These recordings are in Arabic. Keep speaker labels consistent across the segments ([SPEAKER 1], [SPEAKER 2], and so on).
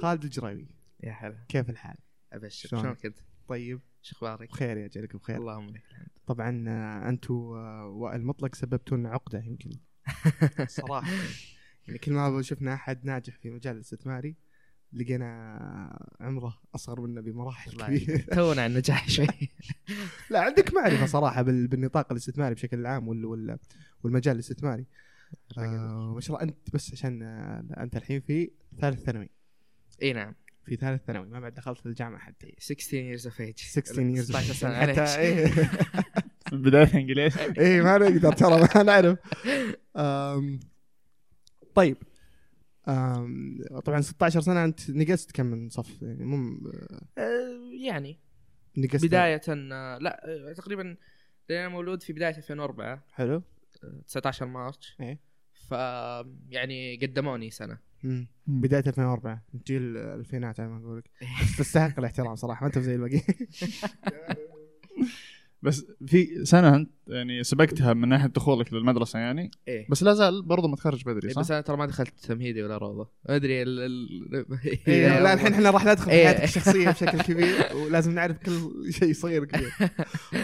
[SPEAKER 1] خالد الجريمي
[SPEAKER 2] يا هلا
[SPEAKER 1] كيف الحال؟
[SPEAKER 2] ابشر
[SPEAKER 1] شلونك؟
[SPEAKER 2] شلونك انت؟
[SPEAKER 1] طيب
[SPEAKER 2] شو اخبارك؟
[SPEAKER 1] بخير يا جلك بخير
[SPEAKER 2] اللهم لك الحمد
[SPEAKER 1] طبعا آه، انتم آه، وائل مطلق سببتوا لنا عقده يمكن صراحه يعني كل ما شفنا احد ناجح في مجال الاستثماري لقينا عمره اصغر منا بمراحل
[SPEAKER 2] الله
[SPEAKER 1] كبيره
[SPEAKER 2] يعينك. تونا عن النجاح شوي
[SPEAKER 1] لا عندك معرفه صراحه بال- بالنطاق الاستثماري بشكل عام وال- وال- والمجال الاستثماري آه، ما شاء الله انت بس عشان آه، انت الحين في ثالث ثانوي
[SPEAKER 2] اي نعم
[SPEAKER 1] في ثالث ثانوي ما بعد دخلت الجامعه حتى
[SPEAKER 2] 16 years of age
[SPEAKER 1] 16 years
[SPEAKER 2] 16 سنه
[SPEAKER 1] حتى
[SPEAKER 2] معليش.
[SPEAKER 1] إيه.
[SPEAKER 3] بداية انجليزي
[SPEAKER 1] ايه ما نقدر ترى ما نعرف أم، طيب أم، طبعا 16 سنه انت نقصت كم من صف يعني مو م-
[SPEAKER 2] آه، يعني
[SPEAKER 1] نقصت
[SPEAKER 2] بدايه آه، لا آه، تقريبا لأن انا مولود في بدايه 2004
[SPEAKER 1] حلو
[SPEAKER 2] آه، 19 مارس
[SPEAKER 1] إيه.
[SPEAKER 2] ف يعني قدموني سنه
[SPEAKER 1] مم. بدايه 2004 جيل الالفينات على ما اقول لك بس تستحق الاحترام صراحه ما انت زي الباقي
[SPEAKER 3] بس في سنة انت يعني سبقتها من ناحية دخولك للمدرسة يعني
[SPEAKER 2] ايه
[SPEAKER 3] بس لا زال برضه ما تخرج بدري
[SPEAKER 2] إيه، بس
[SPEAKER 3] صح؟
[SPEAKER 2] انا ترى ما دخلت تمهيدي ولا روضه ما ادري ال... ال...
[SPEAKER 1] إيه، لا الحين احنا راح ندخل في
[SPEAKER 2] إيه.
[SPEAKER 1] حياتك الشخصيه بشكل كبير ولازم نعرف كل شيء صغير كبير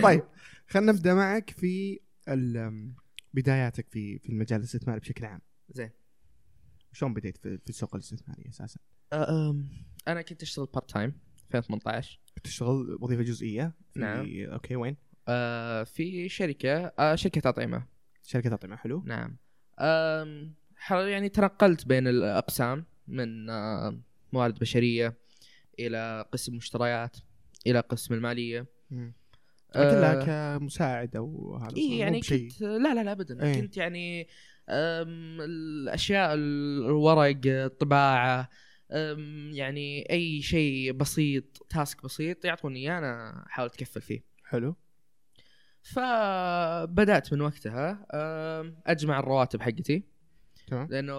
[SPEAKER 1] طيب خلينا نبدا معك في ال- بداياتك في في المجال الاستثماري بشكل عام
[SPEAKER 2] زين
[SPEAKER 1] شلون بديت في في السوق الاستثماري اساسا؟
[SPEAKER 2] أم، انا كنت اشتغل بارت تايم 2018
[SPEAKER 1] تشتغل وظيفه جزئيه في-
[SPEAKER 2] نعم.
[SPEAKER 1] اوكي وين؟
[SPEAKER 2] آه، في شركه آه، شركه اطعمه
[SPEAKER 1] شركه اطعمه حلو
[SPEAKER 2] نعم آم، حر- يعني تنقلت بين الاقسام من آم، موارد بشريه الى قسم مشتريات الى قسم الماليه
[SPEAKER 1] مم.
[SPEAKER 2] آه،
[SPEAKER 1] كلها أه. كمساعد او هذا
[SPEAKER 2] اي
[SPEAKER 1] مو
[SPEAKER 2] يعني
[SPEAKER 1] بشيء.
[SPEAKER 2] كنت لا لا لا ابدا
[SPEAKER 1] إيه.
[SPEAKER 2] كنت يعني أم، الاشياء الورق الطباعه أم، يعني اي شيء بسيط تاسك بسيط يعطوني اياه انا احاول اتكفل فيه
[SPEAKER 1] حلو
[SPEAKER 2] فبدات من وقتها أم، اجمع الرواتب حقتي
[SPEAKER 1] تمام
[SPEAKER 2] لانه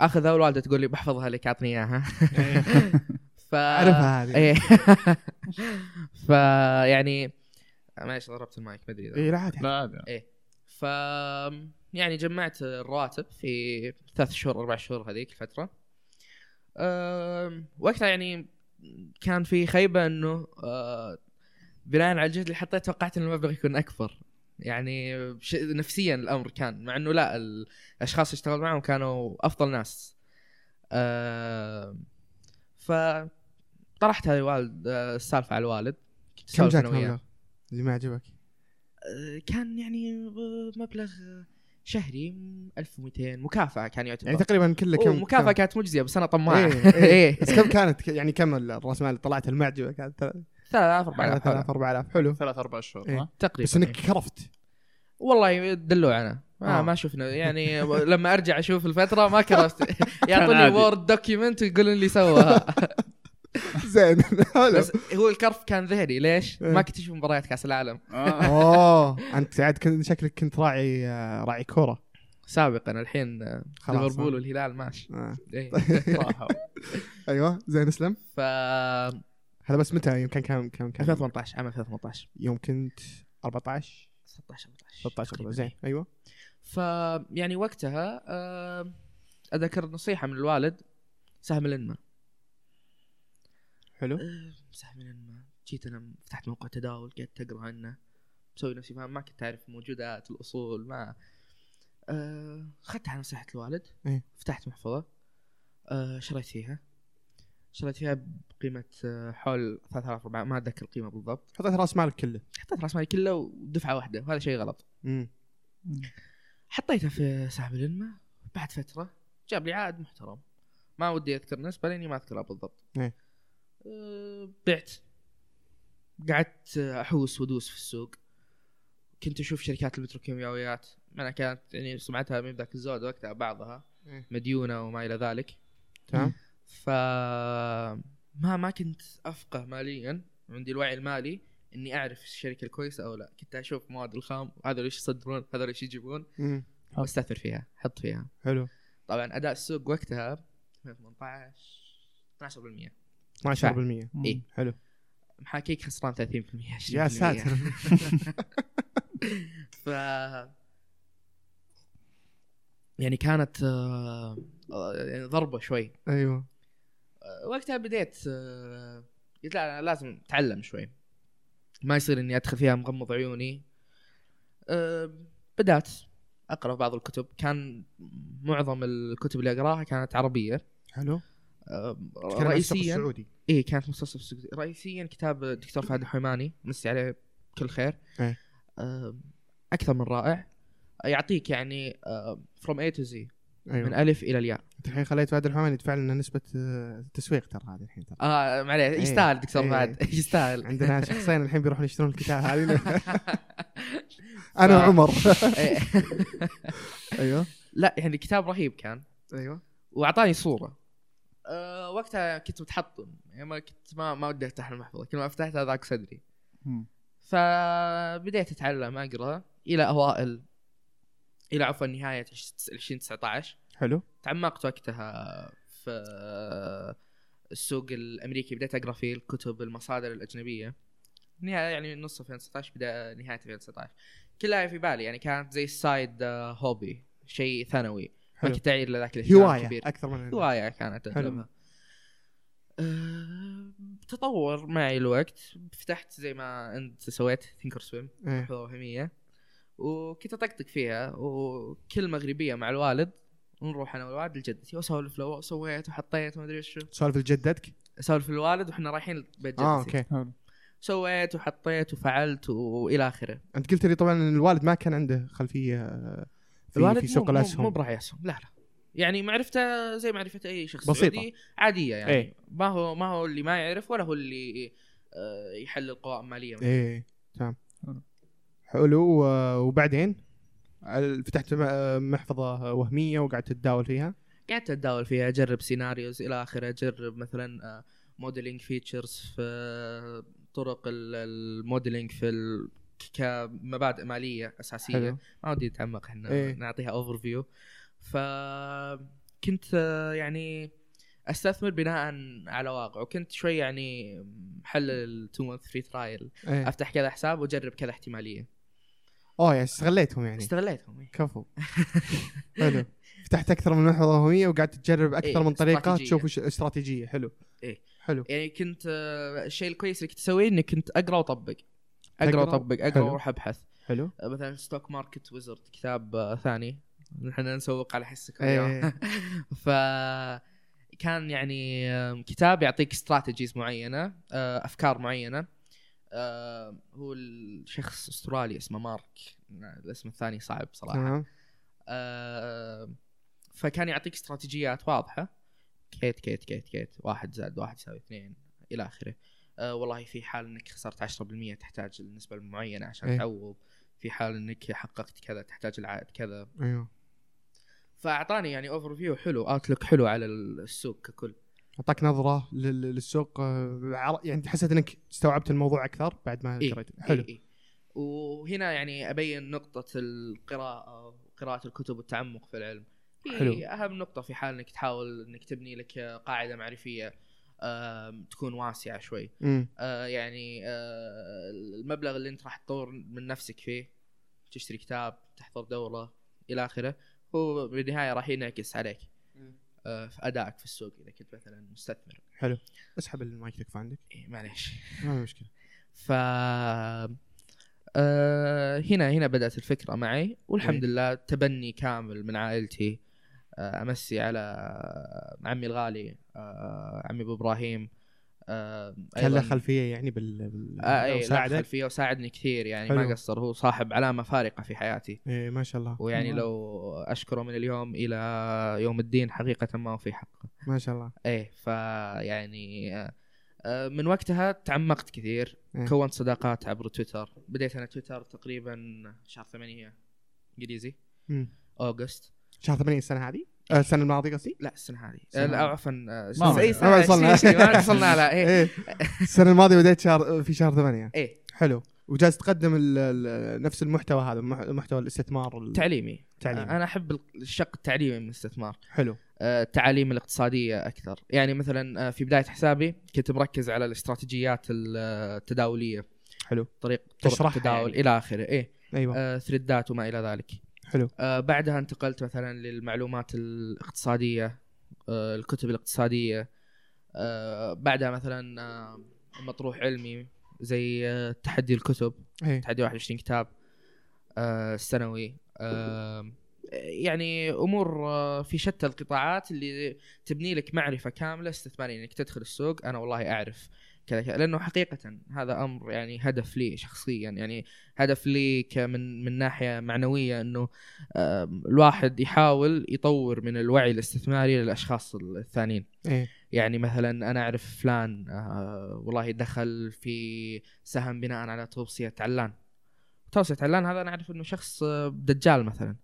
[SPEAKER 2] اخذها والوالده تقول لي بحفظها لك اعطني اياها ف
[SPEAKER 1] اعرفها هذه
[SPEAKER 2] ايه ف يعني معلش ضربت المايك ما ادري إذا-
[SPEAKER 1] اي لا عادي
[SPEAKER 3] لا عادي
[SPEAKER 2] ف يعني جمعت الرواتب في ثلاث شهور اربع شهور هذيك الفتره أم، وقتها يعني كان في خيبه انه أه، بناء على الجهد اللي حطيته توقعت ان المبلغ يكون اكبر يعني بش- نفسيا الامر كان مع انه لا الاشخاص اللي اشتغل معهم كانوا افضل ناس أم، ف طرحت هذه الوالد أه، السالفه على الوالد كنت
[SPEAKER 1] كم
[SPEAKER 2] أسولف
[SPEAKER 1] جاك
[SPEAKER 2] أنا وياه.
[SPEAKER 1] مبلغ اللي ما عجبك؟
[SPEAKER 2] كان يعني مبلغ آه، شهري 1200 مكافاه كان يعتبر
[SPEAKER 1] يعني تقريبا كله كم
[SPEAKER 2] مكافاه كانت مجزيه بس انا طماع
[SPEAKER 1] إيه،
[SPEAKER 2] ايه
[SPEAKER 1] بس كم كانت يعني كم الراس مال اللي طلعت المعجبه كانت
[SPEAKER 2] 3000 4000
[SPEAKER 1] 3000 4000
[SPEAKER 2] طيب،
[SPEAKER 1] حلو
[SPEAKER 3] ثلاث اربع اشهر
[SPEAKER 1] إيه.
[SPEAKER 3] ها؟
[SPEAKER 2] تقريبا
[SPEAKER 1] بس انك كرفت
[SPEAKER 2] والله دلوع انا ما,
[SPEAKER 1] آه.
[SPEAKER 2] ما شفنا يعني لما ارجع اشوف الفتره ما كرفت يعطوني
[SPEAKER 3] عادي.
[SPEAKER 2] وورد دوكيمنت ويقولون لي سوها
[SPEAKER 1] زين حلو
[SPEAKER 2] بس هو الكرف كان ذهني ليش؟
[SPEAKER 1] إيه.
[SPEAKER 2] ما كنت اشوف مباريات كاس العالم
[SPEAKER 3] آه.
[SPEAKER 1] اوه انت عاد كنت شكلك كنت راعي آه، راعي كوره
[SPEAKER 2] سابقا الحين
[SPEAKER 1] خلاص
[SPEAKER 2] ليفربول والهلال ماشي
[SPEAKER 1] آه.
[SPEAKER 2] إيه.
[SPEAKER 3] راحوا.
[SPEAKER 1] ايوه زين اسلم
[SPEAKER 2] ف
[SPEAKER 1] هذا بس متى يمكن كم كم كم
[SPEAKER 2] 2018 عام 2018
[SPEAKER 1] يوم كنت 14
[SPEAKER 2] 16 14
[SPEAKER 1] 13
[SPEAKER 2] تقريباً.
[SPEAKER 1] زين ايوه
[SPEAKER 2] فيعني يعني وقتها آه، اتذكر نصيحه من الوالد سهم الانما
[SPEAKER 1] حلو
[SPEAKER 2] آه، سهم الانما جيت انا فتحت موقع تداول قعدت اقرا عنه مسوي نفسي فاهم ما كنت اعرف موجودات الاصول ما آه، اخذت على نصيحه الوالد
[SPEAKER 1] إيه.
[SPEAKER 2] فتحت محفظه آه، شريت فيها شريت فيها بقيمه آه، حول 3000 4 ما اتذكر القيمه بالضبط
[SPEAKER 1] حطيت راس مالك كله
[SPEAKER 2] حطيت راس مالي كله ودفعه واحده وهذا شيء غلط
[SPEAKER 1] امم
[SPEAKER 2] حطيته في سحب الانما بعد فتره جاب لي عائد محترم ما ودي اذكر نسبه لاني ما اذكرها بالضبط
[SPEAKER 1] إيه.
[SPEAKER 2] أه، بعت قعدت احوس وادوس في السوق كنت اشوف شركات المتروكيماويات انا كانت يعني سمعتها من ذاك الزود وقتها بعضها
[SPEAKER 1] إيه.
[SPEAKER 2] مديونه وما الى ذلك
[SPEAKER 1] تمام
[SPEAKER 2] ف ما ما كنت افقه ماليا عندي الوعي المالي اني اعرف الشركه الكويسه او لا كنت اشوف مواد الخام هذا ايش يصدرون هذا ايش يجيبون
[SPEAKER 1] امم
[SPEAKER 2] واستثمر فيها حط فيها
[SPEAKER 1] حلو
[SPEAKER 2] طبعا اداء السوق وقتها 18 12%
[SPEAKER 1] 12%
[SPEAKER 2] إيه.
[SPEAKER 1] حلو
[SPEAKER 2] محاكيك خسران 30% 20%
[SPEAKER 1] يا ساتر
[SPEAKER 2] ف يعني كانت آه، آه، يعني ضربه شوي
[SPEAKER 1] ايوه
[SPEAKER 2] آه، وقتها بديت آه، قلت لا أنا لازم اتعلم شوي ما يصير اني ادخل فيها مغمض عيوني آه، بدات اقرا بعض الكتب كان معظم الكتب اللي اقراها كانت عربيه
[SPEAKER 1] حلو
[SPEAKER 2] آه،
[SPEAKER 1] كان رئيسيا
[SPEAKER 2] رئيسيا
[SPEAKER 1] السعودي
[SPEAKER 2] اي كانت مستصف السعودي رئيسيا كتاب الدكتور فهد الحماني مسي عليه كل خير
[SPEAKER 1] إيه.
[SPEAKER 2] آه، اكثر من رائع يعطيك يعني فروم اي تو زي
[SPEAKER 1] ايوه
[SPEAKER 2] من الف الى الياء
[SPEAKER 1] انت الحين خليت فهد الحمامي يدفع لنا نسبه آه، تسويق ترى هذه الحين ترى
[SPEAKER 2] اه معليش
[SPEAKER 1] إيه.
[SPEAKER 2] يستاهل دكتور
[SPEAKER 1] إيه.
[SPEAKER 2] فهد يستاهل
[SPEAKER 1] عندنا شخصين الحين بيروحون يشترون الكتاب هذه انا وعمر
[SPEAKER 2] إيه.
[SPEAKER 1] ايوه
[SPEAKER 2] لا يعني كتاب رهيب كان أيوه.
[SPEAKER 1] ايوه
[SPEAKER 2] واعطاني صوره أه وقتها كنت متحطم يعني ما كنت ما ما ودي افتح المحفظه كل ما فتحتها ذاك صدري
[SPEAKER 3] مم.
[SPEAKER 2] فبديت اتعلم اقرا الى اوائل الى عفوا نهايه 2019
[SPEAKER 1] حلو
[SPEAKER 2] تعمقت وقتها في السوق الامريكي بديت اقرا فيه الكتب المصادر الاجنبيه نهايه يعني نص 2019 بدا نهايه 2019 كلها في بالي يعني كانت زي السايد آه، هوبي شيء ثانوي ما
[SPEAKER 1] حلو
[SPEAKER 2] كنت اعير لذاك الاشتغال
[SPEAKER 1] هوايه
[SPEAKER 2] الكبير.
[SPEAKER 1] اكثر من
[SPEAKER 2] هوايه كانت
[SPEAKER 1] حلو.
[SPEAKER 2] اغلبها آه، تطور معي الوقت فتحت زي ما انت سويت ثينكر سويم
[SPEAKER 1] إيه.
[SPEAKER 2] محفظه وهميه وكنت اطقطق فيها وكل مغربيه مع الوالد نروح انا والوالد لجدتي واسولف له سويت وحطيت وما ادري شو
[SPEAKER 1] سالفه جدتك
[SPEAKER 2] اسولف الوالد واحنا رايحين بيت جدتي
[SPEAKER 1] اه اوكي
[SPEAKER 3] حلو
[SPEAKER 2] سويت وحطيت وفعلت والى اخره
[SPEAKER 1] انت قلت لي طبعا إن الوالد ما كان عنده خلفيه آه، في,
[SPEAKER 2] الوالد
[SPEAKER 1] في
[SPEAKER 2] مو-
[SPEAKER 1] سوق
[SPEAKER 2] مو- مو
[SPEAKER 1] الاسهم
[SPEAKER 2] براعي اسهم لا لا يعني معرفته زي معرفه اي شخص
[SPEAKER 1] بسيطة.
[SPEAKER 2] سعودي عاديه يعني
[SPEAKER 1] إيه.
[SPEAKER 2] ما هو ما هو اللي ما يعرف ولا هو اللي آه، يحل القوائم الماليه
[SPEAKER 1] ايه تمام
[SPEAKER 3] حلو.
[SPEAKER 1] حلو و- وبعدين ال- فتحت م- محفظه وهميه وقعدت تتداول فيها
[SPEAKER 2] قعدت اتداول فيها اجرب سيناريوز الى اخره اجرب مثلا موديلينج فيتشرز آه، في آه، طرق الموديلينج في ال- كمبادئ ماليه اساسيه
[SPEAKER 1] حلو
[SPEAKER 2] ما ودي نتعمق احنا
[SPEAKER 1] إيه.
[SPEAKER 2] إيه؟ نعطيها اوفر فيو فكنت يعني استثمر بناء على واقع وكنت شوي يعني محلل التو مانث فري ترايل
[SPEAKER 1] ايه
[SPEAKER 2] افتح كذا حساب واجرب كذا احتماليه
[SPEAKER 1] اوه يعني استغليتهم يعني
[SPEAKER 2] استغليتهم إيه.
[SPEAKER 1] كفو حلو فتحت اكثر من محفظه وهميه وقعدت تجرب اكثر
[SPEAKER 2] إيه،
[SPEAKER 1] من طريقه
[SPEAKER 2] استراتيجية.
[SPEAKER 1] تشوف وش استراتيجيه حلو
[SPEAKER 2] إيه.
[SPEAKER 1] حلو
[SPEAKER 2] يعني كنت آه، الشيء الكويس اللي كنت اسويه اني كنت اقرا واطبق اقرا
[SPEAKER 1] تقرأ؟
[SPEAKER 2] واطبق اقرا
[SPEAKER 1] حلو.
[SPEAKER 2] واروح ابحث
[SPEAKER 1] حلو
[SPEAKER 2] آه، مثلا ستوك ماركت ويزرد كتاب آه، ثاني نحن نسوق على حسك اليوم.
[SPEAKER 1] ايه
[SPEAKER 2] ف كان يعني آم، كتاب يعطيك استراتيجيز معينه آه، افكار معينه آه، هو الشخص استرالي اسمه مارك الاسم الثاني صعب صراحه
[SPEAKER 1] تمام
[SPEAKER 2] آه، فكان يعطيك استراتيجيات واضحه كيت كيت كيت كيت واحد زائد واحد يساوي اثنين الى اخره آه، والله في حال انك خسرت 10% تحتاج النسبه المعينه
[SPEAKER 1] إيه.
[SPEAKER 2] عشان تعوض في حال انك حققت كذا تحتاج العائد كذا
[SPEAKER 1] ايوه
[SPEAKER 2] فاعطاني يعني اوفر فيو حلو اوتلوك حلو على السوق ككل
[SPEAKER 1] اعطاك نظره لل- للسوق آه، عر- يعني حسيت انك استوعبت الموضوع اكثر بعد ما
[SPEAKER 2] إيه،
[SPEAKER 1] قريت حلو
[SPEAKER 2] إي إي. وهنا يعني ابين نقطه القراءه وقراءه الكتب والتعمق في العلم هي
[SPEAKER 1] حلو.
[SPEAKER 2] اهم نقطه في حال انك تحاول انك تبني لك قاعده معرفيه آم، تكون واسعه شوي
[SPEAKER 1] امم
[SPEAKER 2] آه، يعني آه، المبلغ اللي انت راح تطور من نفسك فيه تشتري كتاب تحضر دوره الى اخره هو بالنهايه راح ينعكس عليك آه، في ادائك في السوق اذا كنت مثلا مستثمر
[SPEAKER 1] حلو اسحب المايك تكفى عندك
[SPEAKER 2] إيه، معليش
[SPEAKER 1] ما في مشكله
[SPEAKER 2] ف آه، هنا هنا بدات الفكره معي والحمد
[SPEAKER 1] إيه.
[SPEAKER 2] لله تبني كامل من عائلتي آه، امسي على عمي الغالي آه، عمي ابو ابراهيم آه،
[SPEAKER 1] كان له
[SPEAKER 2] أيضاً-
[SPEAKER 1] خلفيه يعني بال, بال...
[SPEAKER 2] آه اي
[SPEAKER 1] وساعدك؟
[SPEAKER 2] ساعدك فيه وساعدني كثير يعني
[SPEAKER 1] حلو.
[SPEAKER 2] ما قصر هو صاحب علامه فارقه في حياتي
[SPEAKER 1] إيه ما شاء الله
[SPEAKER 2] ويعني
[SPEAKER 3] تمام.
[SPEAKER 2] لو اشكره من اليوم الى يوم الدين حقيقه ما هو في حقه
[SPEAKER 1] ما شاء الله
[SPEAKER 2] ايه فيعني آه، آه، من وقتها تعمقت كثير
[SPEAKER 1] إيه.
[SPEAKER 2] كونت صداقات عبر تويتر بديت انا تويتر تقريبا شهر 8 انجليزي
[SPEAKER 1] مم.
[SPEAKER 2] اوغست
[SPEAKER 1] شهر 8 السنه هذه
[SPEAKER 2] إيه.
[SPEAKER 1] آه، السنه الماضيه قصدي
[SPEAKER 2] لا السنه هذه
[SPEAKER 3] السنة
[SPEAKER 2] آه، لا
[SPEAKER 3] هذه.
[SPEAKER 2] عفوا آه،
[SPEAKER 3] ما
[SPEAKER 2] اي
[SPEAKER 1] ما
[SPEAKER 2] سنه
[SPEAKER 1] وصلنا.
[SPEAKER 2] 2020 ما وصلنا لا ايه
[SPEAKER 1] إيه. السنه الماضيه بديت شهر في شهر 8
[SPEAKER 2] ايه
[SPEAKER 1] حلو وجالس تقدم ال- ال- نفس المحتوى هذا مح- محتوى الاستثمار ال-
[SPEAKER 2] تعليمي
[SPEAKER 1] تعليمي.
[SPEAKER 2] آه، انا احب الشق التعليمي من الاستثمار
[SPEAKER 1] حلو
[SPEAKER 2] آه، التعاليم الاقتصاديه اكثر يعني مثلا آه، في بدايه حسابي كنت مركز على الاستراتيجيات ال- التداوليه
[SPEAKER 1] حلو
[SPEAKER 2] طريق طرق
[SPEAKER 1] تشرحها
[SPEAKER 2] التداول
[SPEAKER 1] يعني.
[SPEAKER 2] الى اخره ايه
[SPEAKER 1] ايوه
[SPEAKER 2] آه، ثريدات وما الى ذلك
[SPEAKER 1] حلو
[SPEAKER 2] آه، بعدها انتقلت مثلا للمعلومات الاقتصاديه آه، الكتب الاقتصاديه آه، بعدها مثلا آه، لما تروح علمي زي آه، تحدي الكتب
[SPEAKER 1] ايه
[SPEAKER 2] تحدي 21 كتاب آه، السنوي آه، يعني امور آه، في شتى القطاعات اللي تبني لك معرفه كامله استثماريه انك تدخل السوق انا والله اعرف كذا كذا لانه حقيقه هذا امر يعني هدف لي شخصيا يعني هدف لي ك- من من ناحيه معنويه انه آه، الواحد يحاول يطور من الوعي الاستثماري للاشخاص الثانيين
[SPEAKER 1] ايه
[SPEAKER 2] يعني مثلا انا اعرف فلان آه والله دخل في سهم بناء على توصيه علان توصيه علان هذا انا اعرف انه شخص آه، دجال مثلا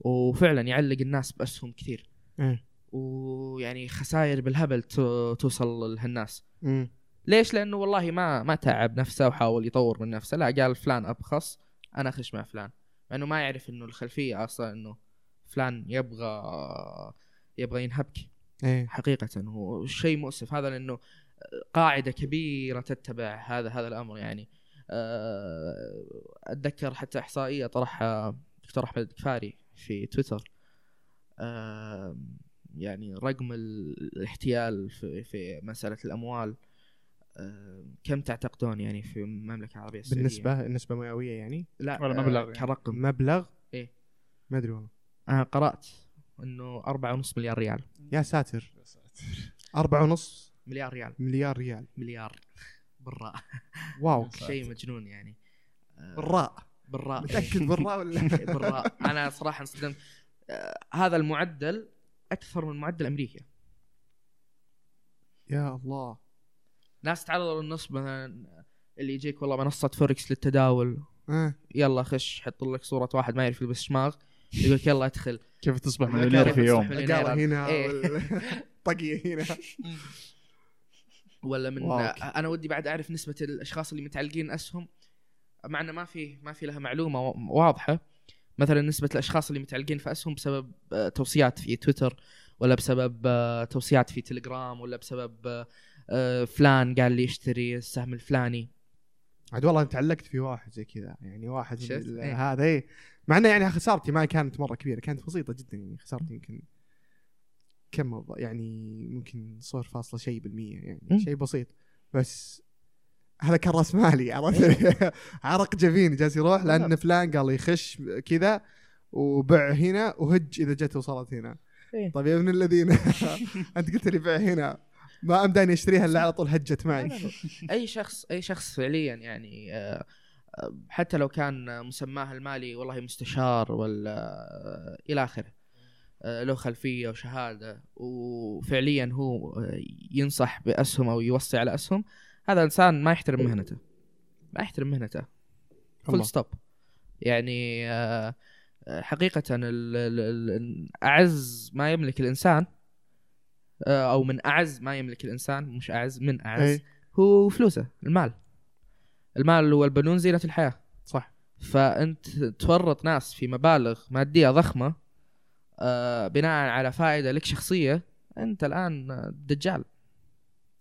[SPEAKER 2] وفعلا يعلق الناس باسهم كثير
[SPEAKER 1] إيه.
[SPEAKER 2] ويعني خسائر بالهبل تو- توصل لهالناس
[SPEAKER 1] أمم.
[SPEAKER 2] ليش لانه والله ما ما تعب نفسه وحاول يطور من نفسه لا قال فلان ابخص انا اخش مع فلان مع انه ما يعرف انه الخلفيه اصلا انه فلان يبغى يبغى ينهبك
[SPEAKER 1] ايه
[SPEAKER 2] حقيقة هو شيء مؤسف هذا لأنه قاعدة كبيرة تتبع هذا هذا الأمر يعني آه، أتذكر حتى إحصائية طرحها دكتور أحمد كفاري في تويتر آه، يعني رقم ال- الاحتيال في, في مسألة الأموال آه، كم تعتقدون يعني في المملكة العربية السعودية
[SPEAKER 1] بالنسبه النسبه مئويه يعني
[SPEAKER 2] لا
[SPEAKER 3] ولا
[SPEAKER 2] آه،
[SPEAKER 3] مبلغ يعني.
[SPEAKER 2] كرقم
[SPEAKER 1] مبلغ
[SPEAKER 2] إيه.
[SPEAKER 1] ما ادري والله
[SPEAKER 2] أنا قرأت أنه أربعة ونص مليار ريال
[SPEAKER 1] يا ساتر أربعة ونص
[SPEAKER 2] مليار ريال
[SPEAKER 1] مليار ريال
[SPEAKER 2] مليار بالراء
[SPEAKER 1] واو
[SPEAKER 2] شيء مجنون يعني آه،
[SPEAKER 1] بالراء
[SPEAKER 2] بالراء إيه،
[SPEAKER 1] متاكد بالراء ولا
[SPEAKER 2] بالراء انا صراحه انصدمت آه، هذا المعدل اكثر من معدل امريكا
[SPEAKER 1] يا الله
[SPEAKER 2] ناس تعرضوا للنصب مثلا اللي يجيك والله منصه فوركس للتداول
[SPEAKER 1] آه.
[SPEAKER 2] يلا خش حط لك صوره واحد ما يعرف يلبس شماغ يقول لك يلا ادخل
[SPEAKER 3] كيف تصبح مليونير في يوم
[SPEAKER 1] عقارة إيه. هنا
[SPEAKER 2] إيه.
[SPEAKER 1] وال- طقية هنا
[SPEAKER 2] ولا من
[SPEAKER 1] واو.
[SPEAKER 2] انا ودي بعد اعرف نسبه الاشخاص اللي متعلقين اسهم مع انه ما في ما في لها معلومه وا- واضحه مثلا نسبه الاشخاص اللي متعلقين في اسهم بسبب آه، توصيات في تويتر ولا بسبب آه، توصيات في تليجرام ولا بسبب آه، آه، فلان قال لي اشتري السهم الفلاني
[SPEAKER 1] عاد والله أنا تعلقت في واحد زي كذا يعني واحد من
[SPEAKER 2] شفت؟
[SPEAKER 1] ال-
[SPEAKER 2] إيه.
[SPEAKER 1] هذا ايه مع انه يعني خسارتي ما كانت مره كبيره كانت بسيطه جدا يعني خسارتي يمكن كم والله؟ يعني ممكن صفر فاصلة شيء بالمية
[SPEAKER 2] مم.
[SPEAKER 1] يعني شيء بسيط بس هذا كان راس مالي عرفت عرق جبيني جالس يروح لان فلان قال يخش كذا وبع هنا وهج اذا جت وصلت هنا
[SPEAKER 2] إيه.
[SPEAKER 1] طيب يا ابن الذين انت قلت لي بع هنا ما امداني اشتريها الا على طول هجت معي
[SPEAKER 2] لا، لا، اي شخص اي شخص فعليا يعني آه، آه، حتى لو كان مسماه المالي والله مستشار ولا آه، الى اخره آه، له خلفيه وشهاده وفعليا هو آه، ينصح باسهم او يوصي على اسهم هذا انسان ما يحترم مهنته ما يحترم مهنته
[SPEAKER 1] الله.
[SPEAKER 2] فول ستوب يعني آه، آه، حقيقة ال- ال- ال- أعز ما يملك الإنسان آه، أو من أعز ما يملك الإنسان مش أعز من أعز
[SPEAKER 1] إيه.
[SPEAKER 2] هو فلوسه المال المال والبنون زينة الحياة
[SPEAKER 1] صح
[SPEAKER 2] فأنت تورط ناس في مبالغ مادية ضخمة آه، بناء على فائدة لك شخصية أنت الآن آه، دجال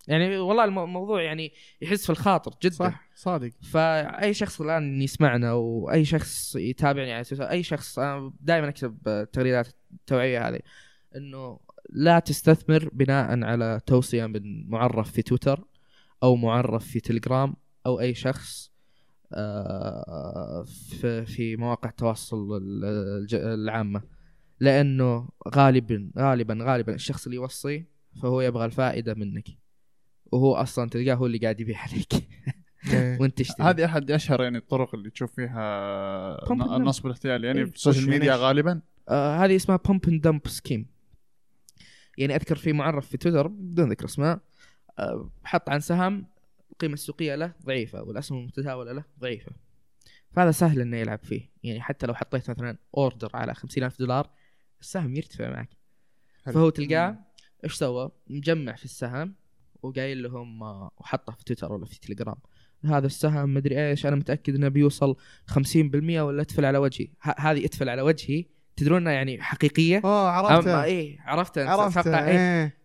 [SPEAKER 2] يعني والله المو- الموضوع يعني يحس في الخاطر جدا صح.
[SPEAKER 1] صح صادق
[SPEAKER 2] فأي شخص الآن يسمعنا وأي شخص يتابعني على تويتر أي شخص أنا دائما أكتب آه، التغريدات التوعية هذه أنه لا تستثمر بناء على توصية من معرف في تويتر أو معرف في تليجرام أو أي شخص آه، في في مواقع التواصل ال- الج- العامه لانه غالبا غالبا غالبا الشخص اللي يوصي فهو يبغى الفائده منك وهو اصلا تلقاه هو اللي قاعد يبيع عليك وانت تشتري
[SPEAKER 3] هذه احد اشهر يعني الطرق اللي تشوف فيها
[SPEAKER 2] Pump and dump.
[SPEAKER 3] النصب الاحتيالي
[SPEAKER 2] إيه.
[SPEAKER 3] يعني في السوشيال
[SPEAKER 1] وش يعني
[SPEAKER 3] ميديا
[SPEAKER 1] إيش؟
[SPEAKER 3] غالبا
[SPEAKER 2] آه هذه اسمها بومب اند دمب سكيم يعني اذكر في معرف في تويتر بدون ذكر اسماء آه حط عن سهم القيمه السوقيه له ضعيفه والاسهم المتداوله له ضعيفه فهذا سهل انه يلعب فيه يعني حتى لو حطيت مثلا اوردر على 50000 دولار السهم يرتفع معك
[SPEAKER 1] حلو.
[SPEAKER 2] فهو تلقاه ايش سوى؟ مجمع في السهم وقايل لهم آه، وحطه في تويتر ولا في تليجرام هذا السهم مدري ايش انا متاكد انه بيوصل 50% ولا اتفل على وجهي ه- هذه اتفل على وجهي تدرون إنها يعني حقيقيه
[SPEAKER 1] اوه
[SPEAKER 2] اما
[SPEAKER 1] آه، عرفته
[SPEAKER 2] ايه عرفت
[SPEAKER 1] عرفته
[SPEAKER 2] إيه.
[SPEAKER 1] إيه.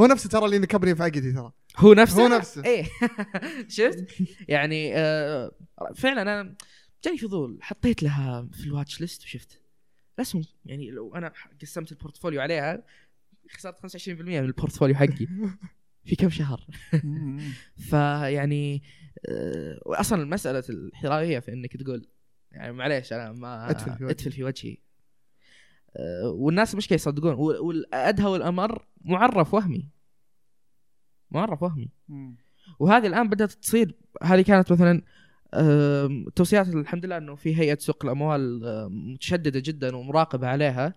[SPEAKER 1] هو نفسه ترى اللي نكبني في عقدي ترى
[SPEAKER 2] هو نفسه
[SPEAKER 1] هو نفسه.
[SPEAKER 2] ايه شفت يعني آه فعلا انا جاني فضول حطيت لها في الواتش ليست وشفت الاسهم يعني إيه. لو انا قسمت البورتفوليو عليها خسرت 25% من البورتفوليو حقي في كم شهر فيعني آه، اصلا مساله الحرايه في انك تقول يعني معليش انا ما
[SPEAKER 1] أتفل في وجهي.
[SPEAKER 2] اتفل في وجهي آه، والناس مش كي يصدقون وال- والادهى والامر معرف وهمي معرف وهمي وهذه الان بدات تصير هذه كانت مثلا آم، توصيات الحمد لله انه في هيئه سوق آه، الاموال آم، متشدده جدا ومراقبه عليها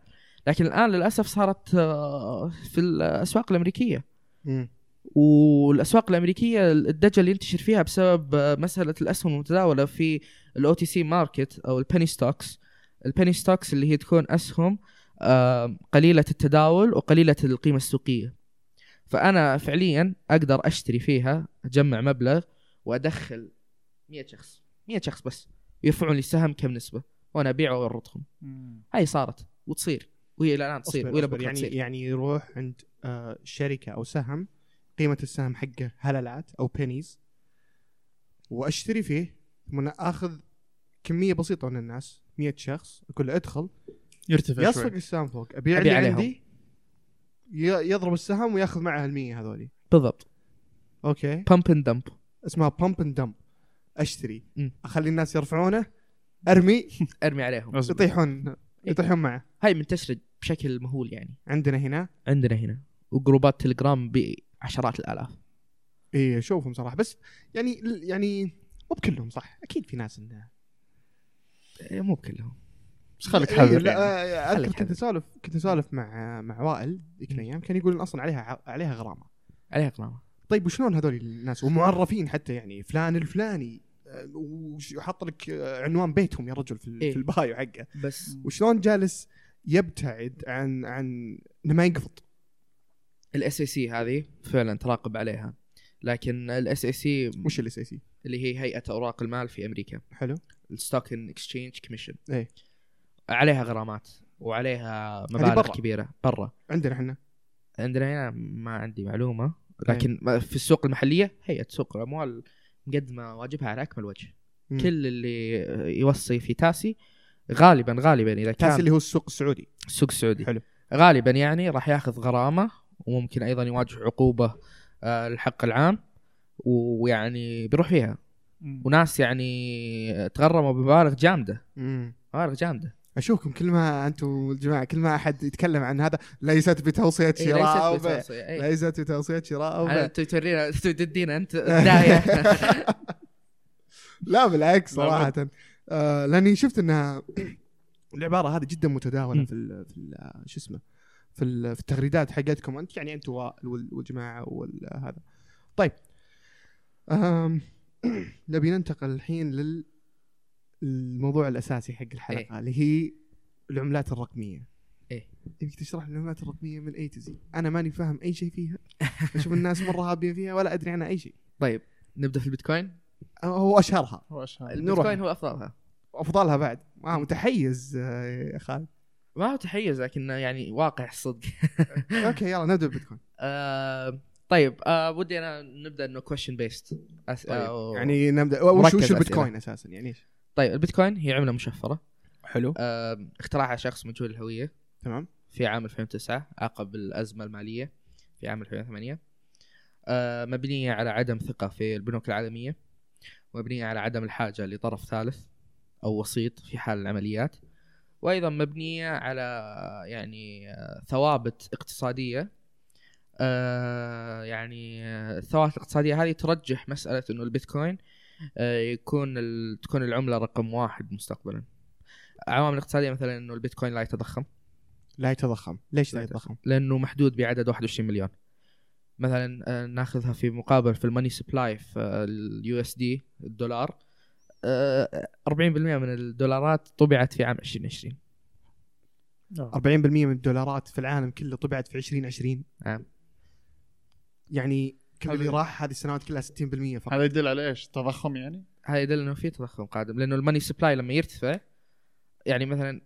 [SPEAKER 2] لكن الان للاسف صارت آه، في الاسواق الامريكيه
[SPEAKER 1] مم.
[SPEAKER 2] والاسواق الامريكيه الضجه اللي ينتشر فيها بسبب آه، مساله الاسهم المتداوله في الاو تي سي ماركت او البني ستوكس البني ستوكس اللي هي تكون اسهم آه، قليله التداول وقليله القيمه السوقيه فانا فعليا اقدر اشتري فيها اجمع مبلغ وادخل 100 شخص 100 شخص بس يرفعون لي السهم كم نسبه وانا ابيعه وارضهم هاي صارت وتصير وهي الان تصير
[SPEAKER 1] أصبر
[SPEAKER 2] والى
[SPEAKER 1] أصبر.
[SPEAKER 2] بكره
[SPEAKER 1] يعني
[SPEAKER 2] تصير
[SPEAKER 1] يعني يروح عند آه شركه او سهم قيمه السهم حقه هللات او بينيز واشتري فيه ثم أنا اخذ كميه بسيطه من الناس 100 شخص اقول له ادخل
[SPEAKER 3] يرتفع
[SPEAKER 1] يصفق
[SPEAKER 3] شوي
[SPEAKER 1] السهم فوق ابيع
[SPEAKER 2] أبيع
[SPEAKER 1] اللي
[SPEAKER 2] عليهم.
[SPEAKER 1] عندي ي- يضرب السهم وياخذ معه المية هذولي
[SPEAKER 2] بالضبط
[SPEAKER 1] اوكي
[SPEAKER 2] بامب اند دمب
[SPEAKER 1] اسمها بامب اند دمب اشتري
[SPEAKER 2] مم.
[SPEAKER 1] اخلي الناس يرفعونه ارمي
[SPEAKER 2] ارمي عليهم
[SPEAKER 3] أصبر.
[SPEAKER 1] طيب.
[SPEAKER 3] إيه.
[SPEAKER 1] يطيحون يطيحون معه
[SPEAKER 2] هاي منتشره بشكل مهول يعني
[SPEAKER 1] عندنا هنا
[SPEAKER 2] عندنا هنا وجروبات تليجرام بعشرات الالاف
[SPEAKER 1] اي اشوفهم صراحه إيه، بس يعني يعني مو بكلهم صح اكيد في ناس انه
[SPEAKER 2] إيه، مو كلهم
[SPEAKER 3] بس خليك
[SPEAKER 1] إيه،
[SPEAKER 3] حذر
[SPEAKER 1] لا
[SPEAKER 3] يعني.
[SPEAKER 1] آه، اذكر
[SPEAKER 2] خليك
[SPEAKER 1] كنت اسولف كنت اسولف مع مع وائل ذيك الايام كان يقول إن اصلا عليها ع- عليها غرامه
[SPEAKER 2] عليها غرامه
[SPEAKER 1] طيب وشلون هذول الناس ومعرفين حتى يعني فلان الفلاني آه، وش- وحط لك آه، عنوان بيتهم يا رجل في, ال-
[SPEAKER 2] إيه.
[SPEAKER 1] في البايو حقه
[SPEAKER 2] بس
[SPEAKER 1] وشلون جالس يبتعد عن عن انه ما ينقفط
[SPEAKER 2] الاس اي سي هذه فعلا تراقب عليها لكن الاس اي سي
[SPEAKER 1] وش الاساسي
[SPEAKER 2] اللي هي هيئه اوراق المال في امريكا
[SPEAKER 1] حلو
[SPEAKER 2] الستوك اكسشينج كوميشن
[SPEAKER 1] إيه. يعني
[SPEAKER 2] عليها غرامات وعليها
[SPEAKER 1] برا.
[SPEAKER 2] مبالغ كبيره برا
[SPEAKER 1] عندنا
[SPEAKER 2] نعم.
[SPEAKER 1] احنا
[SPEAKER 2] عندنا هنا ما عندي معلومه لكن ما- في السوق المحليه هيئه سوق الاموال مقدمه واجبها على اكمل وجه
[SPEAKER 1] مم.
[SPEAKER 2] كل اللي يوصي في تاسي غالبا غالبا اذا كان
[SPEAKER 1] تاس اللي هو السوق السعودي
[SPEAKER 2] السوق السعودي
[SPEAKER 1] حلو.
[SPEAKER 2] غالبا يعني راح ياخذ غرامه وممكن ايضا يواجه عقوبه آه، الحق العام ويعني بيروح فيها وناس يعني تغرموا بمبالغ جامده
[SPEAKER 1] مم.
[SPEAKER 2] مبالغ جامده
[SPEAKER 1] اشوفكم كل ما انتم الجماعه كل ما احد يتكلم عن هذا ليست بتوصيه
[SPEAKER 2] إيه، ليست
[SPEAKER 1] شراء او بيع.
[SPEAKER 2] بتوصي، إيه.
[SPEAKER 1] ليست بتوصيه شراء او
[SPEAKER 2] أنا
[SPEAKER 1] بيع.
[SPEAKER 2] أنت تورينا أنت تدينا انت دايه
[SPEAKER 1] لا بالعكس
[SPEAKER 3] لا،
[SPEAKER 1] صراحه آه لاني شفت انها العباره هذه جدا متداوله في ال في ال آه، شو اسمه في ال- في التغريدات حقتكم انت يعني انت وائل وال- والجماعه وهذا طيب أم، نبي ننتقل الحين لل الموضوع الاساسي حق الحلقه اللي هي العملات الرقميه
[SPEAKER 2] إيه.
[SPEAKER 1] يبيك تشرح لي العملات الرقميه من اي تو زي انا ماني فاهم اي شيء فيها اشوف الناس مره هابيه فيها ولا ادري عنها اي شيء
[SPEAKER 2] طيب نبدا في البيتكوين
[SPEAKER 1] هو اشهرها
[SPEAKER 2] البيتكوين هو افضلها
[SPEAKER 1] افضلها بعد آه متحيز آه، يا خالد
[SPEAKER 2] ما هو تحيز لكنه يعني واقع صدق
[SPEAKER 1] اوكي يلا نبدا بالبيتكوين
[SPEAKER 2] آه طيب آه ودي انا نبدا انه كويشن بيست
[SPEAKER 1] طيب. يعني نبدا وش
[SPEAKER 2] مركز
[SPEAKER 1] وش
[SPEAKER 2] أسئلة.
[SPEAKER 1] البيتكوين اساسا يعني ايش؟
[SPEAKER 2] طيب البيتكوين هي عمله مشفره
[SPEAKER 3] حلو
[SPEAKER 2] آه، اخترعها شخص مجهول الهويه
[SPEAKER 1] تمام
[SPEAKER 2] في عام 2009 عقب الازمه الماليه في عام 2008 آه، مبنيه على عدم ثقه في البنوك العالميه مبنيه على عدم الحاجه لطرف ثالث او وسيط في حال العمليات وايضا مبنيه على يعني آه، ثوابت اقتصاديه آه، يعني آه، الثوابت الاقتصاديه هذه ترجح مساله انه البيتكوين آه، يكون ال- تكون العمله رقم واحد مستقبلا عوامل اقتصاديه مثلا انه البيتكوين لا يتضخم
[SPEAKER 1] لا يتضخم ليش لا
[SPEAKER 2] لا
[SPEAKER 1] يتضخم؟
[SPEAKER 2] لانه محدود بعدد 21 مليون مثلا آه، ناخذها في مقابل في الماني سبلاي في آه، اليو اس دي الدولار آه، 40% من الدولارات طبعت في عام 2020
[SPEAKER 1] 40% من الدولارات في العالم كله طبعت في 2020
[SPEAKER 2] نعم.
[SPEAKER 1] يعني كل اللي
[SPEAKER 3] هذا-
[SPEAKER 1] راح هذه السنوات كلها 60% فقط
[SPEAKER 3] هذا يدل على ايش تضخم يعني
[SPEAKER 2] هذا يدل انه في تضخم قادم لانه الماني سبلاي لما يرتفع يعني مثلا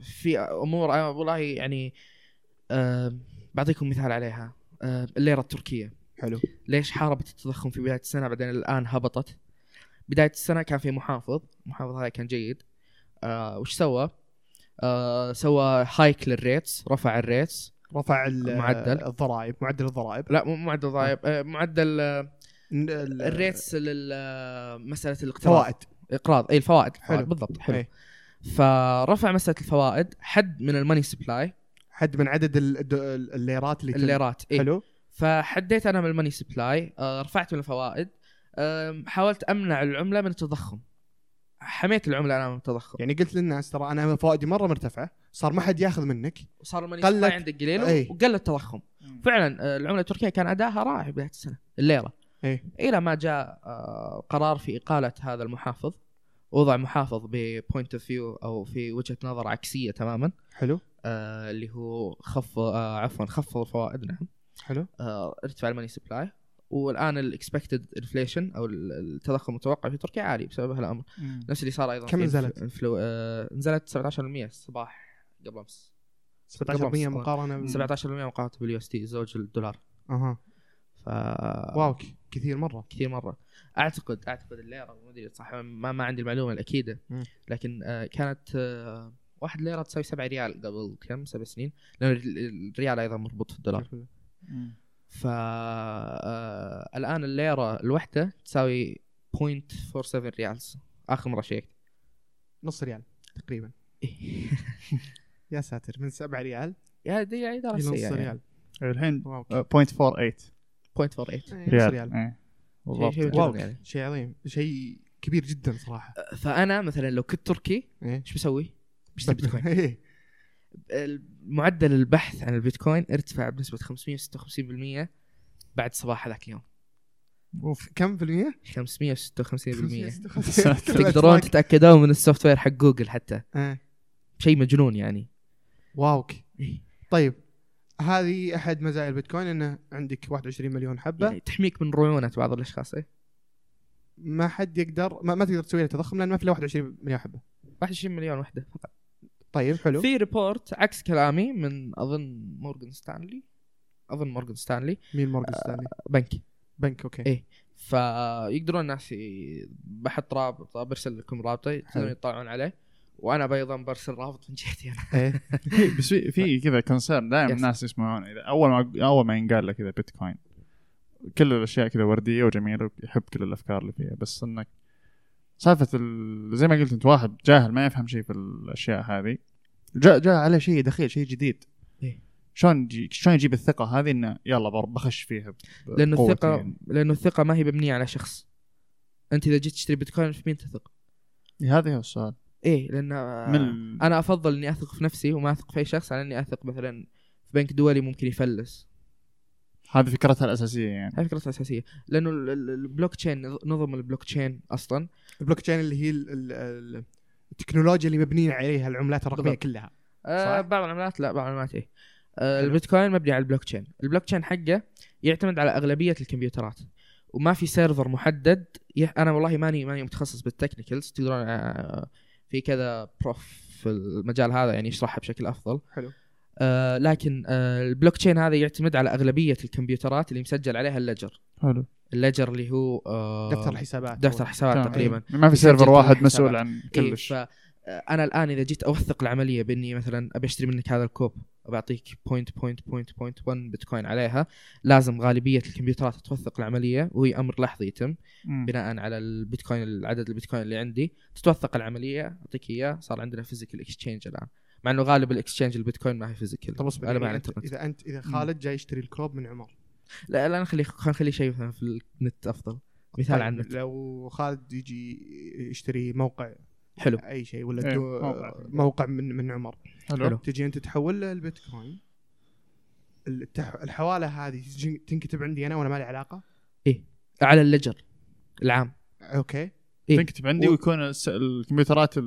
[SPEAKER 2] في امور آه، والله يعني آه، بعطيكم مثال عليها آه، الليره التركيه
[SPEAKER 1] حلو
[SPEAKER 2] ليش حاربت التضخم في بدايه السنه بعدين الان هبطت بدايه السنه كان في محافظ المحافظ هذا كان جيد آه وش سوى آه سوى هايك للريتس رفع الريتس
[SPEAKER 1] رفع ال-
[SPEAKER 2] معدل.
[SPEAKER 1] الضرائب معدل الضرائب
[SPEAKER 2] لا مو معدل ضرائب آه، معدل آه،
[SPEAKER 1] ن- ال-
[SPEAKER 2] الريتس لل- آه، مساله الاقتراض
[SPEAKER 1] فوائد
[SPEAKER 2] اقراض اي الفوائد
[SPEAKER 1] حلو.
[SPEAKER 2] حلو بالضبط حلو
[SPEAKER 1] إيه.
[SPEAKER 2] فرفع مساله الفوائد حد من الماني سبلاي
[SPEAKER 1] حد من عدد ال- الد- ال- الليرات اللي تن-
[SPEAKER 2] الليرات إيه؟
[SPEAKER 1] حلو
[SPEAKER 2] فحديت انا من الماني سبلاي آه، رفعت من الفوائد آم، حاولت امنع العمله من التضخم حميت العمله انا من التضخم
[SPEAKER 1] يعني قلت للناس ترى انا فوائدي مره مرتفعه صار ما حد ياخذ منك
[SPEAKER 2] وصار الماني
[SPEAKER 1] قلت-
[SPEAKER 2] سبلاي عندك قليل
[SPEAKER 1] إيه.
[SPEAKER 2] وقل التضخم فعلا آه، العمله التركيه كان اداها رائع بدايه السنه الليره
[SPEAKER 1] إيه.
[SPEAKER 2] الى ما جاء آه، قرار في اقاله هذا المحافظ وضع محافظ ببوينت اوف فيو او في وجهه نظر عكسيه تماما
[SPEAKER 1] حلو
[SPEAKER 2] آه، اللي هو خف آه، عفوا خفض الفوائد نعم
[SPEAKER 1] حلو
[SPEAKER 2] آه، ارتفع الماني سبلاي والان الاكسبكتد انفليشن او ال- التضخم المتوقع في تركيا عالي بسبب هالامر نفس اللي صار ايضا
[SPEAKER 1] كم
[SPEAKER 2] في
[SPEAKER 1] نزلت؟
[SPEAKER 2] الف- الفلو... آه، نزلت 17% الصباح قبل امس
[SPEAKER 1] 17%
[SPEAKER 2] قبل أمس.
[SPEAKER 1] مقارنه بال-
[SPEAKER 2] 17% مقارنه باليو اس تي زوج الدولار
[SPEAKER 1] اها
[SPEAKER 2] ف
[SPEAKER 1] واو ك- كثير مره
[SPEAKER 2] كثير مره اعتقد اعتقد الليره ما ادري صح ما, ما عندي المعلومه الاكيده
[SPEAKER 1] مم.
[SPEAKER 2] لكن آه، كانت آه، واحد ليره تساوي 7 ريال قبل كم سبع سنين لان ال- الريال ايضا مربوط في الدولار ف آه، الان الليره الواحده تساوي 0.47 ريالز اخر مره شيكت
[SPEAKER 1] نص ريال تقريبا يا ساتر من 7 ريال
[SPEAKER 2] يا دي يعني اداره
[SPEAKER 1] الى نص
[SPEAKER 2] سيئه يعني.
[SPEAKER 1] ريال
[SPEAKER 3] الحين
[SPEAKER 1] واو
[SPEAKER 3] آه، 0.48
[SPEAKER 2] 0.48
[SPEAKER 1] إيه، نص
[SPEAKER 3] ريال
[SPEAKER 1] ريال
[SPEAKER 3] إيه.
[SPEAKER 2] شيء- شيء
[SPEAKER 3] بالضبط يعني.
[SPEAKER 1] واو
[SPEAKER 2] جدا يعني. أه،
[SPEAKER 1] شيء عظيم شيء كبير جدا صراحه
[SPEAKER 2] فانا مثلا لو كنت تركي
[SPEAKER 1] ايه
[SPEAKER 2] ايش بسوي؟ بشتري بيتكوين
[SPEAKER 1] إيه.
[SPEAKER 2] معدل البحث عن البيتكوين ارتفع بنسبه 556% بعد صباح هذاك اليوم
[SPEAKER 1] اوف كم في المية؟
[SPEAKER 2] 556%
[SPEAKER 1] 56.
[SPEAKER 2] تقدرون تتاكدون من السوفت وير حق جوجل حتى
[SPEAKER 1] إيه.
[SPEAKER 2] شيء مجنون يعني
[SPEAKER 1] واو طيب هذه احد مزايا البيتكوين انه عندك 21 مليون حبه
[SPEAKER 2] يعني تحميك من رعونه بعض الاشخاص إيه؟
[SPEAKER 1] ما حد يقدر ما, ما تقدر تسوي له تضخم لان ما في الا 21 مليون حبه
[SPEAKER 2] 21 مليون وحده
[SPEAKER 1] طيب حلو
[SPEAKER 2] في ريبورت عكس كلامي من اظن مورغان ستانلي اظن مورغان ستانلي
[SPEAKER 1] مين مورجان ستانلي
[SPEAKER 2] بنكي
[SPEAKER 1] بنك اوكي
[SPEAKER 2] إيه. فيقدرون الناس ي- بحط رابط برسل لكم رابطه تقدرون
[SPEAKER 1] حلو.
[SPEAKER 2] يطلعون عليه وانا ايضا برسل رابط من جهتي انا
[SPEAKER 1] إيه.
[SPEAKER 3] في- بس في في كذا كونسيرن دائما
[SPEAKER 2] يس.
[SPEAKER 3] الناس يسمعون اذا اول ما اول ما ينقال له كذا بيتكوين كل الاشياء كذا ورديه وجميله ويحب كل الافكار اللي فيها بس انك سالفه ال- زي ما قلت انت واحد جاهل ما يفهم شيء في الاشياء هذه جاء جاء عليه شيء دخيل شيء جديد
[SPEAKER 2] إيه.
[SPEAKER 3] شلون يجي- شلون يجيب الثقه هذه انه يلا بر- بخش فيها ب-
[SPEAKER 2] لانه
[SPEAKER 3] بقوتي
[SPEAKER 2] الثقه
[SPEAKER 3] يعني.
[SPEAKER 2] لانه الثقه ما هي مبنيه على شخص انت اذا جيت تشتري بيتكوين في مين تثق؟
[SPEAKER 3] إيه، هذا هو السؤال
[SPEAKER 2] ايه لان
[SPEAKER 3] من ال-
[SPEAKER 2] انا افضل اني اثق في نفسي وما اثق في اي شخص على اني اثق مثلا في بنك دولي ممكن يفلس
[SPEAKER 3] هذه فكرتها الاساسيه يعني
[SPEAKER 2] هاي فكرتها الاساسيه لانه ال- ال- البلوك تشين نظم البلوك تشين اصلا
[SPEAKER 1] البلوك تشين اللي هي ال- ال- ال- التكنولوجيا اللي مبنيين عليها العملات الرقميه
[SPEAKER 2] بالضبط.
[SPEAKER 1] كلها
[SPEAKER 2] آه
[SPEAKER 1] صح؟
[SPEAKER 2] بعض العملات لا بعض العملات ايه آه
[SPEAKER 1] حلو.
[SPEAKER 2] البيتكوين مبني على البلوك تشين البلوك تشين حقه يعتمد على اغلبيه الكمبيوترات وما في سيرفر محدد يح... انا والله ماني ماني متخصص بالتكنيكلز تقدرون آه في كذا بروف في المجال هذا يعني يشرحها بشكل افضل
[SPEAKER 1] حلو.
[SPEAKER 2] آه لكن آه البلوك تشين هذا يعتمد على اغلبيه الكمبيوترات اللي مسجل عليها اللجر
[SPEAKER 3] حلو
[SPEAKER 2] اللجر اللي هو آه
[SPEAKER 1] دفتر حسابات
[SPEAKER 2] دفتر حسابات تقريبا
[SPEAKER 3] ما في
[SPEAKER 2] يسجل
[SPEAKER 3] سيرفر واحد
[SPEAKER 2] الحسابات.
[SPEAKER 3] مسؤول عن
[SPEAKER 2] إيه
[SPEAKER 3] كلش
[SPEAKER 2] ف انا الان اذا جيت اوثق العمليه باني مثلا ابي اشتري منك هذا الكوب وبعطيك بوينت بوينت بوينت بوينت 1 بيتكوين عليها لازم غالبيه الكمبيوترات توثق العمليه وهي امر لحظي يتم
[SPEAKER 3] مم.
[SPEAKER 2] بناء على البيتكوين العدد البيتكوين اللي عندي تتوثق العمليه اعطيك اياه صار عندنا فيزيكال اكسشينج الان مع انه غالب الاكسشينج البيتكوين ما هي فيزيكال
[SPEAKER 1] طب اصبر
[SPEAKER 2] انا مع
[SPEAKER 1] يعني أنت
[SPEAKER 2] الانترنت
[SPEAKER 1] اذا انت اذا خالد جاي يشتري الكوب من عمر
[SPEAKER 2] لا لا نخلي خلينا نخلي شيء مثلا في النت افضل مثال
[SPEAKER 1] طيب،
[SPEAKER 2] عن النت
[SPEAKER 1] لو خالد يجي يشتري موقع
[SPEAKER 2] حلو
[SPEAKER 1] اي شيء ولا
[SPEAKER 3] إيه،
[SPEAKER 1] دو-
[SPEAKER 3] موقع.
[SPEAKER 1] موقع من من عمر
[SPEAKER 2] حلو.
[SPEAKER 1] تجي انت تحول له البيتكوين التح... الحواله هذه تجي تنكتب عندي انا وانا مالي علاقه
[SPEAKER 2] على اللجر العام
[SPEAKER 1] اوكي
[SPEAKER 2] إيه.
[SPEAKER 3] تنكتب عندي
[SPEAKER 1] و-
[SPEAKER 3] ويكون الس- الكمبيوترات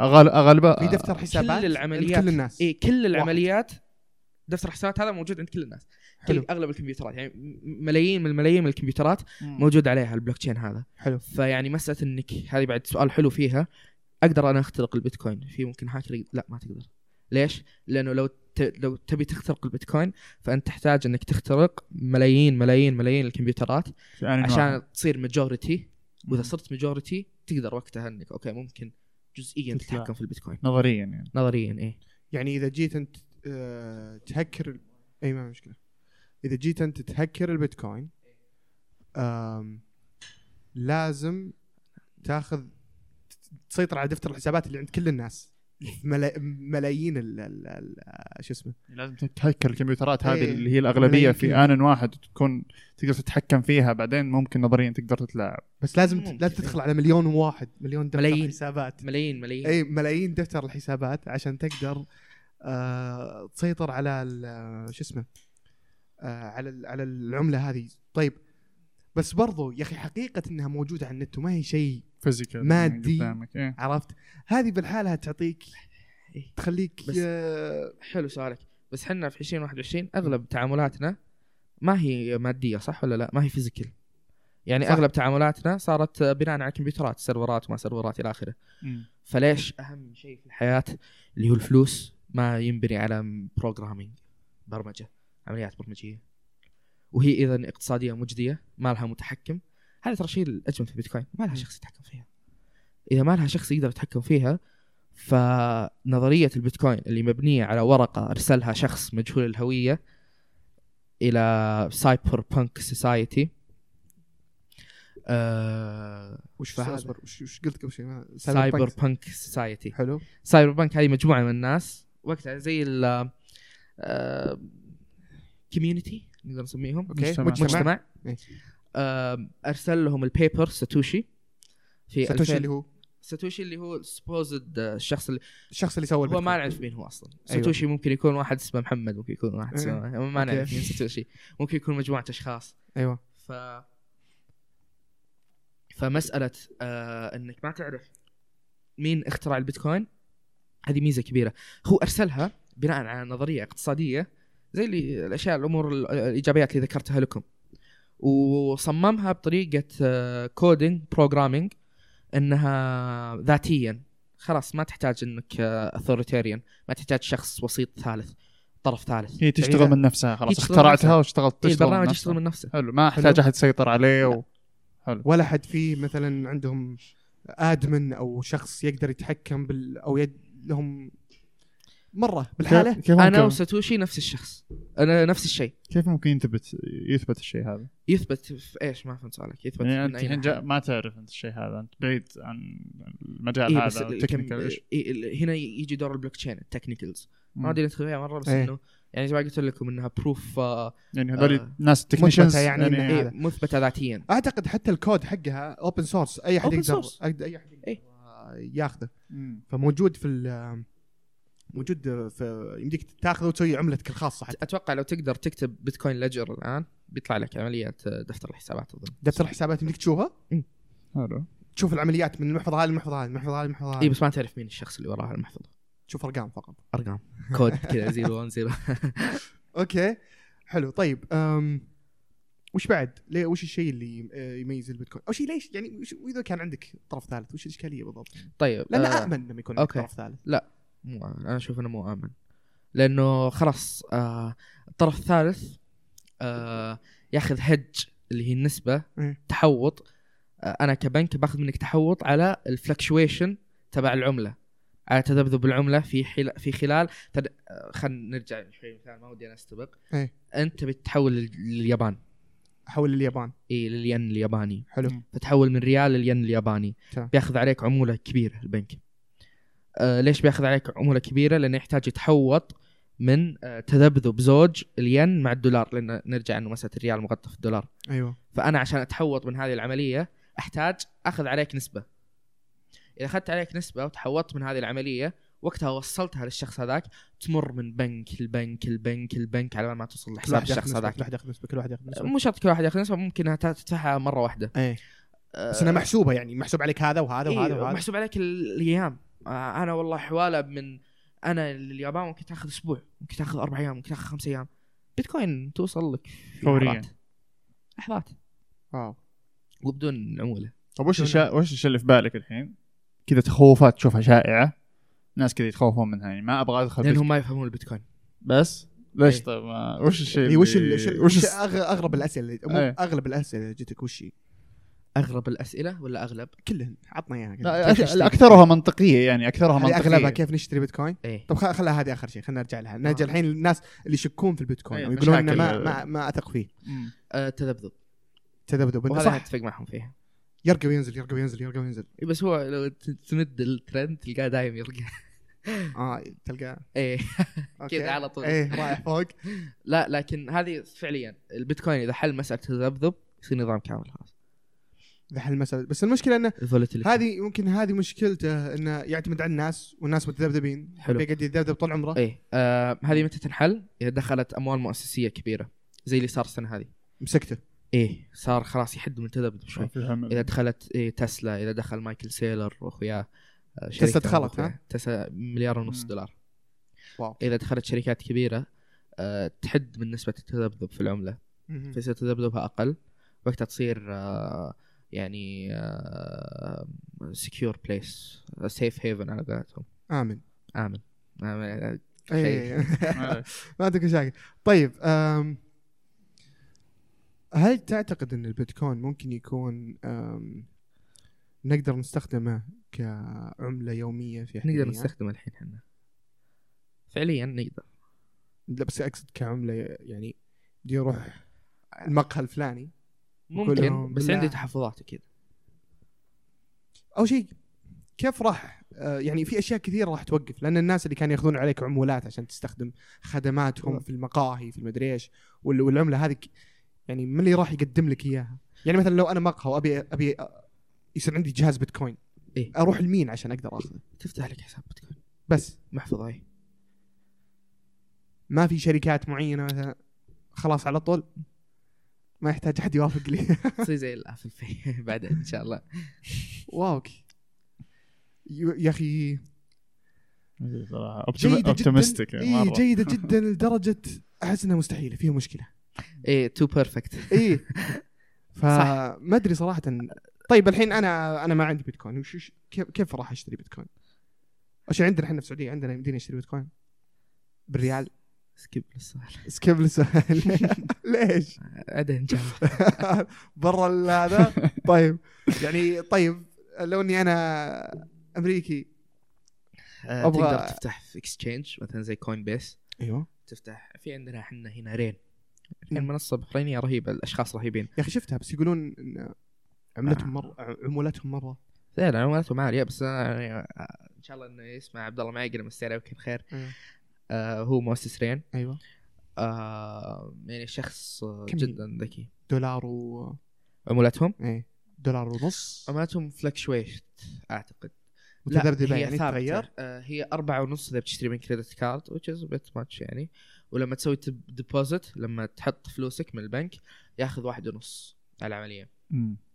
[SPEAKER 3] اغلبها
[SPEAKER 1] في دفتر حسابات
[SPEAKER 2] آه، كل العمليات إيه،
[SPEAKER 1] كل الناس
[SPEAKER 2] اي كل العمليات دفتر حسابات هذا موجود عند كل الناس
[SPEAKER 1] حلو.
[SPEAKER 2] كل اغلب الكمبيوترات يعني م- ملايين من الملايين من الكمبيوترات موجود عليها البلوك تشين هذا
[SPEAKER 1] حلو
[SPEAKER 2] فيعني مساله انك هذه بعد سؤال حلو فيها اقدر انا اخترق البيتكوين في ممكن هاكر ي- لا ما تقدر ليش؟ لانه لو ت... لو تبي تخترق البيتكوين فانت تحتاج انك تخترق ملايين ملايين ملايين الكمبيوترات عشان تصير ماجورتي واذا صرت ماجورتي تقدر وقتها انك اوكي ممكن جزئيا
[SPEAKER 3] تطلع.
[SPEAKER 2] تتحكم في البيتكوين
[SPEAKER 3] نظريا يعني
[SPEAKER 2] نظريا ايه
[SPEAKER 1] يعني اذا جيت انت آه، تهكر ال- اي ما في مشكله اذا جيت انت تهكر البيتكوين آم، لازم تاخذ تسيطر على دفتر الحسابات اللي عند كل الناس ملا- ملايين ال ال- ال- شو اسمه
[SPEAKER 3] لازم تهكر الكمبيوترات هذه
[SPEAKER 1] إيه.
[SPEAKER 3] اللي هي الاغلبيه في
[SPEAKER 1] ملايين
[SPEAKER 3] ان واحد تكون تقدر تتحكم فيها بعدين ممكن نظريا تقدر تتلاعب
[SPEAKER 1] بس لازم ت-
[SPEAKER 2] ممكن.
[SPEAKER 1] لا تدخل على مليون وواحد مليون دفتر
[SPEAKER 2] ملايين.
[SPEAKER 1] حسابات
[SPEAKER 2] ملايين ملايين
[SPEAKER 1] اي ملايين دفتر الحسابات عشان تقدر آه تسيطر على ال- شو اسمه آه على ال- على العمله هذه طيب بس برضو يا اخي حقيقه انها موجوده على النت وما هي شيء
[SPEAKER 3] فيزيكال
[SPEAKER 1] مادي.
[SPEAKER 3] قدامك إيه.
[SPEAKER 1] عرفت هذه بالحالها تعطيك
[SPEAKER 2] إيه.
[SPEAKER 1] تخليك
[SPEAKER 2] بس-
[SPEAKER 1] آه،
[SPEAKER 2] حلو سؤالك بس حنا في 2021 اغلب تعاملاتنا ما هي ماديه صح ولا لا؟ ما هي فيزيكال يعني
[SPEAKER 1] صح.
[SPEAKER 2] صح. اغلب تعاملاتنا صارت بناء على الكمبيوترات سيرفرات وما سيرفرات الى اخره
[SPEAKER 3] مم.
[SPEAKER 2] فليش اهم شيء في الحياه اللي هو الفلوس ما ينبني على بروجرامينج برمجه عمليات برمجيه وهي اذا اقتصاديه مجديه ما لها متحكم هذا ترى الشيء الاجمل في البيتكوين ما لها شخص يتحكم فيها اذا ما لها شخص يقدر يتحكم فيها فنظريه البيتكوين اللي مبنيه على ورقه ارسلها شخص مجهول الهويه الى سايبر بانك سوسايتي آه
[SPEAKER 1] وش
[SPEAKER 2] فهذا.
[SPEAKER 1] اصبر وش, وش قلت قبل شيء ما-
[SPEAKER 2] سايبر
[SPEAKER 1] بانك.
[SPEAKER 2] بانك سوسايتي
[SPEAKER 1] حلو
[SPEAKER 2] سايبر بانك هذه مجموعه من الناس وقتها زي ال كوميونتي نقدر نسميهم
[SPEAKER 1] اوكي
[SPEAKER 3] مجتمع.
[SPEAKER 1] مجتمع
[SPEAKER 2] مجتمع
[SPEAKER 1] إيه.
[SPEAKER 2] آم، ارسل لهم البيبر ساتوشي في
[SPEAKER 1] ساتوشي
[SPEAKER 2] 2000
[SPEAKER 1] اللي هو
[SPEAKER 2] ساتوشي اللي هو سبوزد الشخص اللي
[SPEAKER 1] الشخص اللي سوى
[SPEAKER 2] هو ما
[SPEAKER 1] البيتكوين.
[SPEAKER 2] نعرف مين هو اصلا
[SPEAKER 1] أيوة.
[SPEAKER 2] ساتوشي ممكن يكون واحد اسمه محمد ممكن يكون واحد
[SPEAKER 1] إيه.
[SPEAKER 2] اسمه ما نعرف
[SPEAKER 1] أوكي.
[SPEAKER 2] مين ساتوشي ممكن يكون مجموعه اشخاص
[SPEAKER 1] ايوه
[SPEAKER 2] ف فمسألة آه انك ما تعرف مين اخترع البيتكوين هذه ميزة كبيرة هو ارسلها بناء على نظرية اقتصادية زي اللي الاشياء الامور ال- الايجابيات اللي ذكرتها لكم وصممها بطريقة آه، كودينج بروجرامينج انها ذاتيا خلاص ما تحتاج انك اثوريتيريان ما تحتاج شخص وسيط ثالث طرف ثالث
[SPEAKER 3] هي
[SPEAKER 1] بعيدة.
[SPEAKER 3] تشتغل من نفسها
[SPEAKER 2] هي
[SPEAKER 3] خلاص
[SPEAKER 2] إيه. تشتغل
[SPEAKER 3] اخترعتها
[SPEAKER 2] نفسها.
[SPEAKER 3] واشتغلت
[SPEAKER 2] إيه،
[SPEAKER 3] تشتغل
[SPEAKER 2] البرنامج
[SPEAKER 3] من
[SPEAKER 2] يشتغل
[SPEAKER 3] نفسها
[SPEAKER 2] من نفسه
[SPEAKER 3] حلو ما احتاج احد يسيطر عليه و...
[SPEAKER 1] ولا حد فيه مثلا عندهم ادمن او شخص يقدر يتحكم بال او يد لهم مره بالحاله
[SPEAKER 3] كيف
[SPEAKER 2] انا
[SPEAKER 3] ممكن
[SPEAKER 2] وساتوشي نفس الشخص انا نفس الشيء
[SPEAKER 3] كيف ممكن يثبت يثبت الشيء هذا؟
[SPEAKER 2] يثبت في ايش ما فهمت سؤالك يثبت
[SPEAKER 3] يعني
[SPEAKER 2] من
[SPEAKER 3] انت
[SPEAKER 2] اي
[SPEAKER 3] الحين
[SPEAKER 2] ناحية؟
[SPEAKER 3] جا- ما تعرف انت الشيء هذا انت بعيد عن المجال
[SPEAKER 2] إيه بس
[SPEAKER 3] هذا
[SPEAKER 2] ال- كم-
[SPEAKER 3] technical issue.
[SPEAKER 2] إيه ال- هنا يجي دور البلوك تشين التكنيكلز ما
[SPEAKER 3] مم.
[SPEAKER 2] ادري ندخل فيها مره بس
[SPEAKER 1] إيه.
[SPEAKER 2] انه يعني زي ما قلت لكم انها بروف
[SPEAKER 3] يعني هذول
[SPEAKER 2] آه.
[SPEAKER 3] ناس تكنيشنز
[SPEAKER 1] يعني إنه إيه. هذا.
[SPEAKER 2] مثبته ذاتيا
[SPEAKER 1] اعتقد حتى الكود حقها اوبن سورس اي احد
[SPEAKER 2] Open
[SPEAKER 1] يقدر
[SPEAKER 2] source.
[SPEAKER 1] أي- اي احد يقدر
[SPEAKER 2] إيه.
[SPEAKER 1] ياخذه فموجود في ال- موجود في يمديك تاخذه وتسوي عملتك الخاصه حتى
[SPEAKER 2] اتوقع لو تقدر تكتب بيتكوين ليجر الان بيطلع لك عمليه دفتر الحسابات اظن
[SPEAKER 1] دفتر الحسابات يمديك تشوفها
[SPEAKER 3] حلو
[SPEAKER 1] تشوف العمليات من المحفظه هذه للمحفظه هذه المحفظه هذه للمحفظه
[SPEAKER 2] اي
[SPEAKER 1] هذه
[SPEAKER 2] إيه، بس ما تعرف مين الشخص اللي وراها المحفظه
[SPEAKER 1] تشوف ارقام فقط
[SPEAKER 2] ارقام كود كذا 010
[SPEAKER 1] اوكي حلو طيب أم وش بعد؟ ليه وش الشيء اللي آه، يميز البيتكوين؟ او شيء ليش يعني وش- واذا كان عندك طرف ثالث وش الاشكاليه بالضبط؟
[SPEAKER 2] طيب
[SPEAKER 1] لان
[SPEAKER 2] آه،
[SPEAKER 1] امن لما يكون عندك
[SPEAKER 2] أوكي.
[SPEAKER 1] طرف ثالث
[SPEAKER 2] مو انا اشوف انه مو امن لانه خلاص آه الطرف الثالث آه ياخذ هج اللي هي النسبه
[SPEAKER 1] إيه.
[SPEAKER 2] تحوط آه انا كبنك باخذ منك تحوط على الفلكشويشن تبع العمله على تذبذب العمله في حل... في خلال تد... آه خلينا نرجع شوي مثال ما ودي انا استبق
[SPEAKER 1] إيه.
[SPEAKER 2] انت بتتحول لل- لليابان
[SPEAKER 1] حول اليابان
[SPEAKER 2] اي للين الياباني
[SPEAKER 1] حلو
[SPEAKER 2] فتحول من ريال للين الياباني
[SPEAKER 1] تمام.
[SPEAKER 2] بياخذ عليك عموله كبيره البنك آه ليش بياخذ عليك عموله كبيره لانه يحتاج يتحوط من آه تذبذب زوج الين مع الدولار لان نرجع انه مساله الريال مغطى في الدولار
[SPEAKER 1] ايوه
[SPEAKER 2] فانا عشان اتحوط من هذه العمليه احتاج اخذ عليك نسبه اذا اخذت عليك نسبه وتحوطت من هذه العمليه وقتها وصلتها للشخص هذاك تمر من بنك لبنك لبنك لبنك على ما توصل
[SPEAKER 1] كل
[SPEAKER 2] لحساب
[SPEAKER 1] واحد ياخذ
[SPEAKER 2] الشخص
[SPEAKER 1] نسبة،
[SPEAKER 2] هذاك
[SPEAKER 1] كل واحد ياخذ نسبه كل واحد ياخذ نسبه
[SPEAKER 2] مو شرط كل واحد ياخذ نسبه ممكن إنها تدفعها مره واحده
[SPEAKER 1] ايه بس
[SPEAKER 2] آه،
[SPEAKER 1] انها محسوبه يعني محسوب عليك هذا وهذا وهذا
[SPEAKER 2] إيه،
[SPEAKER 1] وهذا
[SPEAKER 2] محسوب عليك ال- الايام آه، انا والله حواله من انا لليابان ممكن تاخذ اسبوع ممكن تاخذ اربع ايام ممكن تاخذ خمس ايام بيتكوين توصل لك في
[SPEAKER 3] فورياً.
[SPEAKER 2] لحظات. لحظات آه.
[SPEAKER 1] واو
[SPEAKER 2] وبدون عموله
[SPEAKER 3] طب وش
[SPEAKER 1] شلون
[SPEAKER 3] الشيء وش الشيء اللي في بالك الحين؟ كذا تخوفات تشوفها شائعه ناس كذا يتخوفون منها يعني ما ابغى ادخل بس-
[SPEAKER 2] لانهم ما يفهمون البيتكوين
[SPEAKER 3] بس ليش
[SPEAKER 2] إيه.
[SPEAKER 3] طيب ما وش الشيء
[SPEAKER 1] إيه، وش
[SPEAKER 3] اللي-
[SPEAKER 1] ال- وش ال-
[SPEAKER 3] وش
[SPEAKER 1] وش
[SPEAKER 3] الس-
[SPEAKER 1] أغ- اغرب الاسئله اللي- مو
[SPEAKER 3] إيه.
[SPEAKER 1] اغلب الاسئله اللي جتك وش هي؟
[SPEAKER 2] اغرب الاسئله ولا اغلب؟
[SPEAKER 1] كلهن عطنا اياها كذا.
[SPEAKER 3] لا،
[SPEAKER 1] كيف
[SPEAKER 3] أك-
[SPEAKER 1] نشتري؟
[SPEAKER 3] اكثرها منطقيه يعني اكثرها
[SPEAKER 1] هذه
[SPEAKER 3] منطقيه
[SPEAKER 1] اغلبها كيف نشتري بيتكوين
[SPEAKER 2] ايه
[SPEAKER 1] طب خل- خلها هذه اخر شيء خلينا نرجع لها نرجع
[SPEAKER 2] آه.
[SPEAKER 1] الحين الناس اللي يشكون في البيتكوين
[SPEAKER 3] أيوة،
[SPEAKER 1] ويقولون انه ما,
[SPEAKER 3] مشاكل.
[SPEAKER 1] ما ما اثق فيه
[SPEAKER 3] مم.
[SPEAKER 2] آه تذبذب
[SPEAKER 1] تذبذب إنه
[SPEAKER 2] وهذا أنا
[SPEAKER 1] صح
[SPEAKER 2] اتفق معهم فيها
[SPEAKER 1] يرقى وينزل يرقى وينزل يرقى وينزل
[SPEAKER 2] إيه، بس هو لو ت- تمد الترند تلقاه دايم يرجع
[SPEAKER 1] اه تلقى
[SPEAKER 2] ايه
[SPEAKER 1] أوكي.
[SPEAKER 2] كذا على طول.
[SPEAKER 1] ايه رايح فوق
[SPEAKER 2] لا لكن هذه فعليا البيتكوين اذا حل مساله تذبذب يصير نظام كامل خلاص
[SPEAKER 1] ذا حل المساله بس المشكله انه
[SPEAKER 2] Volatility.
[SPEAKER 1] هذه ممكن هذه مشكلته انه يعتمد على الناس والناس متذبذبين
[SPEAKER 2] حلو.
[SPEAKER 1] بيقعد يتذبذب طول عمره
[SPEAKER 2] ايه آه هذه متى تنحل؟ اذا دخلت اموال مؤسسيه كبيره زي اللي صار السنه هذه
[SPEAKER 1] مسكته إيه.
[SPEAKER 2] ايه صار خلاص يحد من تذبذب شوي
[SPEAKER 3] في عمل.
[SPEAKER 2] اذا دخلت إيه تسلا اذا دخل مايكل سيلر واخوياه آه،
[SPEAKER 1] تسلا
[SPEAKER 2] شركة
[SPEAKER 1] دخلت،
[SPEAKER 2] وأخوياه.
[SPEAKER 1] ها؟
[SPEAKER 2] تسلا مليار ونص
[SPEAKER 3] مم.
[SPEAKER 2] دولار
[SPEAKER 1] واو
[SPEAKER 2] اذا دخلت شركات كبيره آه، تحد من نسبه التذبذب في العمله
[SPEAKER 1] مهم.
[SPEAKER 2] فيصير تذبذبها اقل وقتها تصير آه، يعني آه، سكيور بليس سيف هيفن على قولتهم
[SPEAKER 1] امن
[SPEAKER 2] امن آمن.
[SPEAKER 1] ايه
[SPEAKER 3] آه.
[SPEAKER 1] ما عندك مشاكل طيب أم هل تعتقد ان البيتكوين ممكن يكون أم نقدر نستخدمه كعمله يوميه في
[SPEAKER 2] نقدر
[SPEAKER 1] حياتنا؟
[SPEAKER 2] نستخدمه الحين احنا فعليا نقدر
[SPEAKER 1] لا بس اقصد كعمله يعني دي يروح المقهى الفلاني
[SPEAKER 2] ممكن
[SPEAKER 1] كلهم
[SPEAKER 2] بس
[SPEAKER 1] بالله.
[SPEAKER 2] عندي تحفظات اكيد
[SPEAKER 1] او شيء كيف راح أه، يعني في اشياء كثيره راح توقف لان الناس اللي كانوا ياخذون عليك عمولات عشان تستخدم خدماتهم في المقاهي في المدري ايش وال- والعمله هذه ك- يعني من اللي راح يقدم لك اياها؟ يعني مثلا لو انا مقهى وابي ابي أ- يصير عندي جهاز بيتكوين
[SPEAKER 2] إيه.
[SPEAKER 1] اروح لمين عشان اقدر اخذه؟
[SPEAKER 2] تفتح لك حساب إيه. بيتكوين
[SPEAKER 1] بس
[SPEAKER 2] محفظه اي
[SPEAKER 1] ما في شركات معينه مثلا خلاص على طول ما يحتاج احد يوافق لي
[SPEAKER 2] تصير زي الابل باي بعدين ان شاء الله
[SPEAKER 1] واو يو- يا اخي
[SPEAKER 3] صراحه
[SPEAKER 1] جيدة
[SPEAKER 3] اوبتمستك
[SPEAKER 1] جدا إيه جيدة جدا لدرجة احس انها مستحيلة فيها مشكلة
[SPEAKER 2] ايه تو بيرفكت
[SPEAKER 1] ايه
[SPEAKER 2] صح.
[SPEAKER 1] فما ادري صراحة طيب الحين انا انا ما عندي بيتكوين وش وش- كيف كيف راح اشتري بيتكوين؟ وش عندنا احنا في السعودية عندنا يمدينا نشتري بيتكوين بالريال
[SPEAKER 2] سكيب السؤال
[SPEAKER 1] سكيب السؤال ليش؟
[SPEAKER 2] عدها ان شاء الله
[SPEAKER 1] برا ال- هذا طيب يعني طيب لو اني انا امريكي
[SPEAKER 2] آه،
[SPEAKER 1] أبغى-
[SPEAKER 2] تقدر تفتح في اكسشينج مثلا زي كوين بيس
[SPEAKER 1] ايوه
[SPEAKER 2] تفتح في عندنا احنا هنا رين الحين منصه بحرينيه رهيبه الاشخاص رهيبين
[SPEAKER 1] يا اخي شفتها بس يقولون إن عملتهم
[SPEAKER 2] آه.
[SPEAKER 1] مره عمولتهم مره
[SPEAKER 2] زين عملاتهم عاليه بس أنا يعني آه، ان شاء الله انه يسمع عبد الله معي لما يستعلم يمكن خير آه هو مؤسس رين
[SPEAKER 1] ايوه
[SPEAKER 2] آه يعني شخص آه،
[SPEAKER 1] كم هي؟
[SPEAKER 2] جدا ذكي
[SPEAKER 1] دولار و
[SPEAKER 2] عملاتهم
[SPEAKER 1] ايه دولار ونص
[SPEAKER 2] عملاتهم فلكشويت اعتقد لا،
[SPEAKER 1] متذبذبه
[SPEAKER 2] هي
[SPEAKER 1] يعني
[SPEAKER 2] ثابتة.
[SPEAKER 1] تتغير
[SPEAKER 2] آه هي أربعة ونص إذا بتشتري من كريدت كارد which is a bit much يعني ولما تسوي ديبوزيت لما تحط فلوسك من البنك ياخذ واحد ونص على العملية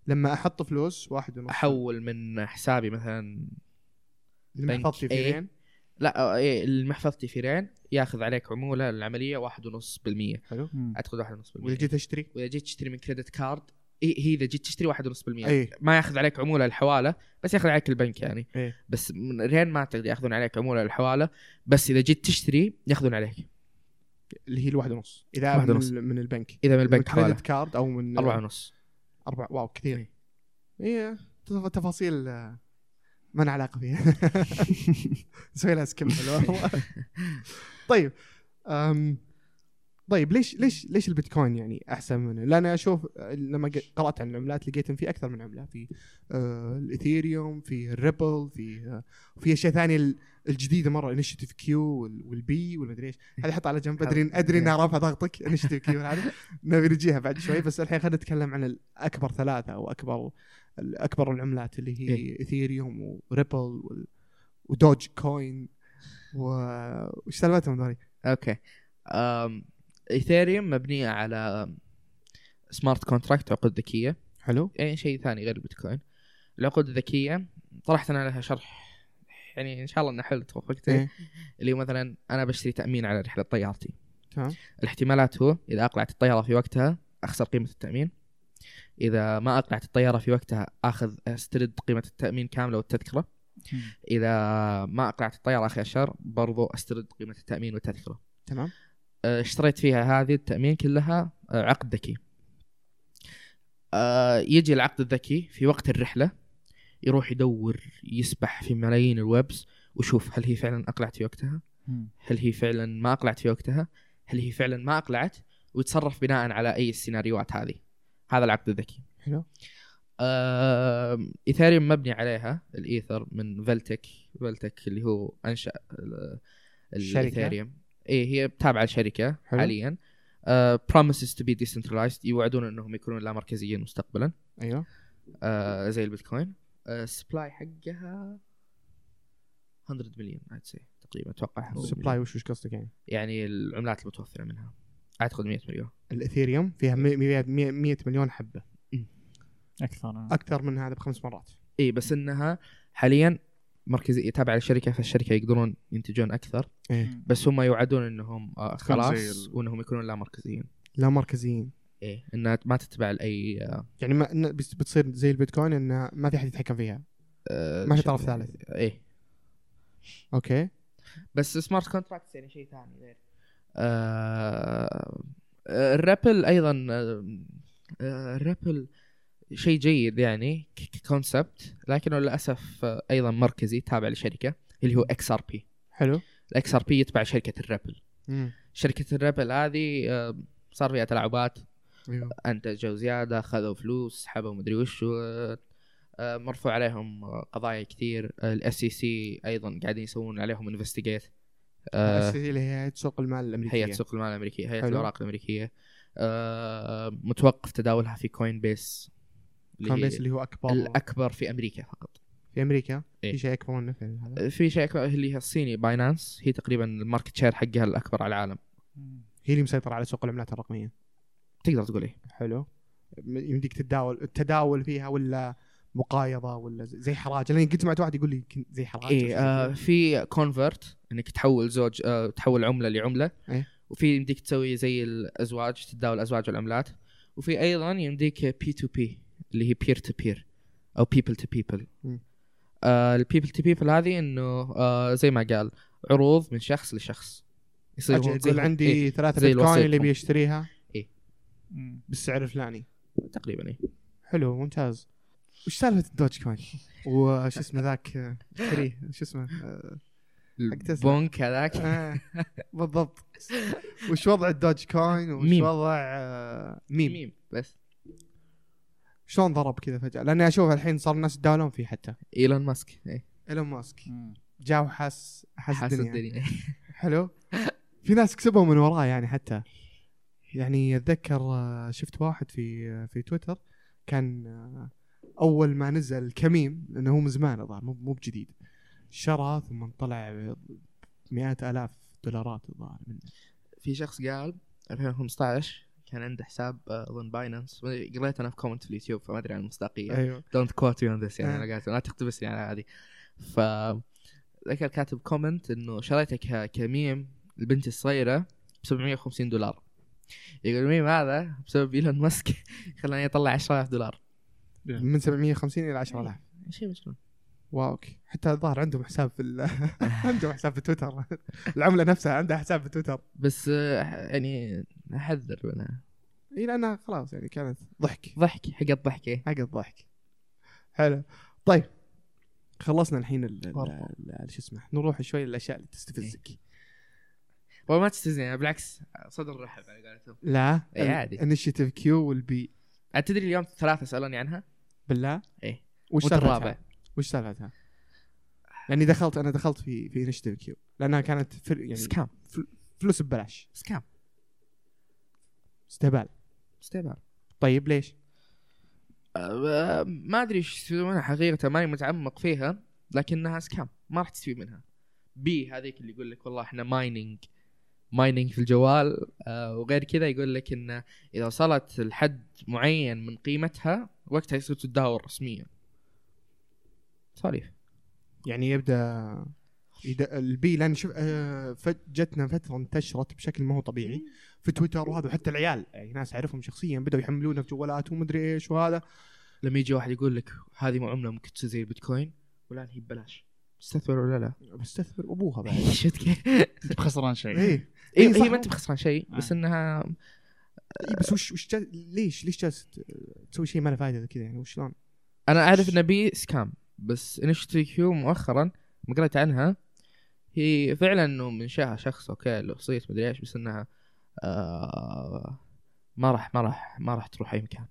[SPEAKER 1] لما احط فلوس واحد ونص
[SPEAKER 2] أحول من حسابي مثلا
[SPEAKER 1] لما
[SPEAKER 2] بنك
[SPEAKER 1] احط في
[SPEAKER 2] إيه.
[SPEAKER 1] فيرين
[SPEAKER 2] لا آه، إيه اللي محفظتي في رين ياخذ عليك عمولة العملية واحد ونص بالمية
[SPEAKER 1] حلو
[SPEAKER 2] أعتقد واحد ونص
[SPEAKER 1] واذا
[SPEAKER 2] بالمية
[SPEAKER 1] جيت اشتري
[SPEAKER 2] وإذا جيت تشتري من كريدت كارد إيه هي إذا جيت تشتري واحد ونص بالمية
[SPEAKER 1] اي
[SPEAKER 2] ما ياخذ عليك عموله الحواله بس ياخذ عليك البنك يعني
[SPEAKER 1] إيه.
[SPEAKER 2] بس من رين ما تقدر ياخذون عليك عموله الحواله بس اذا جيت تشتري ياخذون عليك
[SPEAKER 1] اللي هي الواحد ونص اذا
[SPEAKER 2] واحد
[SPEAKER 1] من,
[SPEAKER 2] ونص.
[SPEAKER 1] ال- من البنك
[SPEAKER 2] اذا من
[SPEAKER 1] من
[SPEAKER 2] البنك حواله
[SPEAKER 1] كريدت كارد او من
[SPEAKER 2] أربعة ونص
[SPEAKER 1] أربعة واو كثير اي تف- تفاصيل آه، ما لنا علاقه فيها نسوي لها سكيب طيب أم طيب ليش ليش ليش البيتكوين يعني احسن منه؟ لان اشوف آه، لما ق- قرات عن العملات لقيت ان في اكثر من عمله في آه الاثيريوم في الريبل في آه في اشياء ثانيه ال- الجديده مره انشيتيف كيو والبي والمدري ايش هذه حط على جنب ادري ادري انها رافعه ضغطك انشيتيف كيو هذه نبي نجيها بعد شوي بس الحين خلينا نتكلم عن الاكبر ثلاثه او اكبر اكبر العملات اللي هي اثيريوم وريبل وال- ودوج كوين و- وش سالفتهم ذولي؟
[SPEAKER 2] اوكي أم... ايثيريوم مبنيه على سمارت كونتراكت عقود ذكيه
[SPEAKER 1] حلو
[SPEAKER 2] اي شيء ثاني غير البيتكوين العقود الذكيه طرحت انا لها شرح يعني ان شاء الله انه حلو توفقت
[SPEAKER 1] إيه.
[SPEAKER 2] اللي هو مثلا انا بشتري تامين على رحله طيارتي
[SPEAKER 1] تمام
[SPEAKER 2] الاحتمالات هو اذا اقلعت الطياره في وقتها اخسر قيمه التامين اذا ما اقلعت الطياره في وقتها اخذ استرد قيمه التامين كامله والتذكره اذا ما اقلعت الطياره اخر الشهر برضو استرد قيمه التامين والتذكره
[SPEAKER 1] تمام
[SPEAKER 2] أه، اشتريت فيها هذه التامين كلها أه، عقد ذكي آه، يجي العقد الذكي في وقت الرحله يروح يدور يسبح في ملايين الويبس وشوف هل هي فعلا اقلعت في وقتها
[SPEAKER 3] مم.
[SPEAKER 2] هل هي فعلا ما اقلعت في وقتها هل هي فعلا ما اقلعت ويتصرف بناء على اي السيناريوهات هذه هذا العقد الذكي
[SPEAKER 1] حلو.
[SPEAKER 2] آه، ايثيريوم مبني عليها الايثر من فلتك فلتك اللي هو انشا ال-
[SPEAKER 1] الشركة؟
[SPEAKER 2] الايثيريوم اي هي تابعه لشركه
[SPEAKER 1] حلو.
[SPEAKER 2] حاليا آه، promises to be decentralized يوعدون انهم يكونون لا مركزيين مستقبلا
[SPEAKER 1] ايوه
[SPEAKER 2] آه، زي البيتكوين آه، السبلاي حقها 100 مليون I'd say تقريبا اتوقع 100 مليون.
[SPEAKER 1] سبلاي وش وش قصدك يعني؟
[SPEAKER 2] يعني العملات المتوفره منها اعتقد 100 مليون
[SPEAKER 1] الاثيريوم فيها 100 مليون حبه
[SPEAKER 3] اكثر
[SPEAKER 1] اكثر من هذا بخمس مرات
[SPEAKER 2] اي بس انها حاليا مركزيه تابعه للشركه فالشركه يقدرون ينتجون اكثر
[SPEAKER 1] ايه
[SPEAKER 2] بس هم يوعدون انهم آه،
[SPEAKER 3] تكون زي
[SPEAKER 2] خلاص
[SPEAKER 3] ال-
[SPEAKER 2] وانهم يكونون لا مركزيين
[SPEAKER 1] لا مركزيين
[SPEAKER 2] ايه انها ما تتبع لاي آه،
[SPEAKER 1] يعني ما إن بس- بتصير زي البيتكوين انها ما في احد يتحكم فيها
[SPEAKER 2] آه،
[SPEAKER 1] ما في
[SPEAKER 2] ش-
[SPEAKER 1] طرف ثالث
[SPEAKER 2] ايه
[SPEAKER 1] اوكي
[SPEAKER 2] بس سمارت كونتراكتس يعني شيء ثاني غير آه، آه، الرابل ايضا آه، آه، الرابل شيء جيد يعني كونسبت لكنه للاسف آه، ايضا مركزي تابع لشركه اللي هو اكس ار بي
[SPEAKER 1] حلو
[SPEAKER 2] الاكس ار بي يتبع شركه الرابل شركه الرابل هذه آه، صار فيها تلاعبات
[SPEAKER 1] ايوه
[SPEAKER 2] انتجوا زياده خذوا فلوس حبوا مدري وش آه، آه، مرفوع عليهم آه، قضايا كثير الاس سي سي ايضا قاعدين يسوون عليهم آه، انفستيجيت
[SPEAKER 1] السيسي اللي آه. هي سوق المال الامريكيه
[SPEAKER 2] هيئه سوق المال الامريكيه هيئه
[SPEAKER 1] حلو.
[SPEAKER 2] الاوراق الامريكيه آه، متوقف تداولها في كوين بيس اللي
[SPEAKER 1] كوين
[SPEAKER 2] هي
[SPEAKER 1] بيس اللي هو اكبر
[SPEAKER 2] الاكبر في امريكا فقط
[SPEAKER 1] في امريكا
[SPEAKER 2] إيه.
[SPEAKER 1] في شيء اكبر منه في هذا
[SPEAKER 2] في شيء أكبر اللي هي الصيني باينانس هي تقريبا الماركت شير حقها الاكبر على العالم
[SPEAKER 1] هي اللي مسيطره على سوق العملات الرقميه
[SPEAKER 2] تقدر تقول ايه
[SPEAKER 1] حلو م- يمديك تتداول التداول فيها ولا مقايضه ولا زي- زي حراج لاني قلت سمعت واحد يقول لي يمكن زي حراج
[SPEAKER 2] اي آه في كونفرت انك تحول زوج آه تحول عمله لعمله
[SPEAKER 1] إيه.
[SPEAKER 2] وفي يمديك تسوي زي الازواج تتداول الازواج والعملات وفي ايضا يمديك بي تو بي اللي هي بير تو بير او بيبل تو بيبل
[SPEAKER 1] مم.
[SPEAKER 2] البيبل تو بيبل هذه انه آه زي ما قال عروض من شخص لشخص يصير هو
[SPEAKER 1] أجي
[SPEAKER 2] زي-
[SPEAKER 1] اقول عندي
[SPEAKER 2] إيه
[SPEAKER 1] ثلاثه
[SPEAKER 2] زي
[SPEAKER 1] بيتكوين اللي
[SPEAKER 2] الوسيط.
[SPEAKER 1] بيشتريها
[SPEAKER 3] مم.
[SPEAKER 1] بالسعر الفلاني
[SPEAKER 2] تقريبا إيه.
[SPEAKER 1] حلو ممتاز وش سالفه الدوج كوين؟ وش اسمه ذاك آه، كريه شو اسمه؟ آه، حق تسلا.
[SPEAKER 2] البنك هذاك
[SPEAKER 1] آه، بالضبط وش وضع الدوج كوين وش
[SPEAKER 2] ميم.
[SPEAKER 1] وضع آه، ميم
[SPEAKER 2] ميم بس
[SPEAKER 1] شلون ضرب كذا فجاه لاني اشوف الحين صار الناس يتداولون فيه حتى
[SPEAKER 2] ايلون ماسك إيه.
[SPEAKER 1] ايلون ماسك
[SPEAKER 3] مم.
[SPEAKER 1] جاء وحس حس
[SPEAKER 2] حاس
[SPEAKER 1] الدنيا
[SPEAKER 2] الدنيا
[SPEAKER 1] حلو في ناس كسبوا من وراه يعني حتى يعني اتذكر آه، شفت واحد في آه، في تويتر كان آه، اول ما نزل الكميم لانه هو من زمان الظاهر مو مو بجديد شرى ثم طلع مئات الاف دولارات الظاهر منه
[SPEAKER 2] في شخص قال 2015 كان عنده حساب آه، اظن باينانس قريت انا في كومنت في اليوتيوب فما ادري عن المصداقيه
[SPEAKER 1] ايوه
[SPEAKER 2] دونت كوت يو اون ذس يعني
[SPEAKER 1] آه.
[SPEAKER 2] انا قالت لا تقتبسني على هذه ف ذكر كاتب كومنت انه شريتك ها- كميم البنت الصغيره ب 750 دولار يقول الميم هذا بسبب ايلون ماسك خلاني اطلع 10000 دولار
[SPEAKER 1] من 750 الى 10000
[SPEAKER 2] شيء مجنون
[SPEAKER 1] واو أوكي. حتى الظاهر عندهم حساب في ال... عندهم حساب في تويتر العمله نفسها عندها حساب في تويتر
[SPEAKER 2] بس آه، يعني احذر منها
[SPEAKER 1] اي لانها خلاص يعني كانت ضحك
[SPEAKER 2] ضحك حق الضحك إيه.
[SPEAKER 1] حق الضحك حلو طيب خلصنا الحين ال- ال-
[SPEAKER 2] والله. إيه.
[SPEAKER 1] ال- شو اسمه نروح شوي للاشياء اللي تستفزك
[SPEAKER 2] والله ما تستزني بالعكس صدر رحب على قولتهم
[SPEAKER 1] لا
[SPEAKER 2] إيه، عادي.
[SPEAKER 1] انشيتيف كيو والبي
[SPEAKER 2] عاد تدري اليوم ثلاثه سالوني عنها
[SPEAKER 1] بالله
[SPEAKER 2] إيه.
[SPEAKER 1] وش
[SPEAKER 2] وأنت
[SPEAKER 1] سالفتها؟
[SPEAKER 2] الرابع
[SPEAKER 1] وش سالفتها؟ لاني دخلت انا دخلت في في انشيتيف كيو لانها كانت فل... يعني
[SPEAKER 2] سكام
[SPEAKER 1] فلوس ببلاش
[SPEAKER 2] سكام
[SPEAKER 1] استهبال
[SPEAKER 2] استهبال
[SPEAKER 1] طيب ليش؟
[SPEAKER 2] أه، ما ادري ايش يسوونها حقيقه ماني متعمق فيها لكنها سكام ما راح تستفيد منها بي هذيك اللي يقول لك والله احنا مايننج مايننج في الجوال أه، وغير كذا يقول لك انه اذا وصلت لحد معين من قيمتها وقتها يصير تتداول رسميا سواليف
[SPEAKER 1] يعني يبدا يد... البي لان شوف آه، فج- جتنا فتره انتشرت بشكل ما هو طبيعي في تويتر وهذا وحتى العيال يعني ناس اعرفهم شخصيا بداوا يحملونه في جوالات ومدري ايش وهذا
[SPEAKER 2] لما يجي واحد يقول لك هذه عمله ممكن تصير زي البيتكوين والان هي ببلاش تستثمر ولا لا؟
[SPEAKER 1] بستثمر ابوها بعد
[SPEAKER 2] شفت كيف؟
[SPEAKER 3] انت بخسران شيء
[SPEAKER 1] ايه
[SPEAKER 2] اي
[SPEAKER 1] صح.
[SPEAKER 2] هي ما انت بخسران شيء بس
[SPEAKER 3] آه.
[SPEAKER 2] انها
[SPEAKER 1] اي بس وش وش جا... ليش ليش جالس ت- تسوي شيء ما له فائده كذا يعني وشلون؟
[SPEAKER 2] انا اعرف انه بي سكام بس انشتي كيو مؤخرا ما قريت عنها هي فعلا انه منشاها شخص اوكي له صيت مدري ايش بس انها آه ما راح ما راح ما راح تروح اي مكان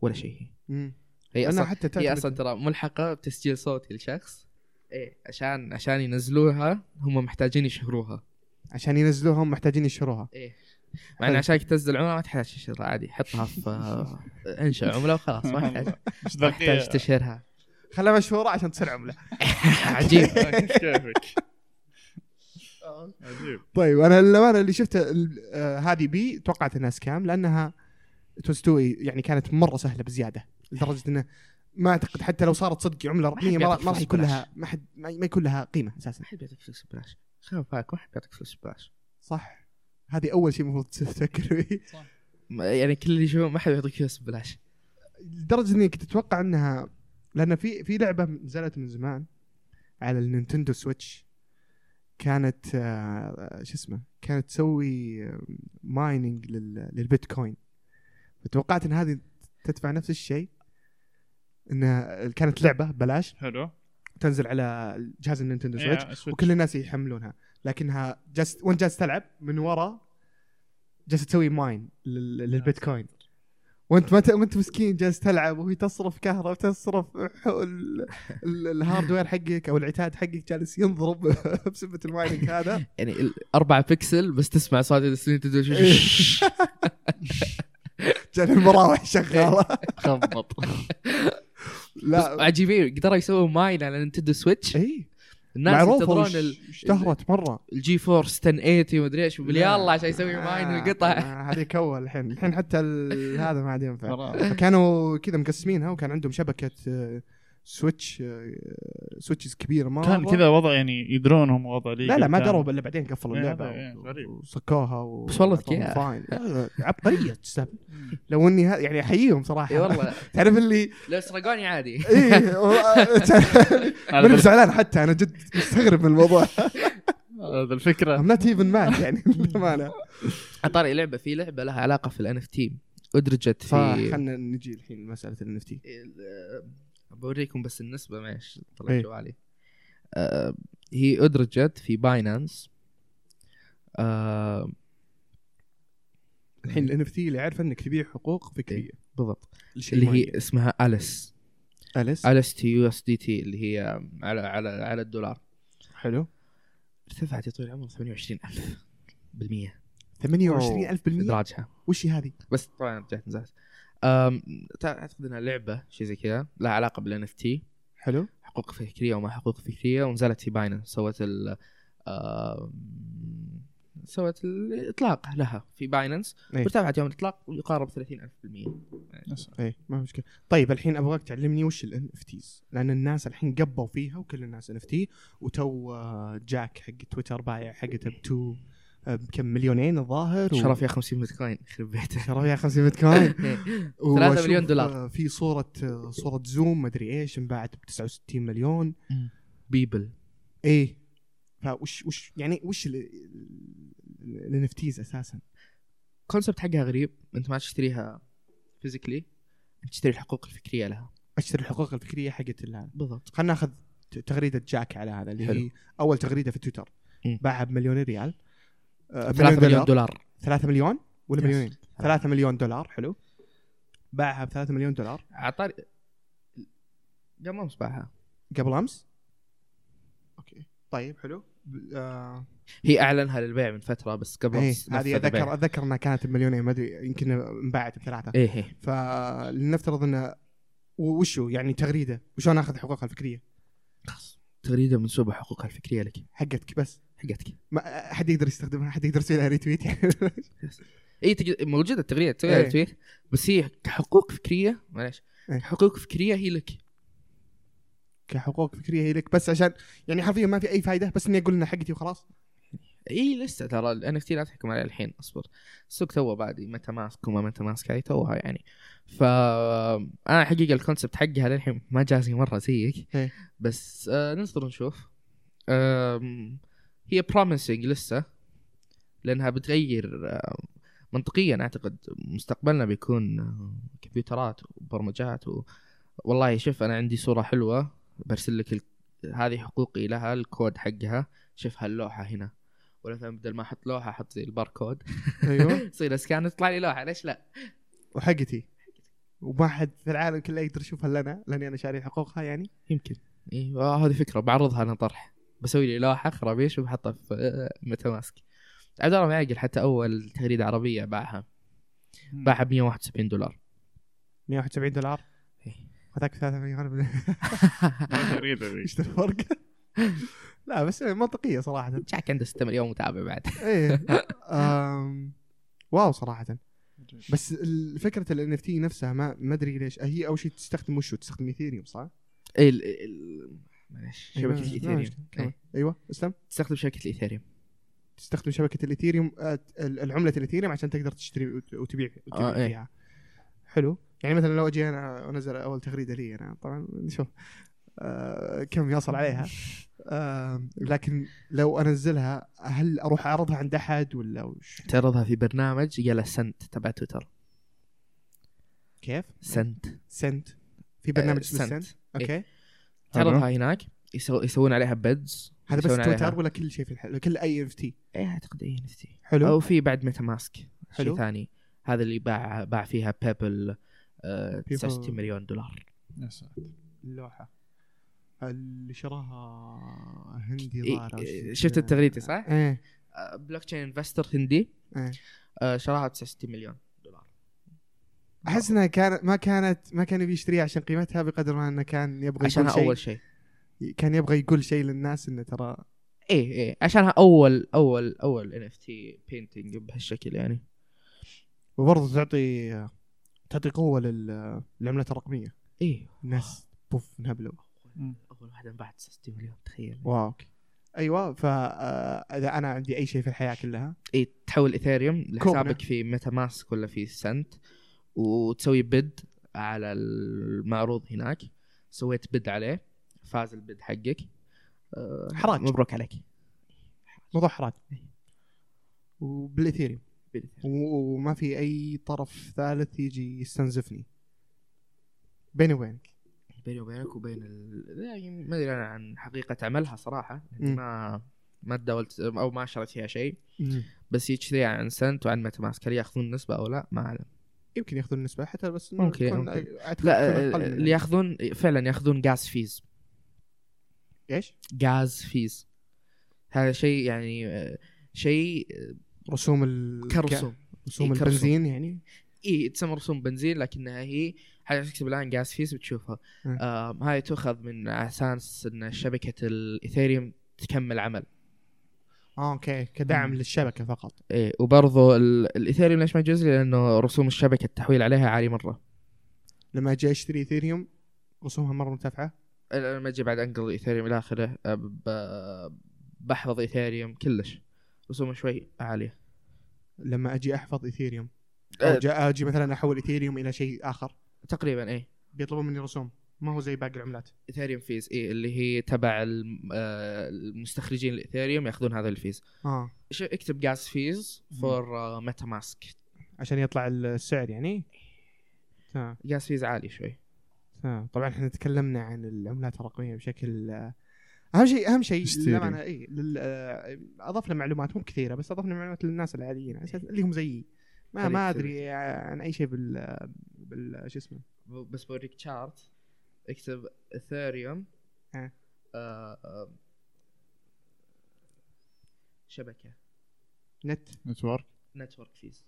[SPEAKER 2] ولا شيء هي.
[SPEAKER 1] مم.
[SPEAKER 2] هي
[SPEAKER 1] انا
[SPEAKER 2] اصلا
[SPEAKER 1] حتى
[SPEAKER 2] هي
[SPEAKER 1] تعتمد-
[SPEAKER 2] اصلا ترى ملحقه بتسجيل صوتي لشخص ايه عشان عشان ينزلوها هم محتاجين يشهروها
[SPEAKER 1] عشان ينزلوهم محتاجين يشتروها
[SPEAKER 2] ايه مع ان
[SPEAKER 1] حلو.
[SPEAKER 2] عشان تنزل عمله ما تحتاج تشهرها عادي حطها في آه، انشا عمله وخلاص ما يحتاج
[SPEAKER 3] مش
[SPEAKER 2] ما يحتاج
[SPEAKER 3] دقيقة
[SPEAKER 2] تشهرها
[SPEAKER 1] خلها مشهوره عشان تصير عمله
[SPEAKER 2] عجيب
[SPEAKER 3] كيفك عجيب
[SPEAKER 1] طيب انا للامانه اللي شفته ال- آه، هذه بي توقعت انها سكام لانها توستوي يعني كانت مره سهله بزياده لدرجه انه ما اعتقد حتى لو صارت صدق عمله رقميه ما راح- ما راح يكون لها ما حد ما ما يكون لها قيمه اساسا
[SPEAKER 2] ما حد بيعطيك فلوس ببلاش خلي بالك ما حد بيعطيك فلوس ببلاش
[SPEAKER 1] صح هذه اول شيء المفروض تفكر فيه
[SPEAKER 2] ما- يعني كل اللي يشوفه ما حد بيعطيك فلوس ببلاش
[SPEAKER 1] لدرجه اني كنت اتوقع انها لان في في لعبه نزلت من زمان على النينتندو سويتش كانت آه، شو اسمه كانت تسوي مايننج للبيتكوين فتوقعت ان هذه تدفع نفس الشيء انها كانت لعبه بلاش
[SPEAKER 3] حلو إيه،
[SPEAKER 1] تنزل على جهاز النينتندو سويتش
[SPEAKER 3] يا سويتش.
[SPEAKER 1] وكل الناس يحملونها لكنها جالس وانت جالس تلعب من ورا جالس تسوي ماين لل- للبيتكوين وانت ما ت... وانت مسكين جالس تلعب وهي تصرف كهرباء تصرف حو- ال- ال- الهاردوير حقك او العتاد حقك جالس ينضرب بسبه المايننج هذا
[SPEAKER 2] يعني ال- أربعة بكسل بس تسمع صوت السنين تدوش
[SPEAKER 1] إيه. جال المراوح شغاله
[SPEAKER 2] إيه.
[SPEAKER 3] خبط
[SPEAKER 1] لا
[SPEAKER 2] عجيبين قدروا يسووا ماين على نينتندو سويتش
[SPEAKER 1] اي
[SPEAKER 2] الناس
[SPEAKER 1] معروفه
[SPEAKER 2] ينتظرون
[SPEAKER 1] وش-
[SPEAKER 2] ال-
[SPEAKER 1] اشتهرت مره
[SPEAKER 2] الجي فورس 1080 ومدري ايش وبالي
[SPEAKER 1] لا.
[SPEAKER 2] يلا عشان يسوي ماين
[SPEAKER 1] آه،
[SPEAKER 2] القطع
[SPEAKER 1] آه، هذيك اول الحين الحين حتى ال- هذا ما عاد ينفع
[SPEAKER 3] خلاص.
[SPEAKER 1] كانوا كذا مقسمينها وكان عندهم شبكه آه، سويتش آه، سويتشز كبيره مره
[SPEAKER 3] كان كذا وضع يعني يدرون هم وضع لي
[SPEAKER 1] لا لا ما دروا الا بعدين قفلوا
[SPEAKER 3] إيه،
[SPEAKER 1] اللعبه
[SPEAKER 3] هذا، إيه،
[SPEAKER 1] و-
[SPEAKER 3] غريب.
[SPEAKER 1] وسكوها و...
[SPEAKER 2] بس والله
[SPEAKER 1] وأعطوهم
[SPEAKER 2] ذكية.
[SPEAKER 1] فاين آه، عبقريه تستهبل لو اني ه- يعني احييهم صراحه
[SPEAKER 2] اي والله
[SPEAKER 1] تعرف اللي
[SPEAKER 2] لو سرقوني عادي
[SPEAKER 1] اي و- تعرف- ماني زعلان حتى انا جد مستغرب من الموضوع
[SPEAKER 3] هذا الفكرة
[SPEAKER 1] I'm not even mad يعني للامانه
[SPEAKER 2] عطاري لعبه في لعبه لها علاقه في الان اف تي ادرجت في
[SPEAKER 1] فخلنا نجي الحين لمساله الان تي
[SPEAKER 2] ال- آه، بوريكم بس النسبة معلش
[SPEAKER 1] إيه.
[SPEAKER 2] طلع جوالي آه، هي أدرجت في باينانس آه،
[SPEAKER 1] الحين الان تي اللي عارفه انك تبيع حقوق فكريه
[SPEAKER 2] بالضبط
[SPEAKER 1] لشيء
[SPEAKER 2] اللي
[SPEAKER 1] معين.
[SPEAKER 2] هي اسمها أليس
[SPEAKER 1] اليس
[SPEAKER 2] أليس تي يو اس دي تي اللي هي على على على الدولار
[SPEAKER 1] حلو
[SPEAKER 2] ارتفعت يا طويل العمر 28000 بالمية
[SPEAKER 1] 28000%
[SPEAKER 2] ادراجها
[SPEAKER 1] وش هي هذه؟
[SPEAKER 2] بس طبعا رجعت نزلت آم، تع- اعتقد انها لعبه شيء زي كذا لها علاقه بالان اف تي
[SPEAKER 1] حلو
[SPEAKER 2] حقوق فكريه وما حقوق فكريه ونزلت في باينانس سوت ال آه، سوت الاطلاق لها في باينانس
[SPEAKER 1] إيه.
[SPEAKER 2] وارتفعت يوم الاطلاق يقارب 30000%
[SPEAKER 1] اي إيه، ما في مشكله طيب الحين ابغاك تعلمني وش الان اف تيز لان الناس الحين قبوا فيها وكل الناس ان اف تي وتو آه، جاك حق تويتر بايع حقته بتو آه، بكم مليونين الظاهر و-
[SPEAKER 2] شرف يا 50 بيتكوين يخرب بيته
[SPEAKER 1] شرف يا 50 بيتكوين
[SPEAKER 2] ثلاثة
[SPEAKER 1] وأشوف،
[SPEAKER 2] مليون دولار.
[SPEAKER 1] آه، في صوره آه، صوره زوم مدري ايش انباعت ب 69 مليون
[SPEAKER 2] بيبل
[SPEAKER 1] ايه فوش وش يعني وش الان اف تيز اساسا؟
[SPEAKER 2] الكونسبت حقها غريب انت ما تشتريها فيزيكلي انت تشتري الحقوق الفكريه لها
[SPEAKER 1] اشتري الحقوق الفكريه حقت ال-
[SPEAKER 2] بالضبط
[SPEAKER 1] خلينا ناخذ ت- تغريده جاك على هذا اللي
[SPEAKER 2] حلو.
[SPEAKER 1] هي اول تغريده في تويتر
[SPEAKER 2] مم.
[SPEAKER 1] باعها بمليونين ريال آه،
[SPEAKER 2] 3 مليون دولار
[SPEAKER 1] 3 مليون ولا
[SPEAKER 2] Yes.
[SPEAKER 1] مليونين؟ 3 مليون دولار حلو باعها ب 3 مليون دولار
[SPEAKER 2] عطاري قبل امس باعها
[SPEAKER 1] قبل امس اوكي طيب حلو ب- آه
[SPEAKER 2] هي اعلنها للبيع من فتره بس قبل
[SPEAKER 1] إيه،
[SPEAKER 2] أمس نفذ
[SPEAKER 1] هذه
[SPEAKER 2] البيع.
[SPEAKER 1] اتذكر اتذكر انها كانت بمليونين ما ادري يمكن انباعت بثلاثه
[SPEAKER 2] ايه ايه
[SPEAKER 1] فلنفترض انه و- وشو يعني تغريده وشلون اخذ حقوقها الفكريه
[SPEAKER 2] خلاص تغريده منسوبه حقوقها الفكريه لك
[SPEAKER 1] حقتك بس
[SPEAKER 2] حقتك
[SPEAKER 1] ما حد يقدر يستخدمها حد يقدر يسوي لها ريتويت
[SPEAKER 2] اي تق- موجوده التغريده تسويها
[SPEAKER 1] إيه.
[SPEAKER 2] على تويتر بس هي كحقوق فكريه معلش
[SPEAKER 1] إيه.
[SPEAKER 2] حقوق فكريه هي لك
[SPEAKER 1] كحقوق فكريه هي لك بس عشان يعني حرفيا ما في اي فائده بس اني اقول انها حقتي وخلاص
[SPEAKER 2] اي لسه ترى الان اف تي لا تحكم عليه الحين اصبر السوق توه بعد متى ماسك وما متى ماسك هاي توها يعني ف انا حقيقه الكونسبت حقها للحين ما جازي مره زيك
[SPEAKER 1] إيه.
[SPEAKER 2] بس آه ننتظر نشوف آم، هي بروميسنج لسه لانها بتغير آه، منطقيا اعتقد مستقبلنا بيكون آه، كمبيوترات وبرمجات و... والله شوف انا عندي صوره حلوه برسل لك ال... هذه حقوقي لها الكود حقها شوف هاللوحه هنا ولا مثلا بدل ما احط لوحه احط زي الباركود
[SPEAKER 1] ايوه
[SPEAKER 2] يصير اسكان تطلع لي لوحه ليش لا؟
[SPEAKER 1] وحقتي وما حد في العالم كله يقدر يشوفها الا انا لاني انا شاري حقوقها يعني
[SPEAKER 2] يمكن ايوه هذه فكره بعرضها انا طرح بسوي لي لوحه خرابيش وبحطها في آه، متاماسك عبد الله معقل حتى اول تغريده عربيه باعها باعها ب 171 دولار
[SPEAKER 1] 171 دولار
[SPEAKER 2] إيه.
[SPEAKER 1] هذاك 3 مليون
[SPEAKER 3] الجريده ذي
[SPEAKER 1] ايش الفرق؟ لا بس منطقيه صراحه
[SPEAKER 2] جاك عنده 6 مليون متابع بعد
[SPEAKER 1] ايه أم، واو صراحه بس ال- فكره الان اف تي نفسها ما ما ادري ليش هي اول شيء تستخدم وشو تستخدم ايثيريوم صح؟
[SPEAKER 2] إيه، ال- ال- معليش
[SPEAKER 1] إيه، ما-
[SPEAKER 2] شبكه
[SPEAKER 1] ما-
[SPEAKER 2] الايثيريوم
[SPEAKER 1] ما-
[SPEAKER 2] إيه،
[SPEAKER 1] ايوه اسلم
[SPEAKER 2] تستخدم شبكه الايثيريوم
[SPEAKER 1] تستخدم شبكه الايثيريوم آه، ال- العمله الايثيريوم عشان تقدر تشتري وت- وتبيع وتبيع
[SPEAKER 2] آه، إيه.
[SPEAKER 1] فيها حلو يعني مثلا لو اجي انا انزل اول تغريده لي انا طبعا نشوف آه كم يصل عليها آه لكن لو انزلها هل اروح اعرضها عند احد ولا وش
[SPEAKER 2] تعرضها في برنامج يلا سنت تبع تويتر
[SPEAKER 1] كيف؟
[SPEAKER 2] سنت
[SPEAKER 1] سنت في برنامج
[SPEAKER 2] آه،
[SPEAKER 1] اسمه
[SPEAKER 2] سنت.
[SPEAKER 1] سنت اوكي
[SPEAKER 2] تعرضها هناك يسو- يسوون عليها بيدز
[SPEAKER 1] هذا
[SPEAKER 2] يسوون
[SPEAKER 1] بس
[SPEAKER 2] عليها-
[SPEAKER 1] تويتر ولا كل شيء في الحل كل اي اف تي
[SPEAKER 2] ايه اعتقد اي نفتي
[SPEAKER 1] حلو
[SPEAKER 2] او في بعد ميتا ماسك شيء
[SPEAKER 1] حلو.
[SPEAKER 2] ثاني هذا اللي باع باع فيها بيبل آه،
[SPEAKER 1] People-
[SPEAKER 2] 69 مليون دولار
[SPEAKER 3] يا ساتر.
[SPEAKER 1] اللوحه اللي شراها هندي
[SPEAKER 2] إيه،
[SPEAKER 1] ظاهر أو شيء
[SPEAKER 2] إيه،
[SPEAKER 1] كذا.
[SPEAKER 2] شفت التغريده صح؟
[SPEAKER 1] ايه
[SPEAKER 2] بلوك تشين انفستر آه، هندي
[SPEAKER 1] إيه.
[SPEAKER 2] آه، شراها ب 69 مليون دولار
[SPEAKER 1] احس انها كانت ما كانت ما كان يبي يشتريها عشان قيمتها بقدر ما انه كان يبغى يقول
[SPEAKER 2] عشانها
[SPEAKER 1] شيء
[SPEAKER 2] اول شيء
[SPEAKER 1] كان يبغى يقول شيء للناس انه ترى
[SPEAKER 2] ايه ايه عشانها اول اول اول ان اف تي بينتنج بهالشكل يعني
[SPEAKER 1] وبرضه تعطي تعطي قوه لل- للعملات الرقميه
[SPEAKER 2] ايه
[SPEAKER 1] الناس بوف انهبلوا
[SPEAKER 3] مم.
[SPEAKER 2] اول واحده انباعت 69 مليون تخيل
[SPEAKER 1] واو ايوه فاذا انا عندي اي شيء في الحياه كلها
[SPEAKER 2] ايه تحول ايثيريوم لحسابك
[SPEAKER 1] كوبنا.
[SPEAKER 2] في ميتا ماسك ولا في سنت وتسوي بيد على المعروض هناك سويت بيد عليه فاز البيد حقك آه،
[SPEAKER 1] حراج.
[SPEAKER 2] مبروك عليك
[SPEAKER 1] موضوع حراج وبالاثيريوم
[SPEAKER 2] بالإيثيريوم.
[SPEAKER 1] و- وما في اي طرف ثالث يجي يستنزفني بيني وبينك
[SPEAKER 2] بيني وبينك وبين ال... يعني ما ادري انا عن حقيقه عملها صراحه يعني
[SPEAKER 1] مم.
[SPEAKER 2] ما ما تداولت او ما شريت فيها شيء بس يشتريها عن سنت وعن متى ماسك هل ياخذون نسبه او لا ما اعلم
[SPEAKER 1] يمكن ياخذون نسبه حتى بس إنه
[SPEAKER 2] ممكن،
[SPEAKER 1] تكون-
[SPEAKER 2] ممكن.
[SPEAKER 1] أعتقد
[SPEAKER 2] لا
[SPEAKER 1] تكون
[SPEAKER 2] آه،
[SPEAKER 1] أقل من-
[SPEAKER 2] اللي ياخذون فعلا ياخذون جاز فيز
[SPEAKER 1] ايش؟
[SPEAKER 2] جاز فيز هذا شيء يعني آه، شيء آه،
[SPEAKER 1] رسوم ال
[SPEAKER 2] كرسوم
[SPEAKER 1] رسوم
[SPEAKER 2] إيه، كرسوم.
[SPEAKER 1] البنزين يعني
[SPEAKER 2] اي تسمى رسوم بنزين لكنها هي حاجه تكتب الان جاز فيز بتشوفها
[SPEAKER 1] مم.
[SPEAKER 2] آه هاي تؤخذ من اساس ان شبكه الايثيريوم تكمل عمل
[SPEAKER 1] اه اوكي كدعم للشبكه فقط
[SPEAKER 2] ايه وبرضه ال- الايثيريوم ليش ما يجوز لي؟ لانه رسوم الشبكه التحويل عليها عالي مره
[SPEAKER 1] لما اجي اشتري ايثيريوم رسومها مره مرتفعه
[SPEAKER 2] أنا لما اجي بعد انقل الايثيريوم الى اخره آه، ب- بحفظ ايثيريوم كلش رسومه شوي عاليه
[SPEAKER 1] لما اجي احفظ ايثيريوم
[SPEAKER 2] آه.
[SPEAKER 1] أو جا- اجي مثلا احول ايثيريوم الى شيء اخر
[SPEAKER 2] تقريبا ايه
[SPEAKER 1] بيطلبون مني رسوم ما هو زي باقي العملات
[SPEAKER 2] ايثيريوم فيز ايه اللي هي تبع الم- آه، المستخرجين الايثيريوم ياخذون هذا الفيز
[SPEAKER 1] اه
[SPEAKER 2] ش- اكتب جاز فيز
[SPEAKER 3] مم.
[SPEAKER 2] فور ميتا ماسك
[SPEAKER 1] عشان يطلع السعر يعني تمام
[SPEAKER 2] جاز فيز عالي شوي
[SPEAKER 1] تمام طبعا احنا آه. تكلمنا عن العملات الرقميه بشكل آه، اهم شيء اهم شيء
[SPEAKER 3] Mysterium.
[SPEAKER 1] للامانه اي لل- آه، اضفنا معلومات مو كثيره بس اضفنا معلومات للناس العاديين على أساس اللي هم زيي ما
[SPEAKER 2] خليك
[SPEAKER 1] ما
[SPEAKER 2] تدري.
[SPEAKER 1] ادري عن اي شيء بال بال شو اسمه
[SPEAKER 2] ب- بس بوريك تشارت اكتب آه، اثيريوم
[SPEAKER 1] ها.
[SPEAKER 2] شبكه
[SPEAKER 1] نت
[SPEAKER 3] نتورك
[SPEAKER 2] نتورك فيز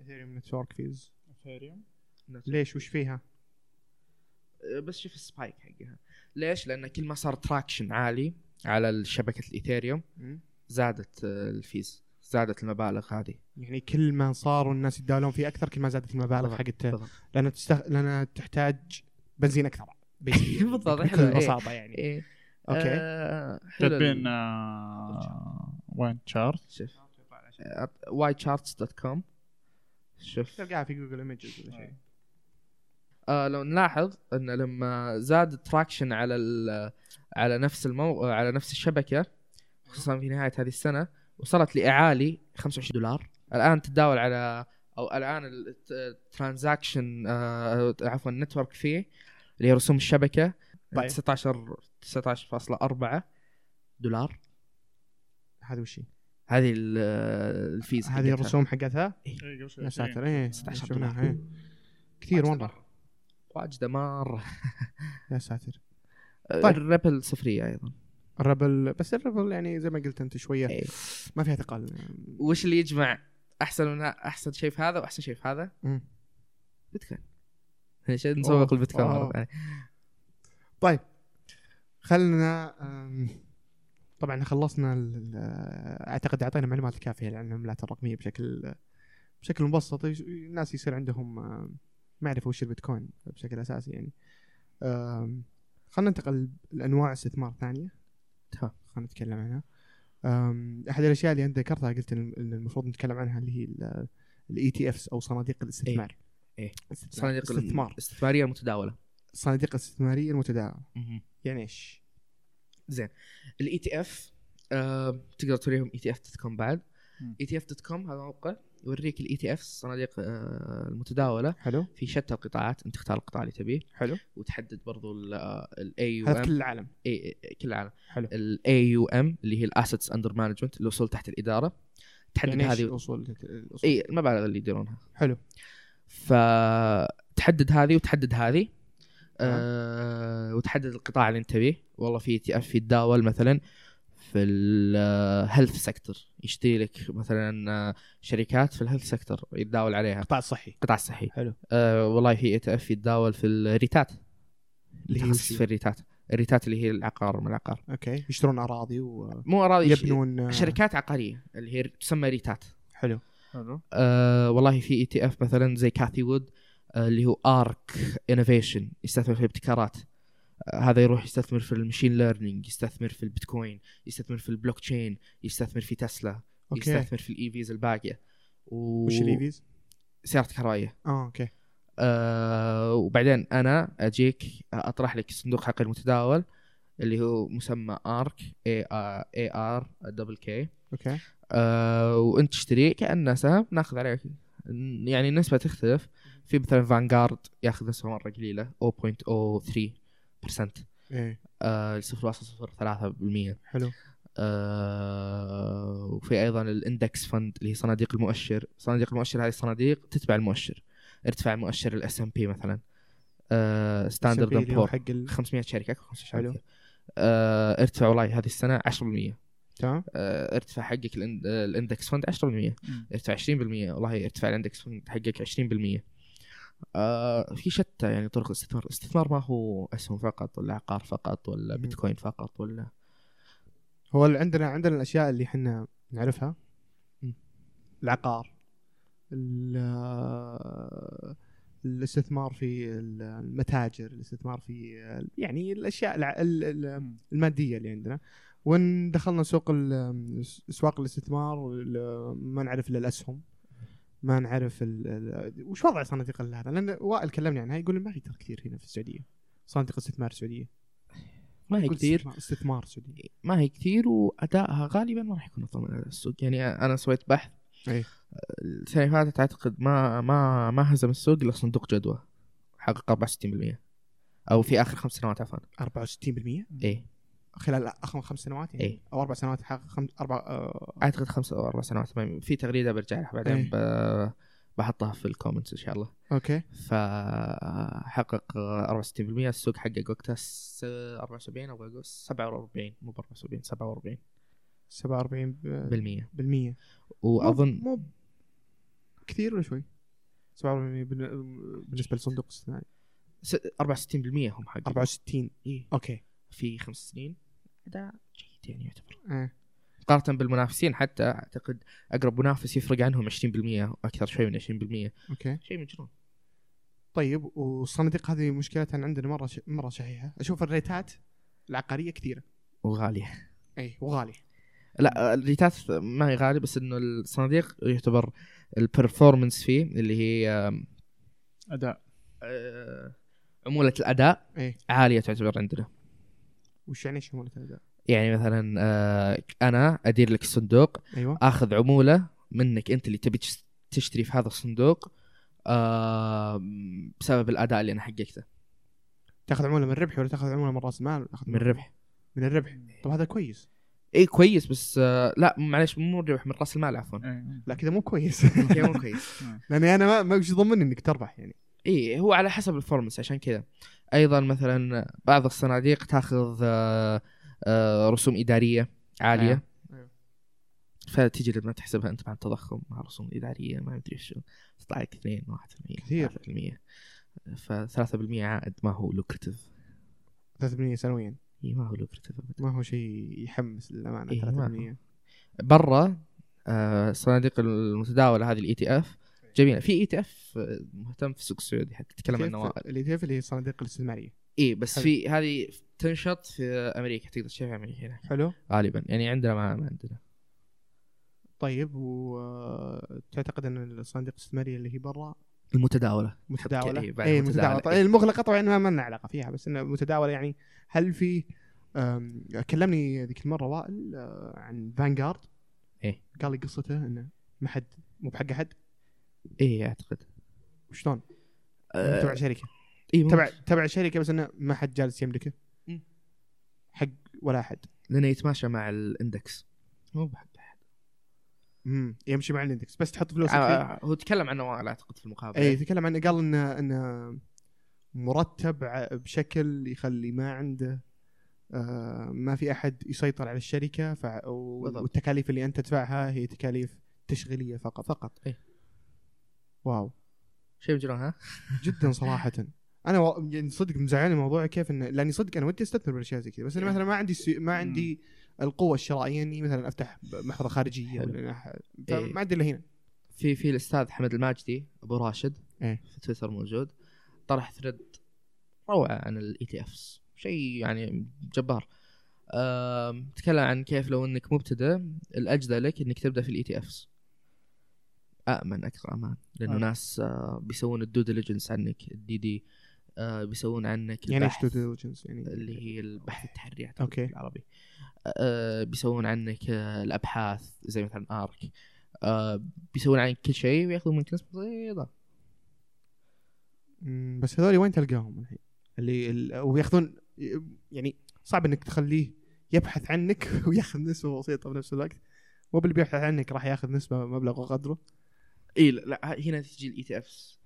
[SPEAKER 1] اثيريوم نتورك فيز
[SPEAKER 3] اثيريوم
[SPEAKER 1] ليش وش فيها؟
[SPEAKER 2] آه، بس شوف السبايك حقها ليش؟ لان كل ما صار تراكشن عالي على شبكه الايثيريوم
[SPEAKER 1] مم.
[SPEAKER 2] زادت آه، الفيز زادت المبالغ هذه
[SPEAKER 1] يعني كل ما صاروا الناس يتداولون فيه اكثر كل ما زادت المبالغ
[SPEAKER 2] بالضبط،
[SPEAKER 1] حقت
[SPEAKER 2] بالضبط.
[SPEAKER 1] لان تستخ... لان تحتاج بنزين اكثر basically.
[SPEAKER 2] بالضبط، حلو،
[SPEAKER 1] بكل
[SPEAKER 2] إيه.
[SPEAKER 1] بساطه يعني
[SPEAKER 2] ايه
[SPEAKER 1] أوكي.
[SPEAKER 2] آه، حلو
[SPEAKER 3] كاتبين
[SPEAKER 2] ال-
[SPEAKER 3] آه، وين تشارت
[SPEAKER 2] شوف آه، وايت شارتس دوت كوم شوف
[SPEAKER 1] تلقاها في جوجل ايمجز ولا شيء
[SPEAKER 2] آه لو نلاحظ ان لما زاد تراكشن على ال- على نفس المو... على نفس الشبكه خصوصا في نهايه هذه السنه وصلت لاعالي 25 دولار الان تتداول على او الان الترانزاكشن عفوا النتورك فيه اللي هي رسوم الشبكه
[SPEAKER 1] طيب.
[SPEAKER 2] 19 19.4 دولار
[SPEAKER 1] هذا وش هي؟
[SPEAKER 2] هذه ال- الفيز
[SPEAKER 1] هذه
[SPEAKER 2] حقتها.
[SPEAKER 1] الرسوم حقتها
[SPEAKER 3] إيه، قبل شوي
[SPEAKER 1] يا
[SPEAKER 3] عشرين.
[SPEAKER 1] ساتر ايه
[SPEAKER 2] 16
[SPEAKER 1] شفناها،
[SPEAKER 2] دولار.
[SPEAKER 1] إيه. كثير مره
[SPEAKER 2] واجده مره
[SPEAKER 1] يا ساتر طيب.
[SPEAKER 2] طيب الريبل صفريه ايضا
[SPEAKER 1] الربل بس الربل يعني زي ما قلت انت شويه
[SPEAKER 2] إيه.
[SPEAKER 1] ما فيها ثقل
[SPEAKER 2] وش اللي يجمع احسن من ه- احسن شيء في هذا واحسن شيء في هذا
[SPEAKER 1] مم.
[SPEAKER 2] بيتكوين عشان نسوق
[SPEAKER 1] أوه،
[SPEAKER 2] البيتكوين
[SPEAKER 1] أوه.
[SPEAKER 2] مره ثانيه
[SPEAKER 1] طيب خلنا أم، طبعا خلصنا ال- ال- اعتقد اعطينا معلومات كافيه عن العملات الرقميه بشكل بشكل مبسط يش- الناس يصير عندهم أم، معرفه وش البيتكوين بشكل اساسي يعني أم، خلنا ننتقل لانواع استثمار ثانيه
[SPEAKER 2] تمام.
[SPEAKER 1] خلنا نتكلم عنها أم، احد الاشياء اللي انت ذكرتها قلت ان إن المفروض نتكلم عنها اللي هي E الاي تي افس او صناديق الاستثمار
[SPEAKER 2] إيه.
[SPEAKER 1] استثمار.
[SPEAKER 2] صناديق
[SPEAKER 1] استثمار
[SPEAKER 2] الاستثماريه المتداوله
[SPEAKER 1] صناديق الاستثماريه المتداوله يعني ايش؟
[SPEAKER 2] زين الاي تي اف آه، تقدر توريهم E اي تي اف دوت كوم بعد E
[SPEAKER 3] مم.
[SPEAKER 2] اي تي اف دوت كوم هذا موقع يوريك E الاي تي اف الصناديق آه، المتداوله
[SPEAKER 1] حلو
[SPEAKER 2] في شتى القطاعات انت تختار القطاع اللي تبيه
[SPEAKER 1] حلو
[SPEAKER 2] وتحدد برضو آه، الاي يو
[SPEAKER 1] هذا في
[SPEAKER 2] ام
[SPEAKER 1] كل العالم
[SPEAKER 2] آه، كل العالم
[SPEAKER 1] حلو
[SPEAKER 2] الاي يو ام اللي هي الاسيتس اندر مانجمنت الاصول تحت الاداره تحدد
[SPEAKER 1] يعني ايش
[SPEAKER 2] هذه إيه.
[SPEAKER 1] الاصول الاصول
[SPEAKER 2] اي المبالغ اللي يديرونها
[SPEAKER 1] حلو
[SPEAKER 2] فتحدد هذه وتحدد هذه أه وتحدد القطاع اللي انت تبيه والله في تي اف يتداول مثلا في الهيلث سيكتور يشتري لك مثلا آه، شركات في الهيلث سيكتور يتداول عليها
[SPEAKER 1] القطاع الصحي
[SPEAKER 2] القطاع الصحي
[SPEAKER 1] حلو.
[SPEAKER 2] أه والله في اي تي اف يتداول في الريتات
[SPEAKER 1] اللي هي
[SPEAKER 2] يتخصص
[SPEAKER 1] وش
[SPEAKER 2] في الريتات الريتات اللي هي العقار من العقار
[SPEAKER 1] اوكي يشترون اراضي ويبنون
[SPEAKER 2] مو اراضي
[SPEAKER 1] آه،
[SPEAKER 2] شركات عقاريه اللي هي تسمى ريتات
[SPEAKER 1] حلو
[SPEAKER 3] حلو
[SPEAKER 2] آه والله في اي تي اف مثلا زي كاثي وود آه اللي هو ارك انوفيشن يستثمر في الابتكارات آه هذا يروح يستثمر في المشين ليرنينج يستثمر في البيتكوين يستثمر في البلوك تشين يستثمر في تسلا
[SPEAKER 1] اوكي
[SPEAKER 2] يستثمر في الاي فيز الباقيه و...
[SPEAKER 1] وش الايفيز؟
[SPEAKER 2] سيارات كهربائيه
[SPEAKER 1] اه اوكي
[SPEAKER 2] آه وبعدين انا اجيك اطرح لك صندوق حقل متداول اللي هو مسمى ارك اي ار دبل كي
[SPEAKER 1] اوكي
[SPEAKER 2] آه، وانت تشتري كانه سهم ناخذ عليه يعني النسبه تختلف في مثلا فانجارد ياخذ نسبه مره قليله 0.03%
[SPEAKER 1] ايه
[SPEAKER 2] آه، 0.03%
[SPEAKER 1] حلو
[SPEAKER 2] آه، وفي ايضا الاندكس فند اللي هي صناديق المؤشر صناديق المؤشر هذه الصناديق تتبع المؤشر ارتفاع مؤشر الاس ام بي مثلا ستاندرد
[SPEAKER 1] S&P
[SPEAKER 2] اند
[SPEAKER 1] اللي هو
[SPEAKER 2] بور
[SPEAKER 1] حق ال-
[SPEAKER 2] 500 شركه 500
[SPEAKER 1] حلو.
[SPEAKER 2] شركه آه، ارتفع والله هذه السنه 10%
[SPEAKER 1] تمام
[SPEAKER 2] آه، ارتفع حقك الإن- آه، الاندكس فند 10%
[SPEAKER 3] مم.
[SPEAKER 2] ارتفع 20% والله ارتفع الاندكس فند حقك 20% آه في شتى يعني طرق الاستثمار الاستثمار ما هو اسهم فقط ولا عقار فقط ولا
[SPEAKER 1] مم.
[SPEAKER 2] بيتكوين فقط ولا
[SPEAKER 1] هو اللي عندنا عندنا الاشياء اللي احنا نعرفها
[SPEAKER 2] مم.
[SPEAKER 1] العقار ال- آه، الاستثمار في ال- المتاجر الاستثمار في آه، يعني الاشياء الع- ال- ال- الماديه اللي عندنا وان دخلنا سوق ال- اسواق الاستثمار ال- ما نعرف الا الاسهم ما نعرف ال- ال- وش وضع صناديق ال- هذا لان وائل كلمني عنها يقول ما في ترى كثير هنا في السعوديه صناديق استثمار سعوديه
[SPEAKER 2] ما هي
[SPEAKER 1] يقول
[SPEAKER 2] كثير
[SPEAKER 1] استثمار- استثمار سعودي
[SPEAKER 2] ما هي كثير وادائها غالبا ما راح يكون افضل من أداء السوق يعني انا سويت بحث
[SPEAKER 1] أي.
[SPEAKER 2] آه، السنه اللي فاتت اعتقد ما ما ما هزم السوق الا صندوق جدوى حقق 64% او في اخر خمس سنوات عفوا
[SPEAKER 1] 64%
[SPEAKER 2] ايه
[SPEAKER 1] خلال أخ- خمس سنوات يعني
[SPEAKER 2] إيه.
[SPEAKER 1] او اربع سنوات حقق خمس اربع آه،
[SPEAKER 2] اعتقد خمس او اربع سنوات تمام في تغريده برجع لها بعدين
[SPEAKER 1] إيه.
[SPEAKER 2] ب- بحطها في الكومنتس ان شاء الله
[SPEAKER 1] اوكي
[SPEAKER 2] فحقق 64% السوق حقق وقتها س- 74 او أقول 47 مو ب 47 47
[SPEAKER 1] 47 ب-
[SPEAKER 2] بالمية
[SPEAKER 1] بالمية مو-
[SPEAKER 2] واظن
[SPEAKER 1] مو كثير ولا شوي 47 بال- بالنسبه لصندوق الاستثمار
[SPEAKER 2] س- 64% هم حق
[SPEAKER 1] 64
[SPEAKER 2] إيه.
[SPEAKER 1] اوكي
[SPEAKER 2] في خمس سنين اداء جيد يعني يعتبر
[SPEAKER 1] آه.
[SPEAKER 2] مقارنة بالمنافسين حتى اعتقد اقرب منافس يفرق عنهم 20% واكثر شوي من 20%
[SPEAKER 1] اوكي
[SPEAKER 2] شيء مجنون
[SPEAKER 1] طيب والصناديق هذه مشكلتها إن عندنا مره ش... مره شحيحه اشوف الريتات العقاريه كثيره
[SPEAKER 2] وغالية
[SPEAKER 1] اي وغاليه
[SPEAKER 2] لا الريتات ما هي غالية بس انه الصناديق يعتبر البرفورمنس فيه اللي هي آم،
[SPEAKER 3] اداء
[SPEAKER 2] آه، عمولة الاداء
[SPEAKER 1] إيه.
[SPEAKER 2] عالية تعتبر عندنا
[SPEAKER 1] وش يعني شمولة الاداء؟
[SPEAKER 2] يعني مثلا آه، انا ادير لك الصندوق
[SPEAKER 1] ايوه
[SPEAKER 2] اخذ عموله منك انت اللي تبي تش- تشتري في هذا الصندوق آه بسبب الاداء اللي انا حققته
[SPEAKER 1] تاخذ عموله من الربح ولا تاخذ عموله من راس المال ولا تاخذ
[SPEAKER 2] من الربح
[SPEAKER 1] من الربح طب هذا كويس
[SPEAKER 2] اي كويس بس آه لا معلش مو الربح من راس المال عفوا
[SPEAKER 3] إيه.
[SPEAKER 1] لا كذا مو كويس
[SPEAKER 2] اوكي مو كويس
[SPEAKER 1] لاني انا ما ما وش ضمن انك تربح يعني
[SPEAKER 2] اي إيه، هو على حسب الفورمس عشان كذا ايضا مثلا بعض الصناديق تاخذ آه آه رسوم اداريه عاليه
[SPEAKER 1] آه. أيوه.
[SPEAKER 2] فتجي لما تحسبها انت مع التضخم مع رسوم اداريه ما ادري شو تطلع لك 2 1%
[SPEAKER 1] كثير.
[SPEAKER 2] 3% ف 3% عائد ما هو لوكرتيف
[SPEAKER 1] 3% سنويا
[SPEAKER 2] اي ما هو لوكرتيف
[SPEAKER 1] ما هو شيء يحمس للامانه
[SPEAKER 2] إيه، ما هو.
[SPEAKER 1] 3%
[SPEAKER 2] برا آه، الصناديق المتداوله هذه E الاي تي اف جميله في E اي تي اف آه، مهتم في السوق السعودي حتى تتكلم عن النوادر
[SPEAKER 1] كيف- اللي تعرف اللي هي الصناديق الاستثماريه
[SPEAKER 2] اي إيه، بس
[SPEAKER 1] حلو.
[SPEAKER 2] في هذه تنشط في امريكا تقدر تشوفها في امريكا هنا
[SPEAKER 1] حلو
[SPEAKER 2] غالبا يعني عندنا ما, ما عندنا
[SPEAKER 1] طيب وتعتقد ان الصناديق الاستثماريه اللي هي برا
[SPEAKER 2] المتداوله
[SPEAKER 1] متداوله
[SPEAKER 2] إيه، بعد
[SPEAKER 1] اي
[SPEAKER 2] المتداولة.
[SPEAKER 1] متداوله طيب
[SPEAKER 2] إيه.
[SPEAKER 1] المغلقه طبعا ما ما لنا علاقه فيها بس انه متداوله يعني هل في أم، كلمني ذيك المره وائل أه، عن فانجارد
[SPEAKER 2] إيه.
[SPEAKER 1] قال لي قصته انه ما حد مو بحق احد
[SPEAKER 2] اي اعتقد
[SPEAKER 1] وشلون؟
[SPEAKER 2] إيه، آه،
[SPEAKER 1] تبع شركه
[SPEAKER 2] إيه، ممكن.
[SPEAKER 1] تبع تبع شركه بس انه ما حد جالس يملكه
[SPEAKER 2] مم.
[SPEAKER 1] حق ولا احد
[SPEAKER 2] لانه يتماشى مع الاندكس مو بحق أحد.
[SPEAKER 1] امم يمشي مع الاندكس بس تحط فلوسك فيه إيه.
[SPEAKER 2] آه، إيه. هو تكلم عن نوال اعتقد في المقابله
[SPEAKER 1] اي تكلم عن قال انه انه مرتب ع- بشكل يخلي ما عنده آه ما في احد يسيطر على الشركه ف...
[SPEAKER 2] بالضبط.
[SPEAKER 1] والتكاليف اللي انت تدفعها هي تكاليف تشغيليه فقط
[SPEAKER 2] فقط إيه. اي
[SPEAKER 1] واو
[SPEAKER 2] شيء مجنون ها
[SPEAKER 1] جدا صراحه انا و... يعني صدق مزعلني موضوع كيف انه لاني صدق انا ودي استثمر بالاشياء زي كذا بس
[SPEAKER 2] إيه.
[SPEAKER 1] انا مثلا ما عندي سي... ما عندي القوه الشرائيه اني مثلا افتح محفظه خارجيه
[SPEAKER 2] حلو.
[SPEAKER 1] ولا أح-
[SPEAKER 2] إيه.
[SPEAKER 1] فما عندي الا هنا
[SPEAKER 2] في في الاستاذ حمد الماجدي ابو راشد
[SPEAKER 1] إيه.
[SPEAKER 2] في تويتر موجود طرح ثريد روعه عن الاي تي افس شيء يعني جبار أم، تكلم عن كيف لو انك مبتدئ الاجدى لك انك تبدا في E الاي تي افس امن اكثر امان لانه
[SPEAKER 1] آه.
[SPEAKER 2] ناس آه، بيسوون الدو ديليجنس عنك الدي دي آه، بيسوون عنك
[SPEAKER 1] يعني ايش
[SPEAKER 2] البحث.
[SPEAKER 1] due diligence يعني
[SPEAKER 2] اللي هي البحث التحري أعتقد
[SPEAKER 1] أوكي.
[SPEAKER 2] بالعربي آه، بيسوون عنك آه، الابحاث زي مثلا ارك آه، بيسوون عنك كل شيء وياخذون منك نسبه بسيطه
[SPEAKER 1] مم، بس هذول وين تلقاهم الحين؟ اللي ال- وياخذون يعني صعب انك تخليه يبحث عنك وياخذ نسبه بسيطه بنفس الوقت مو باللي بيبحث عنك راح ياخذ نسبه مبلغ وقدره
[SPEAKER 2] اي لا, لا ه- هنا تجي E الاي تي افس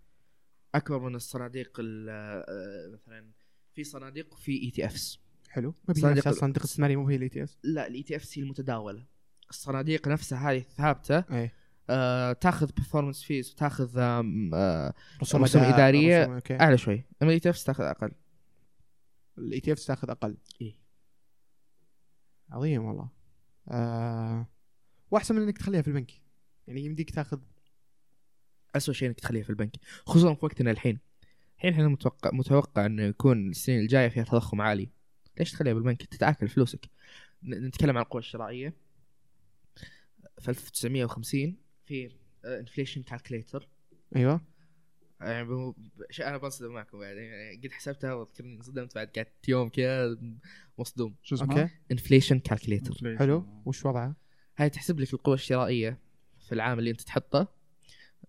[SPEAKER 2] اكبر من الصناديق ال- آه، مثلا في صناديق وفي E اي تي افس
[SPEAKER 1] حلو ما
[SPEAKER 2] صندوق
[SPEAKER 1] بيجي
[SPEAKER 2] ال-
[SPEAKER 1] صندوق استثماري مو هي E الاي تي اس
[SPEAKER 2] لا الاي تي افس هي المتداوله الصناديق نفسها هذه الثابته
[SPEAKER 1] ايه
[SPEAKER 2] آه، تاخذ برفورمانس فيز وتاخذ آم، آه، رسوم إدارية. أه. اعلى شوي E اما الاي تي افس تاخذ اقل
[SPEAKER 1] الاي تي اس E تاخذ اقل
[SPEAKER 2] إيه.
[SPEAKER 1] عظيم والله آه واحسن من انك تخليها في البنك يعني يمديك تاخذ
[SPEAKER 2] أسوأ شيء انك تخليها في البنك خصوصا في وقتنا الحين الحين احنا متوقع متوقع انه يكون السنين الجايه فيها تضخم عالي ليش تخليها بالبنك تتاكل فلوسك ن- نتكلم عن القوه الشرائيه في 1950 في انفليشن كالكليتر أيوة.
[SPEAKER 1] ايوه
[SPEAKER 2] يعني ب- ب- شيء انا بنصدم معكم بعد يعني قد حسبتها واذكرني انصدمت بعد قعدت يوم كذا مصدوم
[SPEAKER 3] شو
[SPEAKER 1] اوكي
[SPEAKER 3] اسمه؟
[SPEAKER 2] انفليشن كالكليتر
[SPEAKER 1] حلو وش وضعها؟
[SPEAKER 2] هاي تحسب لك القوه الشرائيه في العام اللي انت تحطه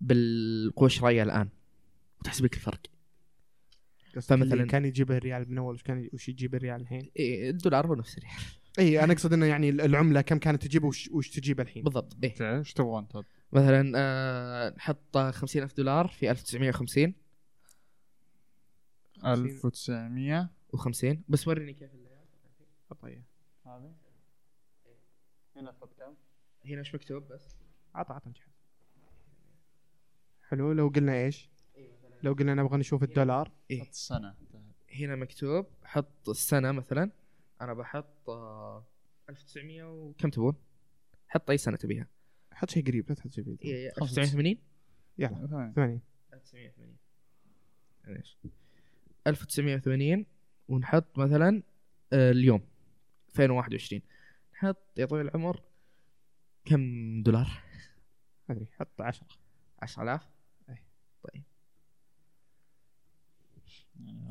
[SPEAKER 2] بالقوه الشرائيه الان وتحسب لك الفرق
[SPEAKER 1] قصدك اللي
[SPEAKER 2] فمثلاً-
[SPEAKER 1] كان يجيب الريال من اول وش كان وش يجيب الريال الحين؟
[SPEAKER 2] إيه، الدولار هو نفس الريال
[SPEAKER 1] اي انا اقصد انه يعني العمله كم كانت تجيب وش, وش تجيب الحين
[SPEAKER 2] بالضبط إيه.
[SPEAKER 3] ايش تبغون طب؟
[SPEAKER 2] مثلا آه، نحط 50000 دولار في 1950
[SPEAKER 3] 1900
[SPEAKER 2] و50 بس وريني كيف اللي-
[SPEAKER 1] طيب
[SPEAKER 3] هذه هنا طب كم؟
[SPEAKER 2] هنا ايش مكتوب بس
[SPEAKER 1] عطى عطى الجهاز حلو لو قلنا ايش؟ لو قلنا نبغى نشوف الدولار
[SPEAKER 2] إيه.
[SPEAKER 3] حط السنة
[SPEAKER 2] هنا مكتوب حط السنه مثلا انا بحط آه، 1900 وكم تبون؟ حط اي سنه تبيها
[SPEAKER 1] حط شيء قريب لا تحط شيء بعيد
[SPEAKER 2] إيه،
[SPEAKER 3] خمسة.
[SPEAKER 2] 1980
[SPEAKER 1] يلا 80
[SPEAKER 2] 1980 معليش 1980 ونحط مثلا آه، اليوم 2021 نحط يا طويل العمر كم دولار؟
[SPEAKER 1] ما ادري حط 10
[SPEAKER 2] 10000
[SPEAKER 3] يعني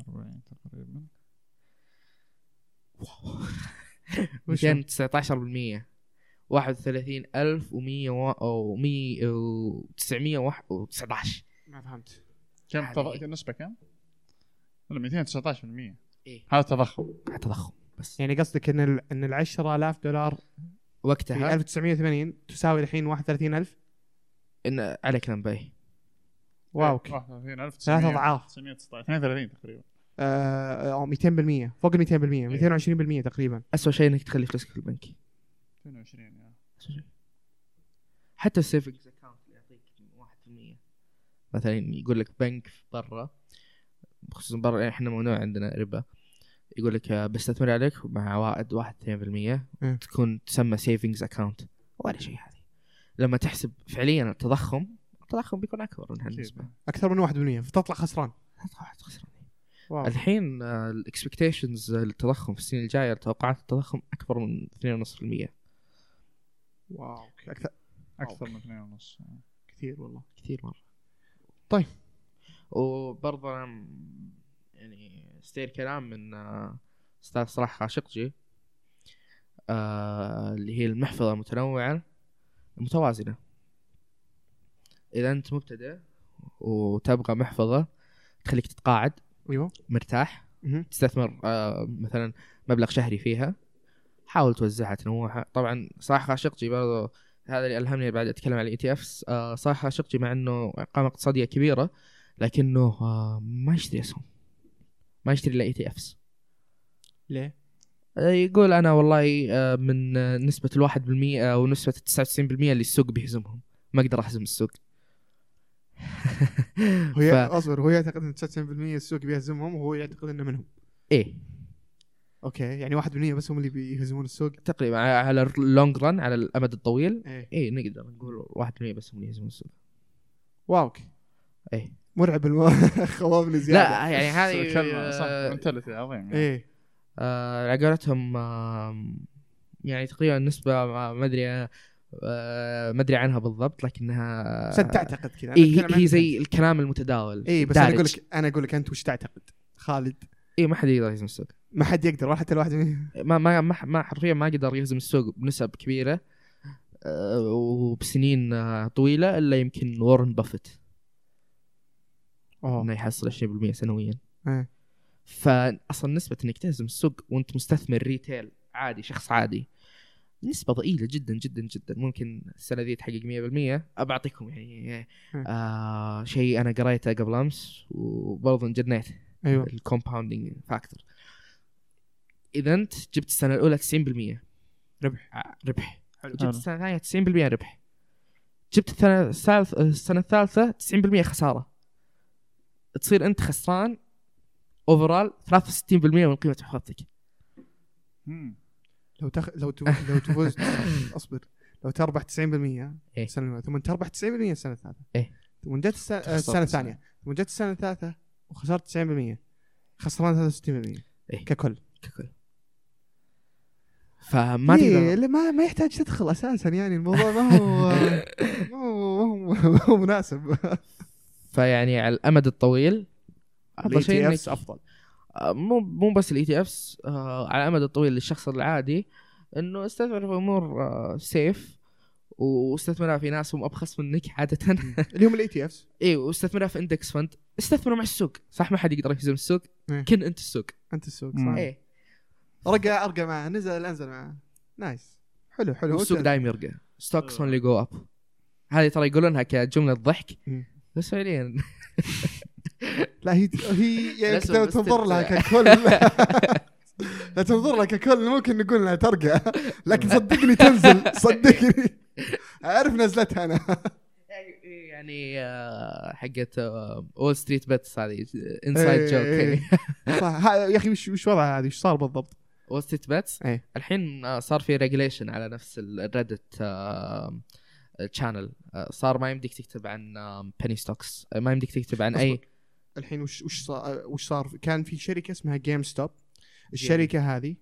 [SPEAKER 3] 40 تقريبا
[SPEAKER 1] وش هو؟
[SPEAKER 2] 219% 31919
[SPEAKER 1] ما فهمت
[SPEAKER 3] كم تض...
[SPEAKER 2] هذه.
[SPEAKER 3] نسبة كم؟ ولا 219%
[SPEAKER 2] إيه.
[SPEAKER 3] هذا تضخم
[SPEAKER 2] تضخم بس
[SPEAKER 1] يعني قصدك ان ال ان ال 10000 دولار في
[SPEAKER 2] وقتها
[SPEAKER 1] إيه. 1980 تساوي الحين 31000
[SPEAKER 2] إن عليك إيه. نبي
[SPEAKER 1] واو
[SPEAKER 3] إيه، 31900
[SPEAKER 1] ثلاث اضعاف
[SPEAKER 3] 919 32 تقريبا
[SPEAKER 1] آه، آه، 200% فوق ال 200% 220% تقريبا
[SPEAKER 2] اسوء شيء انك تخلي فلوسك في البنك
[SPEAKER 3] 22 يا
[SPEAKER 2] أسوأ شيء. حتى السيفنجز اكونت اللي يعطيك 1% مثلا يقول لك بنك في برا خصوصا برا احنا ممنوع عندنا ربا يقول لك آه، بستثمر عليك مع عوائد 1 2%
[SPEAKER 1] مم.
[SPEAKER 2] تكون تسمى سيفنجز اكونت ولا شيء هذه لما تحسب فعليا التضخم التضخم بيكون اكبر من
[SPEAKER 3] أكيد.
[SPEAKER 2] هالنسبه
[SPEAKER 1] اكثر من 1% فتطلع خسران
[SPEAKER 2] طبعاً خسران.
[SPEAKER 1] واو
[SPEAKER 2] الحين الاكسبكتيشنز للتضخم في السنين الجايه توقعات التضخم اكبر من 2.5%
[SPEAKER 1] واو اكثر
[SPEAKER 3] اكثر من 2 ونص
[SPEAKER 2] يعني
[SPEAKER 1] كثير والله
[SPEAKER 2] كثير مره
[SPEAKER 1] طيب.
[SPEAKER 2] وبرضه انا م- يعني استير كلام من آه، استاذ صلاح خاشقجي آه، اللي هي المحفظه المتنوعه المتوازنه اذا انت مبتدئ وتبغى محفظه تخليك تتقاعد
[SPEAKER 1] ايوه
[SPEAKER 2] مرتاح
[SPEAKER 1] مهم.
[SPEAKER 2] تستثمر آه، مثلا مبلغ شهري فيها حاول توزعها تنوعها طبعا صلاح خاشقجي برضو هذا اللي الهمني بعد E اتكلم عن الاي تي افس صلاح خاشقجي مع انه ارقام اقتصاديه كبيره لكنه آه، ما يشتري اسهم ما يشتري E الا اي تي افس
[SPEAKER 1] ليه؟
[SPEAKER 2] آه، يقول انا والله آه، من آه، نسبه الواحد بالمئة او نسبه التسعة وتسعين بالمئة اللي السوق بيهزمهم ما اقدر اهزم السوق
[SPEAKER 1] هو ي-
[SPEAKER 2] ف-
[SPEAKER 1] اصبر هو يعتقد ان 99% السوق بيهزمهم وهو يعتقد انه منهم
[SPEAKER 2] ايه
[SPEAKER 1] اوكي يعني 1% بس هم اللي بيهزمون السوق
[SPEAKER 2] تقريبا على اللونج رن على الامد الطويل
[SPEAKER 1] ايه
[SPEAKER 2] ايه نقدر نقول 1% بس هم اللي يهزمون السوق
[SPEAKER 1] واو
[SPEAKER 2] إيه.
[SPEAKER 1] مرعب الخواب زياده
[SPEAKER 2] لا يعني هذه
[SPEAKER 3] كلمة صح
[SPEAKER 2] آه،
[SPEAKER 3] منتاليتي عظيم يعني.
[SPEAKER 1] ايه
[SPEAKER 2] آه، على قولتهم آه، يعني تقريبا نسبة ما ما ادري آه، ما ادري عنها بالضبط لكنها
[SPEAKER 1] بس انت تعتقد كذا أنا
[SPEAKER 2] آه، إيه
[SPEAKER 1] أتكلم عن
[SPEAKER 2] هي زي الكلام المتداول
[SPEAKER 1] اي بس انا اقول لك انا اقول لك انت وش تعتقد خالد
[SPEAKER 2] اي إيه، ما حد يقدر يهزم السوق
[SPEAKER 1] ما حد يقدر ولا حتى الواحد من-
[SPEAKER 2] ما ما ما, ما حرفيا ما قدر يهزم السوق بنسب كبيرة آه، وبسنين آه، طويلة الا يمكن وارن بافيت انه
[SPEAKER 1] اوه
[SPEAKER 2] يحصل 20% سنويا
[SPEAKER 1] آه. إيه.
[SPEAKER 2] فاصلا نسبه انك تهزم السوق وانت مستثمر ريتيل عادي شخص عادي نسبة ضئيلة جدا جدا جدا ممكن السنة ذي تحقق 100% أبى أعطيكم يعني
[SPEAKER 1] مم.
[SPEAKER 2] آه شيء أنا قريته قبل أمس وبرضه انجنيت
[SPEAKER 1] ايوه
[SPEAKER 2] الكومباوندينج فاكتور إذا أنت جبت السنة الأولى 90%
[SPEAKER 1] ربح.
[SPEAKER 2] آه، ربح
[SPEAKER 1] حلو.
[SPEAKER 2] جبت السنة الثانية 90% ربح جبت السنة الثالثة السنة الثالثة 90% خسارة تصير أنت خسران اوفرال 63% من قيمة محفظتك
[SPEAKER 3] مم.
[SPEAKER 1] لو تخ... لو تو... لو تفوز اصبر لو تربح 90%
[SPEAKER 2] إيه.
[SPEAKER 1] السنه الاولى ثم تربح 90% السنه الثالثه
[SPEAKER 2] إيه.
[SPEAKER 1] ثم جت الس...
[SPEAKER 3] تخسر
[SPEAKER 1] السنه
[SPEAKER 3] 90.
[SPEAKER 1] الثانيه ثم جت السنه الثالثه وخسرت 90% خسران 63%
[SPEAKER 2] إيه.
[SPEAKER 1] ككل
[SPEAKER 2] ككل فما تقدر
[SPEAKER 1] إيه، ما ما يحتاج تدخل اساسا يعني الموضوع ما هو ما هو ما هو- ما هو مناسب
[SPEAKER 2] فيعني على الامد الطويل E افضل شيء
[SPEAKER 1] ال
[SPEAKER 2] انك
[SPEAKER 1] ETFs افضل
[SPEAKER 2] آه، مو مو بس الاي تي افس آه، على الامد الطويل للشخص العادي انه استثمر في امور سيف واستثمرها في ناس هم ابخس منك عاده
[SPEAKER 1] اللي هم الاي تي افس
[SPEAKER 2] اي إيه، واستثمرها في اندكس فند استثمروا مع السوق صح ما حد يقدر يهزم السوق
[SPEAKER 1] إيه.
[SPEAKER 2] كن انت السوق
[SPEAKER 1] انت السوق
[SPEAKER 3] مم.
[SPEAKER 1] صح
[SPEAKER 2] ايه
[SPEAKER 1] رقع ارقى معه نزل انزل معه نايس حلو حلو
[SPEAKER 2] والسوق دايم يرقى ستوكس اونلي جو اب هذه ترى يقولونها كجمله ضحك
[SPEAKER 1] مم.
[SPEAKER 2] بس فعليا
[SPEAKER 1] لا هي هي يعني
[SPEAKER 2] لازم
[SPEAKER 1] كذا
[SPEAKER 2] بس
[SPEAKER 1] تنظر لها
[SPEAKER 2] تت-
[SPEAKER 1] ككل لا تنظر لها ككل ممكن نقول انها ترقى لكن صدقني تنزل صدقني اعرف نزلتها انا
[SPEAKER 2] يعني آه، حقت وول ستريت بيتس هذه آه، انسايد
[SPEAKER 1] إيه،
[SPEAKER 2] جوك
[SPEAKER 1] إيه. صح ها- يا اخي وش وش وضعها هذه وش صار بالضبط؟
[SPEAKER 2] وول ستريت بيتس
[SPEAKER 1] إيه.
[SPEAKER 2] الحين آه، صار في ريجليشن على نفس الريدت شانل آه، صار ما يمديك تكتب عن بني ستوكس آه، ما يمديك تكتب عن اي
[SPEAKER 1] الحين وش وش صار وش صار كان في شركه اسمها جيم ستوب الشركه هذه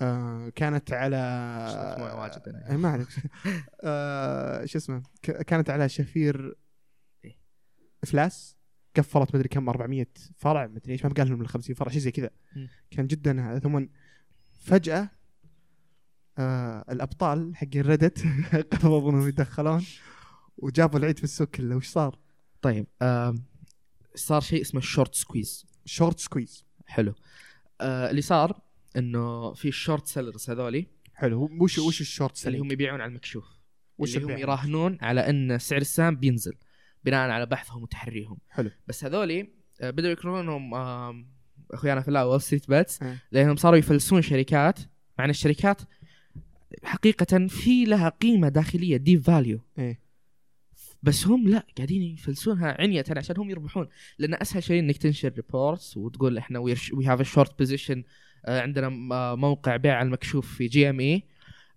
[SPEAKER 1] آه، كانت على
[SPEAKER 2] استثمار واجد أنا.
[SPEAKER 1] إيه، ما عليك آه، شو اسمه ك- كانت على شفير
[SPEAKER 2] إيه.
[SPEAKER 1] افلاس قفلت مدري كم 400 فرع مدري ايش ما بقى لهم الا 50 فرع شيء زي كذا
[SPEAKER 2] مم.
[SPEAKER 1] كان جدا هذا ثم فجاه آه الابطال حق الريدت قرروا انهم يتدخلون وجابوا العيد في السوق كله وش صار؟
[SPEAKER 2] طيب آم، صار شيء اسمه الشورت سكويز
[SPEAKER 1] شورت سكويز
[SPEAKER 2] حلو آه، اللي صار انه في الشورت سيلرز هذولي
[SPEAKER 1] حلو وش وش الشورت
[SPEAKER 2] اللي هم
[SPEAKER 1] سيلينج؟
[SPEAKER 2] يبيعون على المكشوف
[SPEAKER 1] وش
[SPEAKER 2] اللي هم
[SPEAKER 1] البيع؟
[SPEAKER 2] يراهنون على ان سعر السهم بينزل بناء على بحثهم وتحريهم
[SPEAKER 1] حلو.
[SPEAKER 2] بس هذولي آه، بدأوا يكرهونهم آم، اخويانا في الله وول ستريت باتس
[SPEAKER 1] آه.
[SPEAKER 2] لانهم صاروا يفلسون شركات مع ان الشركات حقيقة في لها قيمة داخلية ديب فاليو
[SPEAKER 1] إيه.
[SPEAKER 2] بس هم لا قاعدين يفلسونها عنية عشان هم يربحون لان اسهل شيء انك تنشر ريبورتس وتقول احنا وي هاف شورت بوزيشن عندنا م- آه، موقع بيع على المكشوف في E، جي ام اي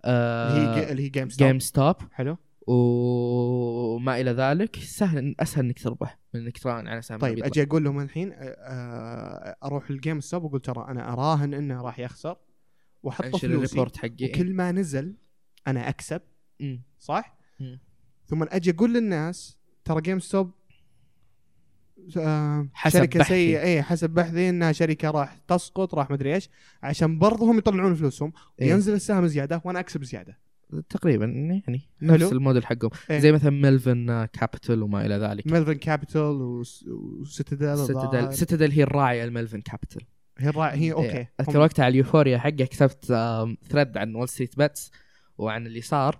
[SPEAKER 2] آه،
[SPEAKER 1] اللي هي اللي هي جيم ستوب
[SPEAKER 2] جيم ستوب
[SPEAKER 1] حلو
[SPEAKER 2] وما الى ذلك سهل اسهل انك تربح من انك تراهن على سهم
[SPEAKER 1] طيب
[SPEAKER 2] بيطلع.
[SPEAKER 1] اجي اقول لهم الحين آه، آه، اروح الجيم ستوب واقول ترى انا اراهن انه راح يخسر واحط
[SPEAKER 2] انشر
[SPEAKER 1] فلوسي
[SPEAKER 2] الريبورت حقي إيه.
[SPEAKER 1] وكل ما نزل انا اكسب
[SPEAKER 2] مم.
[SPEAKER 1] صح؟
[SPEAKER 2] مم.
[SPEAKER 1] ثم اجي اقول للناس ترى جيم ستوب آه،
[SPEAKER 2] حسب
[SPEAKER 1] شركه
[SPEAKER 2] بحثي.
[SPEAKER 1] سيئه اي حسب بحثي انها شركه راح تسقط راح مدري ايش عشان برضه هم يطلعون فلوسهم
[SPEAKER 2] إيه.
[SPEAKER 1] وينزل السهم زياده وانا اكسب زياده
[SPEAKER 2] تقريبا يعني
[SPEAKER 1] حلو.
[SPEAKER 2] نفس الموديل حقهم
[SPEAKER 1] إيه.
[SPEAKER 2] زي مثلا ميلفن كابيتال وما الى ذلك
[SPEAKER 1] ميلفن كابيتال وستدل
[SPEAKER 2] ستدل
[SPEAKER 1] ستدل
[SPEAKER 2] ستدل هي الراعيه الملفن كابيتال
[SPEAKER 1] هي الرا- هي اوكي
[SPEAKER 2] إيه. اذكر
[SPEAKER 1] هم-
[SPEAKER 2] وقتها على اليوفوريا حقه كتبت آم، ثريد عن وول ستريت باتس وعن اللي صار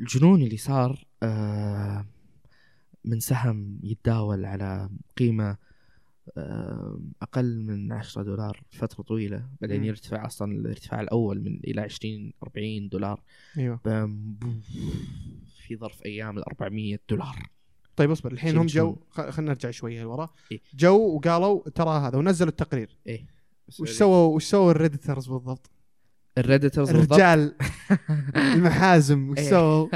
[SPEAKER 2] الجنون اللي صار آم، من سهم يتداول على قيمه آم، اقل من 10 دولار فتره طويله بعدين
[SPEAKER 1] مم.
[SPEAKER 2] يرتفع اصلا الارتفاع الاول من الى 20 40 دولار
[SPEAKER 1] ايوه
[SPEAKER 2] بام، بوف، في ظرف ايام ال 400 دولار
[SPEAKER 1] طيب اصبر الحين هم جو
[SPEAKER 2] شيمشون.
[SPEAKER 1] خ- خلينا نرجع شويه لورا
[SPEAKER 2] إيه.
[SPEAKER 1] جو وقالوا ترى هذا ونزلوا التقرير
[SPEAKER 2] ايه
[SPEAKER 1] وش سووا وش سووا الريدترز بالضبط؟
[SPEAKER 2] الريدترز بالضبط
[SPEAKER 1] الرجال المحازم وش
[SPEAKER 2] إيه.
[SPEAKER 1] سووا؟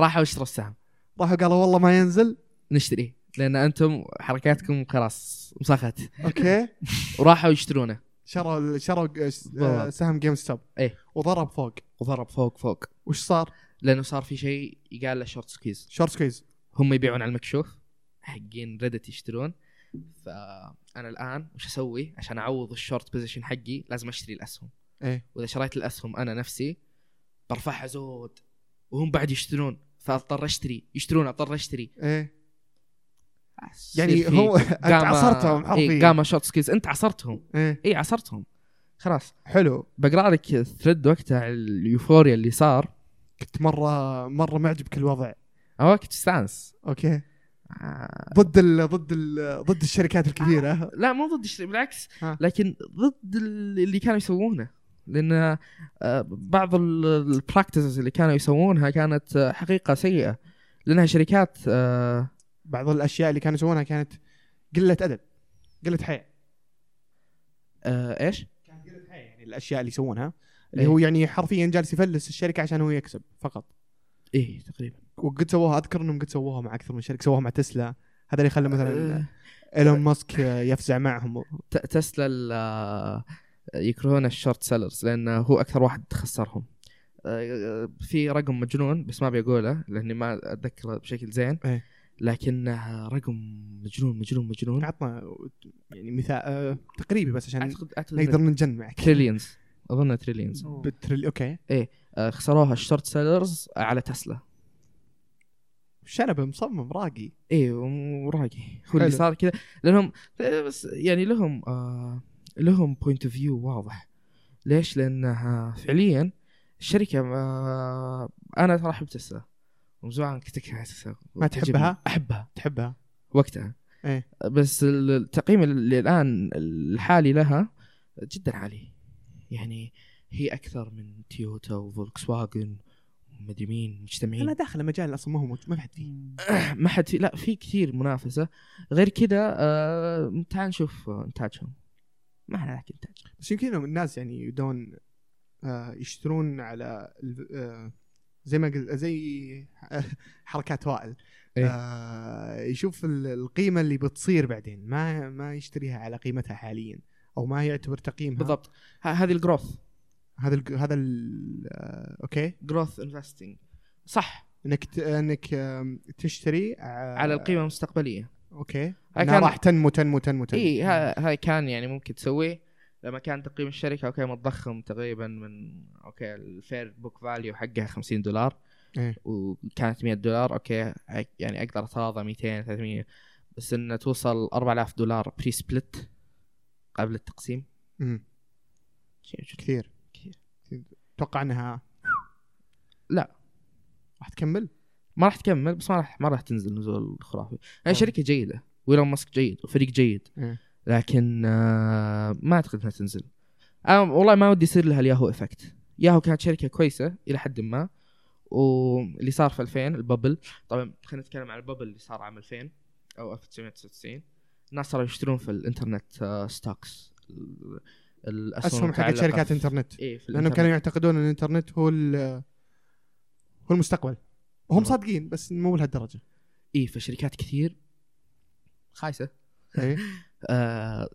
[SPEAKER 2] راحوا اشتروا السهم
[SPEAKER 1] راحوا قالوا والله ما ينزل
[SPEAKER 2] نشتريه لان انتم حركاتكم خلاص مسخت
[SPEAKER 1] اوكي
[SPEAKER 2] وراحوا يشترونه
[SPEAKER 1] شروا شروا آه،
[SPEAKER 2] بالضبط.
[SPEAKER 1] سهم جيم ستوب
[SPEAKER 2] إيه.
[SPEAKER 1] وضرب فوق
[SPEAKER 2] وضرب فوق فوق
[SPEAKER 1] وش صار؟
[SPEAKER 2] لانه صار في شيء يقال له شورت سكيز
[SPEAKER 1] شورت سكويز
[SPEAKER 2] هم يبيعون على المكشوف حقين ريدت يشترون فانا الان وش اسوي عشان اعوض الشورت بوزيشن حقي لازم اشتري الاسهم
[SPEAKER 1] ايه
[SPEAKER 2] واذا شريت الاسهم انا نفسي برفعها زود وهم بعد يشترون فاضطر اشتري يشترون اضطر اشتري
[SPEAKER 1] ايه
[SPEAKER 2] يصير
[SPEAKER 1] يعني
[SPEAKER 2] في
[SPEAKER 1] هو انت
[SPEAKER 2] قامة-
[SPEAKER 1] عصرتهم
[SPEAKER 2] إيه
[SPEAKER 1] حرفيا
[SPEAKER 2] قام شورت سكيز انت عصرتهم
[SPEAKER 1] ايه
[SPEAKER 2] اي عصرتهم خلاص
[SPEAKER 1] حلو
[SPEAKER 2] بقرا لك ثريد وقتها على اليوفوريا اللي صار
[SPEAKER 1] كنت مره مره معجب كل وضع
[SPEAKER 2] اوه كنت استانس
[SPEAKER 1] اوكي
[SPEAKER 2] آه،
[SPEAKER 1] ضد ال ضد ال ضد الشركات الكبيره
[SPEAKER 2] لا مو ضد الشيء بالعكس
[SPEAKER 1] ها.
[SPEAKER 2] لكن ضد ال- اللي كانوا يسوونه لان آه، بعض البراكتسز اللي كانوا يسوونها كانت آه، حقيقه سيئه لانها شركات آه،
[SPEAKER 1] بعض الاشياء اللي كانوا يسوونها كانت قله ادب قله حياء
[SPEAKER 2] آه، ايش؟
[SPEAKER 1] كانت قله حياء يعني الاشياء اللي يسوونها اللي
[SPEAKER 2] إيه.
[SPEAKER 1] هو يعني حرفيا جالس يفلس الشركه عشان هو يكسب فقط
[SPEAKER 2] ايه تقريبا
[SPEAKER 1] وقد سووها اذكر انهم قد سووها مع اكثر من شركه سووها مع تسلا هذا اللي خلى مثلا
[SPEAKER 2] آه،
[SPEAKER 1] ايلون ماسك يفزع معهم
[SPEAKER 2] ت- تسلا ال- آه، يكرهون الشورت سيلرز لان هو اكثر واحد خسرهم آه، في رقم مجنون بس ما بقوله لاني ما اتذكره بشكل زين
[SPEAKER 1] إيه.
[SPEAKER 2] لكنه رقم مجنون مجنون مجنون
[SPEAKER 1] عطنا يعني مثال آه، تقريبي بس عشان
[SPEAKER 2] اعتقد اعتقد
[SPEAKER 1] نقدر نجن معك
[SPEAKER 2] تريليونز اظن تريليونز
[SPEAKER 1] بالتريل اوكي
[SPEAKER 2] آه، خسروها الشورت سيلرز على تسلا
[SPEAKER 1] شنب مصمم راقي
[SPEAKER 2] اي إيه، وراقي هو اللي
[SPEAKER 1] حلو.
[SPEAKER 2] صار كذا لانهم آه، بس يعني لهم آه لهم بوينت اوف فيو واضح ليش؟ لانها فعليا الشركه آه انا ترى احب تسلا ومزوعا كنت اكره تسلا
[SPEAKER 1] ما تحبها؟
[SPEAKER 2] احبها
[SPEAKER 1] تحبها
[SPEAKER 2] وقتها
[SPEAKER 1] إيه.
[SPEAKER 2] بس ال- التقييم اللي الان الحالي لها جدا عالي يعني هي اكثر من تويوتا وفولكس واجن ومدري مين
[SPEAKER 1] انا
[SPEAKER 2] مجتمعين
[SPEAKER 1] داخل مجال اصلا ما هو موجود ما في حد فيه
[SPEAKER 2] ما حد في لا في كثير منافسه غير كذا آه تعال نشوف انتاجهم ما هناك انتاج
[SPEAKER 1] بس يمكن إنهم الناس يعني يدون آه، يشترون على ال- آه، زي ما قلت زي حركات وائل
[SPEAKER 2] إيه.
[SPEAKER 1] آه، يشوف ال- القيمه اللي بتصير بعدين ما ما يشتريها على قيمتها حاليا او ما يعتبر تقييمها
[SPEAKER 2] بالضبط ه- هذه الجروث
[SPEAKER 1] هذا ال هذا ال آه، اوكي
[SPEAKER 2] جروث انفستنج صح
[SPEAKER 1] انك ت- انك آم، تشتري آه،
[SPEAKER 2] على القيمه المستقبليه
[SPEAKER 1] اوكي
[SPEAKER 2] أنا
[SPEAKER 1] انها
[SPEAKER 2] كان- إيه،
[SPEAKER 1] راح تنمو تنمو تنمو تنمو
[SPEAKER 2] اي ه- هاي كان يعني ممكن تسويه لما كان تقييم الشركه اوكي متضخم تقريبا من اوكي الفير بوك فاليو حقها 50 دولار
[SPEAKER 1] إيه.
[SPEAKER 2] وكانت 100 دولار اوكي أك- يعني اقدر اتغاضى 200 300 بس انها توصل 4000 دولار بري سبلت قبل التقسيم
[SPEAKER 1] مم.
[SPEAKER 2] شيء جدا
[SPEAKER 1] كثير
[SPEAKER 2] كثير.
[SPEAKER 1] اتوقع انها
[SPEAKER 2] لا.
[SPEAKER 1] راح تكمل
[SPEAKER 2] ما راح تكمل بس ما راح ما راح تنزل نزول خرافي
[SPEAKER 1] أوه.
[SPEAKER 2] هي شركه جيده ويلون ماسك جيد وفريق جيد
[SPEAKER 1] آه. إيه.
[SPEAKER 2] لكن آه، ما اعتقد انها تنزل انا والله ما ودي يصير لها الياهو افكت ياهو كانت شركه كويسه الى حد ما واللي صار في 2000 الببل طبعا خلينا نتكلم عن الببل اللي صار عام 2000 او 1999 الناس صاروا يشترون في الانترنت آه، ستوكس ال- الاسهم
[SPEAKER 1] اسهم حق
[SPEAKER 2] المتعلقة
[SPEAKER 1] شركات
[SPEAKER 2] في-
[SPEAKER 1] انترنت
[SPEAKER 2] ايه في
[SPEAKER 1] لانهم
[SPEAKER 2] الانترنت
[SPEAKER 1] كانوا يعتقدون ان الانترنت هو ال- هو المستقبل وهم صادقين بس مو لهالدرجه
[SPEAKER 2] ايه فشركات كثير خايسه
[SPEAKER 1] إيه.
[SPEAKER 2] آه،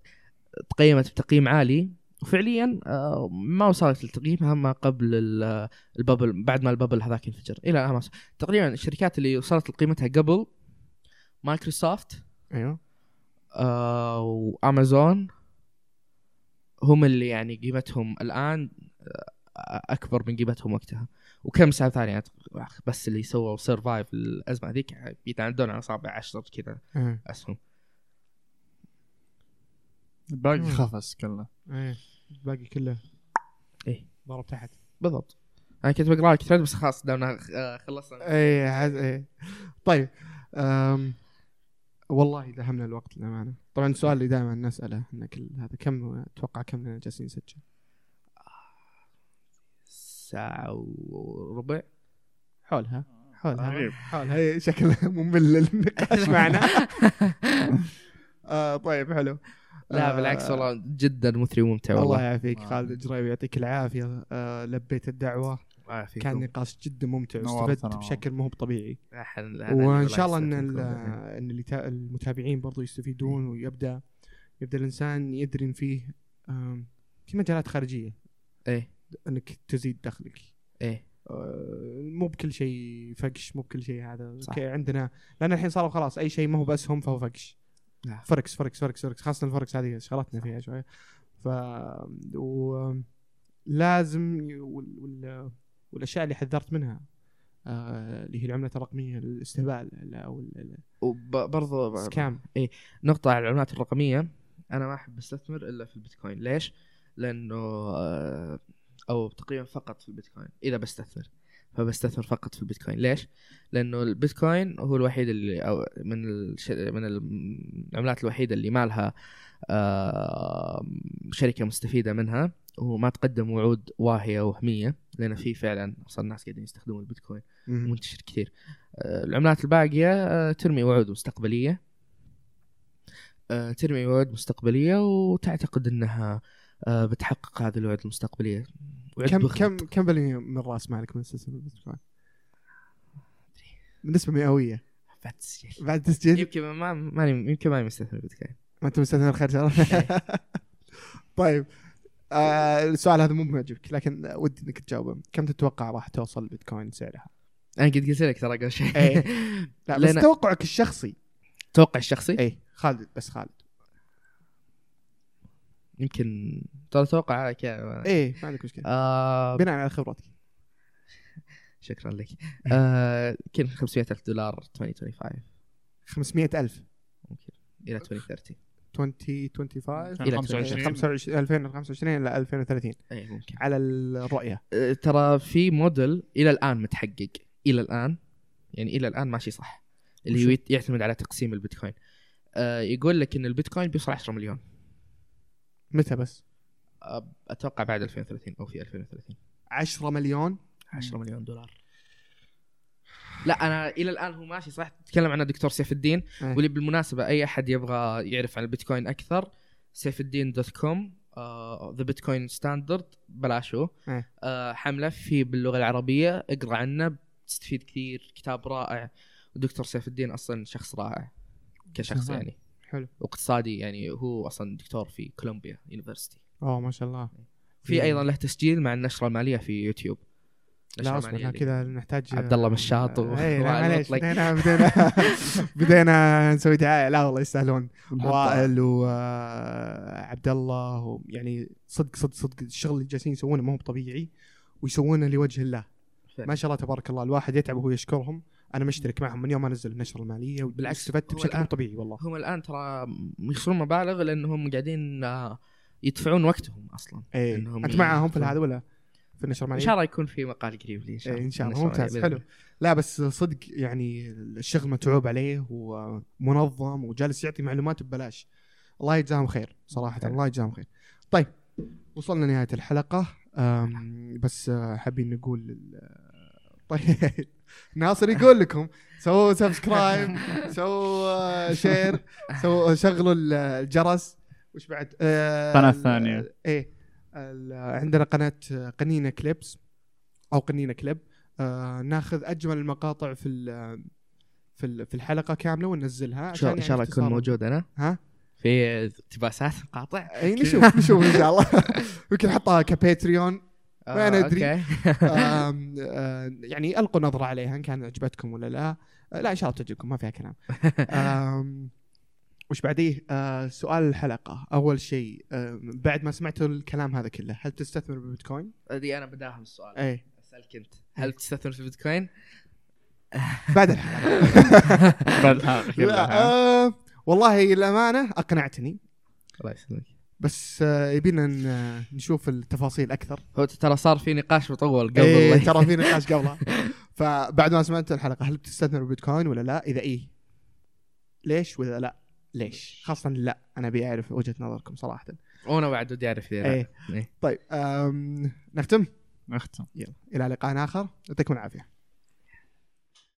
[SPEAKER 2] تقيمت بتقييم عالي وفعليا آه، ما وصلت لتقييمها ما قبل ال- الببل بعد ما الببل هذاك انفجر الى الان ما وصل- تقريبا الشركات اللي وصلت لقيمتها قبل مايكروسوفت
[SPEAKER 1] ايوه
[SPEAKER 2] آه، وامازون هم اللي يعني قيمتهم الان آه، اكبر من قيمتهم وقتها وكم سنه ثانيه أعتقد- بس اللي سووا سرفايف الازمه هذيك بيتعدون على اصابع عشر كذا
[SPEAKER 1] إيه.
[SPEAKER 2] اسهم
[SPEAKER 3] الباقي
[SPEAKER 1] مم.
[SPEAKER 3] خفص كله
[SPEAKER 1] ايه الباقي كله
[SPEAKER 2] إيه.
[SPEAKER 1] ضرب تحت
[SPEAKER 2] بالضبط انا كنت بقرا لك ثريد بس خلاص دامنا آه، خلصنا
[SPEAKER 1] ايه عز... ايه طيب أم... والله دهمنا الوقت للامانه طبعا السؤال اللي دائما نساله ان كل هذا كم اتوقع كم لنا جالسين نسجل
[SPEAKER 2] ساعة وربع
[SPEAKER 1] حولها حولها
[SPEAKER 2] طيب.
[SPEAKER 3] غريب.
[SPEAKER 1] حولها إيه، شكلها ممل النقاش معنا آه طيب حلو
[SPEAKER 2] لا
[SPEAKER 1] آه،
[SPEAKER 2] بالعكس والله جدا مثري وممتع
[SPEAKER 1] الله
[SPEAKER 2] والله
[SPEAKER 1] يعافيك
[SPEAKER 3] آه.
[SPEAKER 1] خالد الجريبي يعطيك العافيه آه لبيت الدعوه
[SPEAKER 2] آه،
[SPEAKER 1] كان نقاش جدا ممتع
[SPEAKER 3] نورتنا
[SPEAKER 1] واستفدت
[SPEAKER 3] والله.
[SPEAKER 1] بشكل مو طبيعي
[SPEAKER 2] أحد- أنا-
[SPEAKER 1] وان
[SPEAKER 2] والله
[SPEAKER 1] شاء الله ان ال-
[SPEAKER 2] يستفيدكم.
[SPEAKER 1] ان اللي تا- المتابعين برضو يستفيدون ويبدا يبدا الانسان يدري ان فيه آم، في مجالات خارجيه
[SPEAKER 2] ايه
[SPEAKER 1] انك تزيد دخلك
[SPEAKER 2] ايه
[SPEAKER 1] آه، مو بكل شيء فقش مو بكل شيء هذا
[SPEAKER 2] صح.
[SPEAKER 1] اوكي عندنا لان الحين صاروا خلاص اي شيء ما هو باسهم فهو فقش
[SPEAKER 2] نعم.
[SPEAKER 1] فركس فركس فركس فركس خاصه الفركس هذه شغلتنا فيها شويه ف و لازم ي- وال... وال... والاشياء اللي حذرت منها آه، اللي هي العمله الرقميه الاستهبال ال- او ال-
[SPEAKER 2] وبرضه
[SPEAKER 1] السكام
[SPEAKER 2] نقطة على العملات الرقمية أنا ما أحب أستثمر إلا في البيتكوين ليش؟ لأنه آه، أو تقريبا فقط في البيتكوين إذا بستثمر فبستثمر فقط في البيتكوين ليش؟ لأنه البيتكوين هو الوحيد اللي أو من الش... من العملات الوحيدة اللي ما لها آه، شركة مستفيدة منها وما تقدم وعود واهية وهمية لأن في فعلا أصلا الناس قاعدين يستخدمون البيتكوين
[SPEAKER 1] مهم.
[SPEAKER 2] منتشر كثير آه، العملات الباقيه آه، ترمي وعود مستقبليه آه، ترمي وعود مستقبليه وتعتقد انها آه، بتحقق هذه الوعود المستقبليه وعد
[SPEAKER 1] كم
[SPEAKER 2] بخيط.
[SPEAKER 1] كم كم بالمية من راس مالك من سلسله البيتكوين؟ بالنسبه مئويه
[SPEAKER 2] بعد تسجيل.
[SPEAKER 1] بعد تسجيل
[SPEAKER 2] يمكن ما ماني يمكن ماني مستثمر بيتكوين
[SPEAKER 1] ما انت مستثمر خير شرف
[SPEAKER 2] إيه.
[SPEAKER 1] طيب آه السؤال هذا مو بمعجبك لكن ودي انك تجاوبه كم تتوقع راح توصل بيتكوين سعرها؟
[SPEAKER 2] انا قد قلت لك ترى قبل شيء
[SPEAKER 1] إيه. لا بس
[SPEAKER 2] لأن- إيه.
[SPEAKER 1] توقعك الشخصي
[SPEAKER 2] توقع الشخصي
[SPEAKER 1] اي خالد بس خالد
[SPEAKER 2] يمكن ترى توقع هذا كذا.
[SPEAKER 1] اي إيه، ما عندك مشكله
[SPEAKER 2] آه،
[SPEAKER 1] بناء على خبرتك
[SPEAKER 2] شكرا لك
[SPEAKER 1] إيه.
[SPEAKER 2] آه، يمكن 500 الف دولار 2025
[SPEAKER 1] 500000
[SPEAKER 2] ممكن الى 2030
[SPEAKER 1] 2025
[SPEAKER 2] إلى
[SPEAKER 1] 25 2025 الى 2030
[SPEAKER 2] اي إيه، ممكن
[SPEAKER 1] على الرؤيه
[SPEAKER 2] أه، ترى في موديل الى الان متحقق الى الان يعني الى الان ماشي صح اللي هو يت- يعتمد على تقسيم البيتكوين أه، يقول لك ان البيتكوين بيوصل 10 مليون
[SPEAKER 1] متى بس؟
[SPEAKER 2] أه، اتوقع بعد 2030 او في 2030
[SPEAKER 1] 10 مليون
[SPEAKER 2] 10 مليون دولار لا انا الى الان هو ماشي صح تكلم عنه دكتور سيف الدين
[SPEAKER 1] إيه.
[SPEAKER 2] واللي بالمناسبه اي احد يبغى يعرف عن البيتكوين اكثر سيف الدين دوت كوم آه، ذا بيتكوين ستاندرد بلاشو
[SPEAKER 1] إيه.
[SPEAKER 2] آه، حمله في باللغه العربيه اقرا عنه بتستفيد كثير كتاب رائع ودكتور سيف الدين اصلا شخص رائع كشخص
[SPEAKER 3] تمام.
[SPEAKER 2] يعني
[SPEAKER 1] حلو
[SPEAKER 2] واقتصادي يعني هو اصلا دكتور في كولومبيا يونيفرستي
[SPEAKER 1] اوه ما شاء الله
[SPEAKER 2] في ايضا له تسجيل مع النشره الماليه في يوتيوب
[SPEAKER 1] لا
[SPEAKER 2] الأشياء
[SPEAKER 1] اصبر
[SPEAKER 2] المالية
[SPEAKER 1] إحنا
[SPEAKER 2] دي.
[SPEAKER 1] كذا نحتاج آه، إيه،
[SPEAKER 2] عبد الله مشاط و-
[SPEAKER 1] اي لا
[SPEAKER 2] وعلي
[SPEAKER 1] معليش
[SPEAKER 2] مطلق.
[SPEAKER 1] بدينا بدينا بدينا نسوي دعايه لا والله يستاهلون وائل وعبد الله و- يعني صدق صدق صدق الشغل اللي جالسين يسوونه ما هو طبيعي ويسوونه لوجه الله
[SPEAKER 2] فعلا.
[SPEAKER 1] ما شاء الله تبارك الله الواحد يتعب وهو يشكرهم انا مشترك معهم من يوم ما نزل النشره الماليه وبالعكس استفدت
[SPEAKER 2] هو
[SPEAKER 1] بشكل
[SPEAKER 2] الآن-
[SPEAKER 1] مو طبيعي والله
[SPEAKER 2] هم الان ترى يخسرون مبالغ لانهم قاعدين آه، يدفعون وقتهم اصلا
[SPEAKER 1] اي
[SPEAKER 2] إنهم
[SPEAKER 1] انت معاهم إيه. في
[SPEAKER 2] يدخلون.
[SPEAKER 1] هذا ولا في النشره
[SPEAKER 2] ان
[SPEAKER 1] الماليه؟
[SPEAKER 2] شاء الله يكون في مقال قريب لي ان شاء
[SPEAKER 1] طيب. إيه،
[SPEAKER 2] الله
[SPEAKER 1] ان شاء الله
[SPEAKER 2] النشرة
[SPEAKER 1] ممتاز
[SPEAKER 2] بإذن
[SPEAKER 1] حلو لا بس صدق يعني الشغل متعوب عليه ومنظم وجالس يعطي معلومات ببلاش الله يجزاهم خير صراحه
[SPEAKER 2] فعلا.
[SPEAKER 1] الله يجزاهم خير طيب وصلنا لنهايه الحلقه أم، بس آه، حابين نقول لل- طيب ناصر يقول لكم سووا سبسكرايب سووا آه، شير سووا آه، شغلوا ال- الجرس وش بعد آه،
[SPEAKER 3] قناة
[SPEAKER 1] ال-
[SPEAKER 3] ثانية.
[SPEAKER 1] ايه ال- عندنا قناه آه، قنينه كليبس او قنينه كليب آه، ناخذ اجمل المقاطع في ال- في ال- في الحلقه كامله وننزلها
[SPEAKER 2] إن
[SPEAKER 1] عشان
[SPEAKER 2] شاء- ان
[SPEAKER 1] يعني
[SPEAKER 2] شاء الله يكون
[SPEAKER 1] اختصارا.
[SPEAKER 2] موجود انا
[SPEAKER 1] ها؟
[SPEAKER 2] في اقتباسات مقاطع
[SPEAKER 1] اي نشوف نشوف ان شاء الله يمكن نحطها كباتريون ما أنا أدري.
[SPEAKER 2] آه، أوكي.
[SPEAKER 1] آم، آه، يعني القوا نظره عليها ان كان عجبتكم ولا لا آه، لا ان شاء الله تعجبكم ما فيها كلام آم، وش بعديه آه، سؤال الحلقه اول شيء آه، بعد ما سمعتوا الكلام هذا كله هل تستثمر إيه، بالبيتكوين؟
[SPEAKER 2] دي انا بداهم السؤال
[SPEAKER 1] اي
[SPEAKER 2] اسالك انت هل تستثمر في البيتكوين؟
[SPEAKER 1] بعد الحلقه
[SPEAKER 3] بعد حلقة
[SPEAKER 1] لا
[SPEAKER 3] كلها.
[SPEAKER 1] آه، والله الامانه اقنعتني
[SPEAKER 2] الله يسلمك
[SPEAKER 1] بس آه، يبينا ن- آه، نشوف التفاصيل اكثر
[SPEAKER 2] هو ترى صار في نقاش مطول قبل
[SPEAKER 1] إيه،
[SPEAKER 2] الله-
[SPEAKER 1] ترى في نقاش قبلها فبعد ما سمعت الحلقه هل بتستثمر بالبيتكوين ولا لا؟ اذا ايه ليش واذا لا ليش؟ خاصه لا انا ابي اعرف وجهه نظركم صراحه.
[SPEAKER 2] وانا بعد ودي اعرف إذا لا.
[SPEAKER 1] ايه
[SPEAKER 2] إيه.
[SPEAKER 1] طيب آم، نختم
[SPEAKER 3] نختم
[SPEAKER 1] الى لقاء اخر يعطيكم العافيه.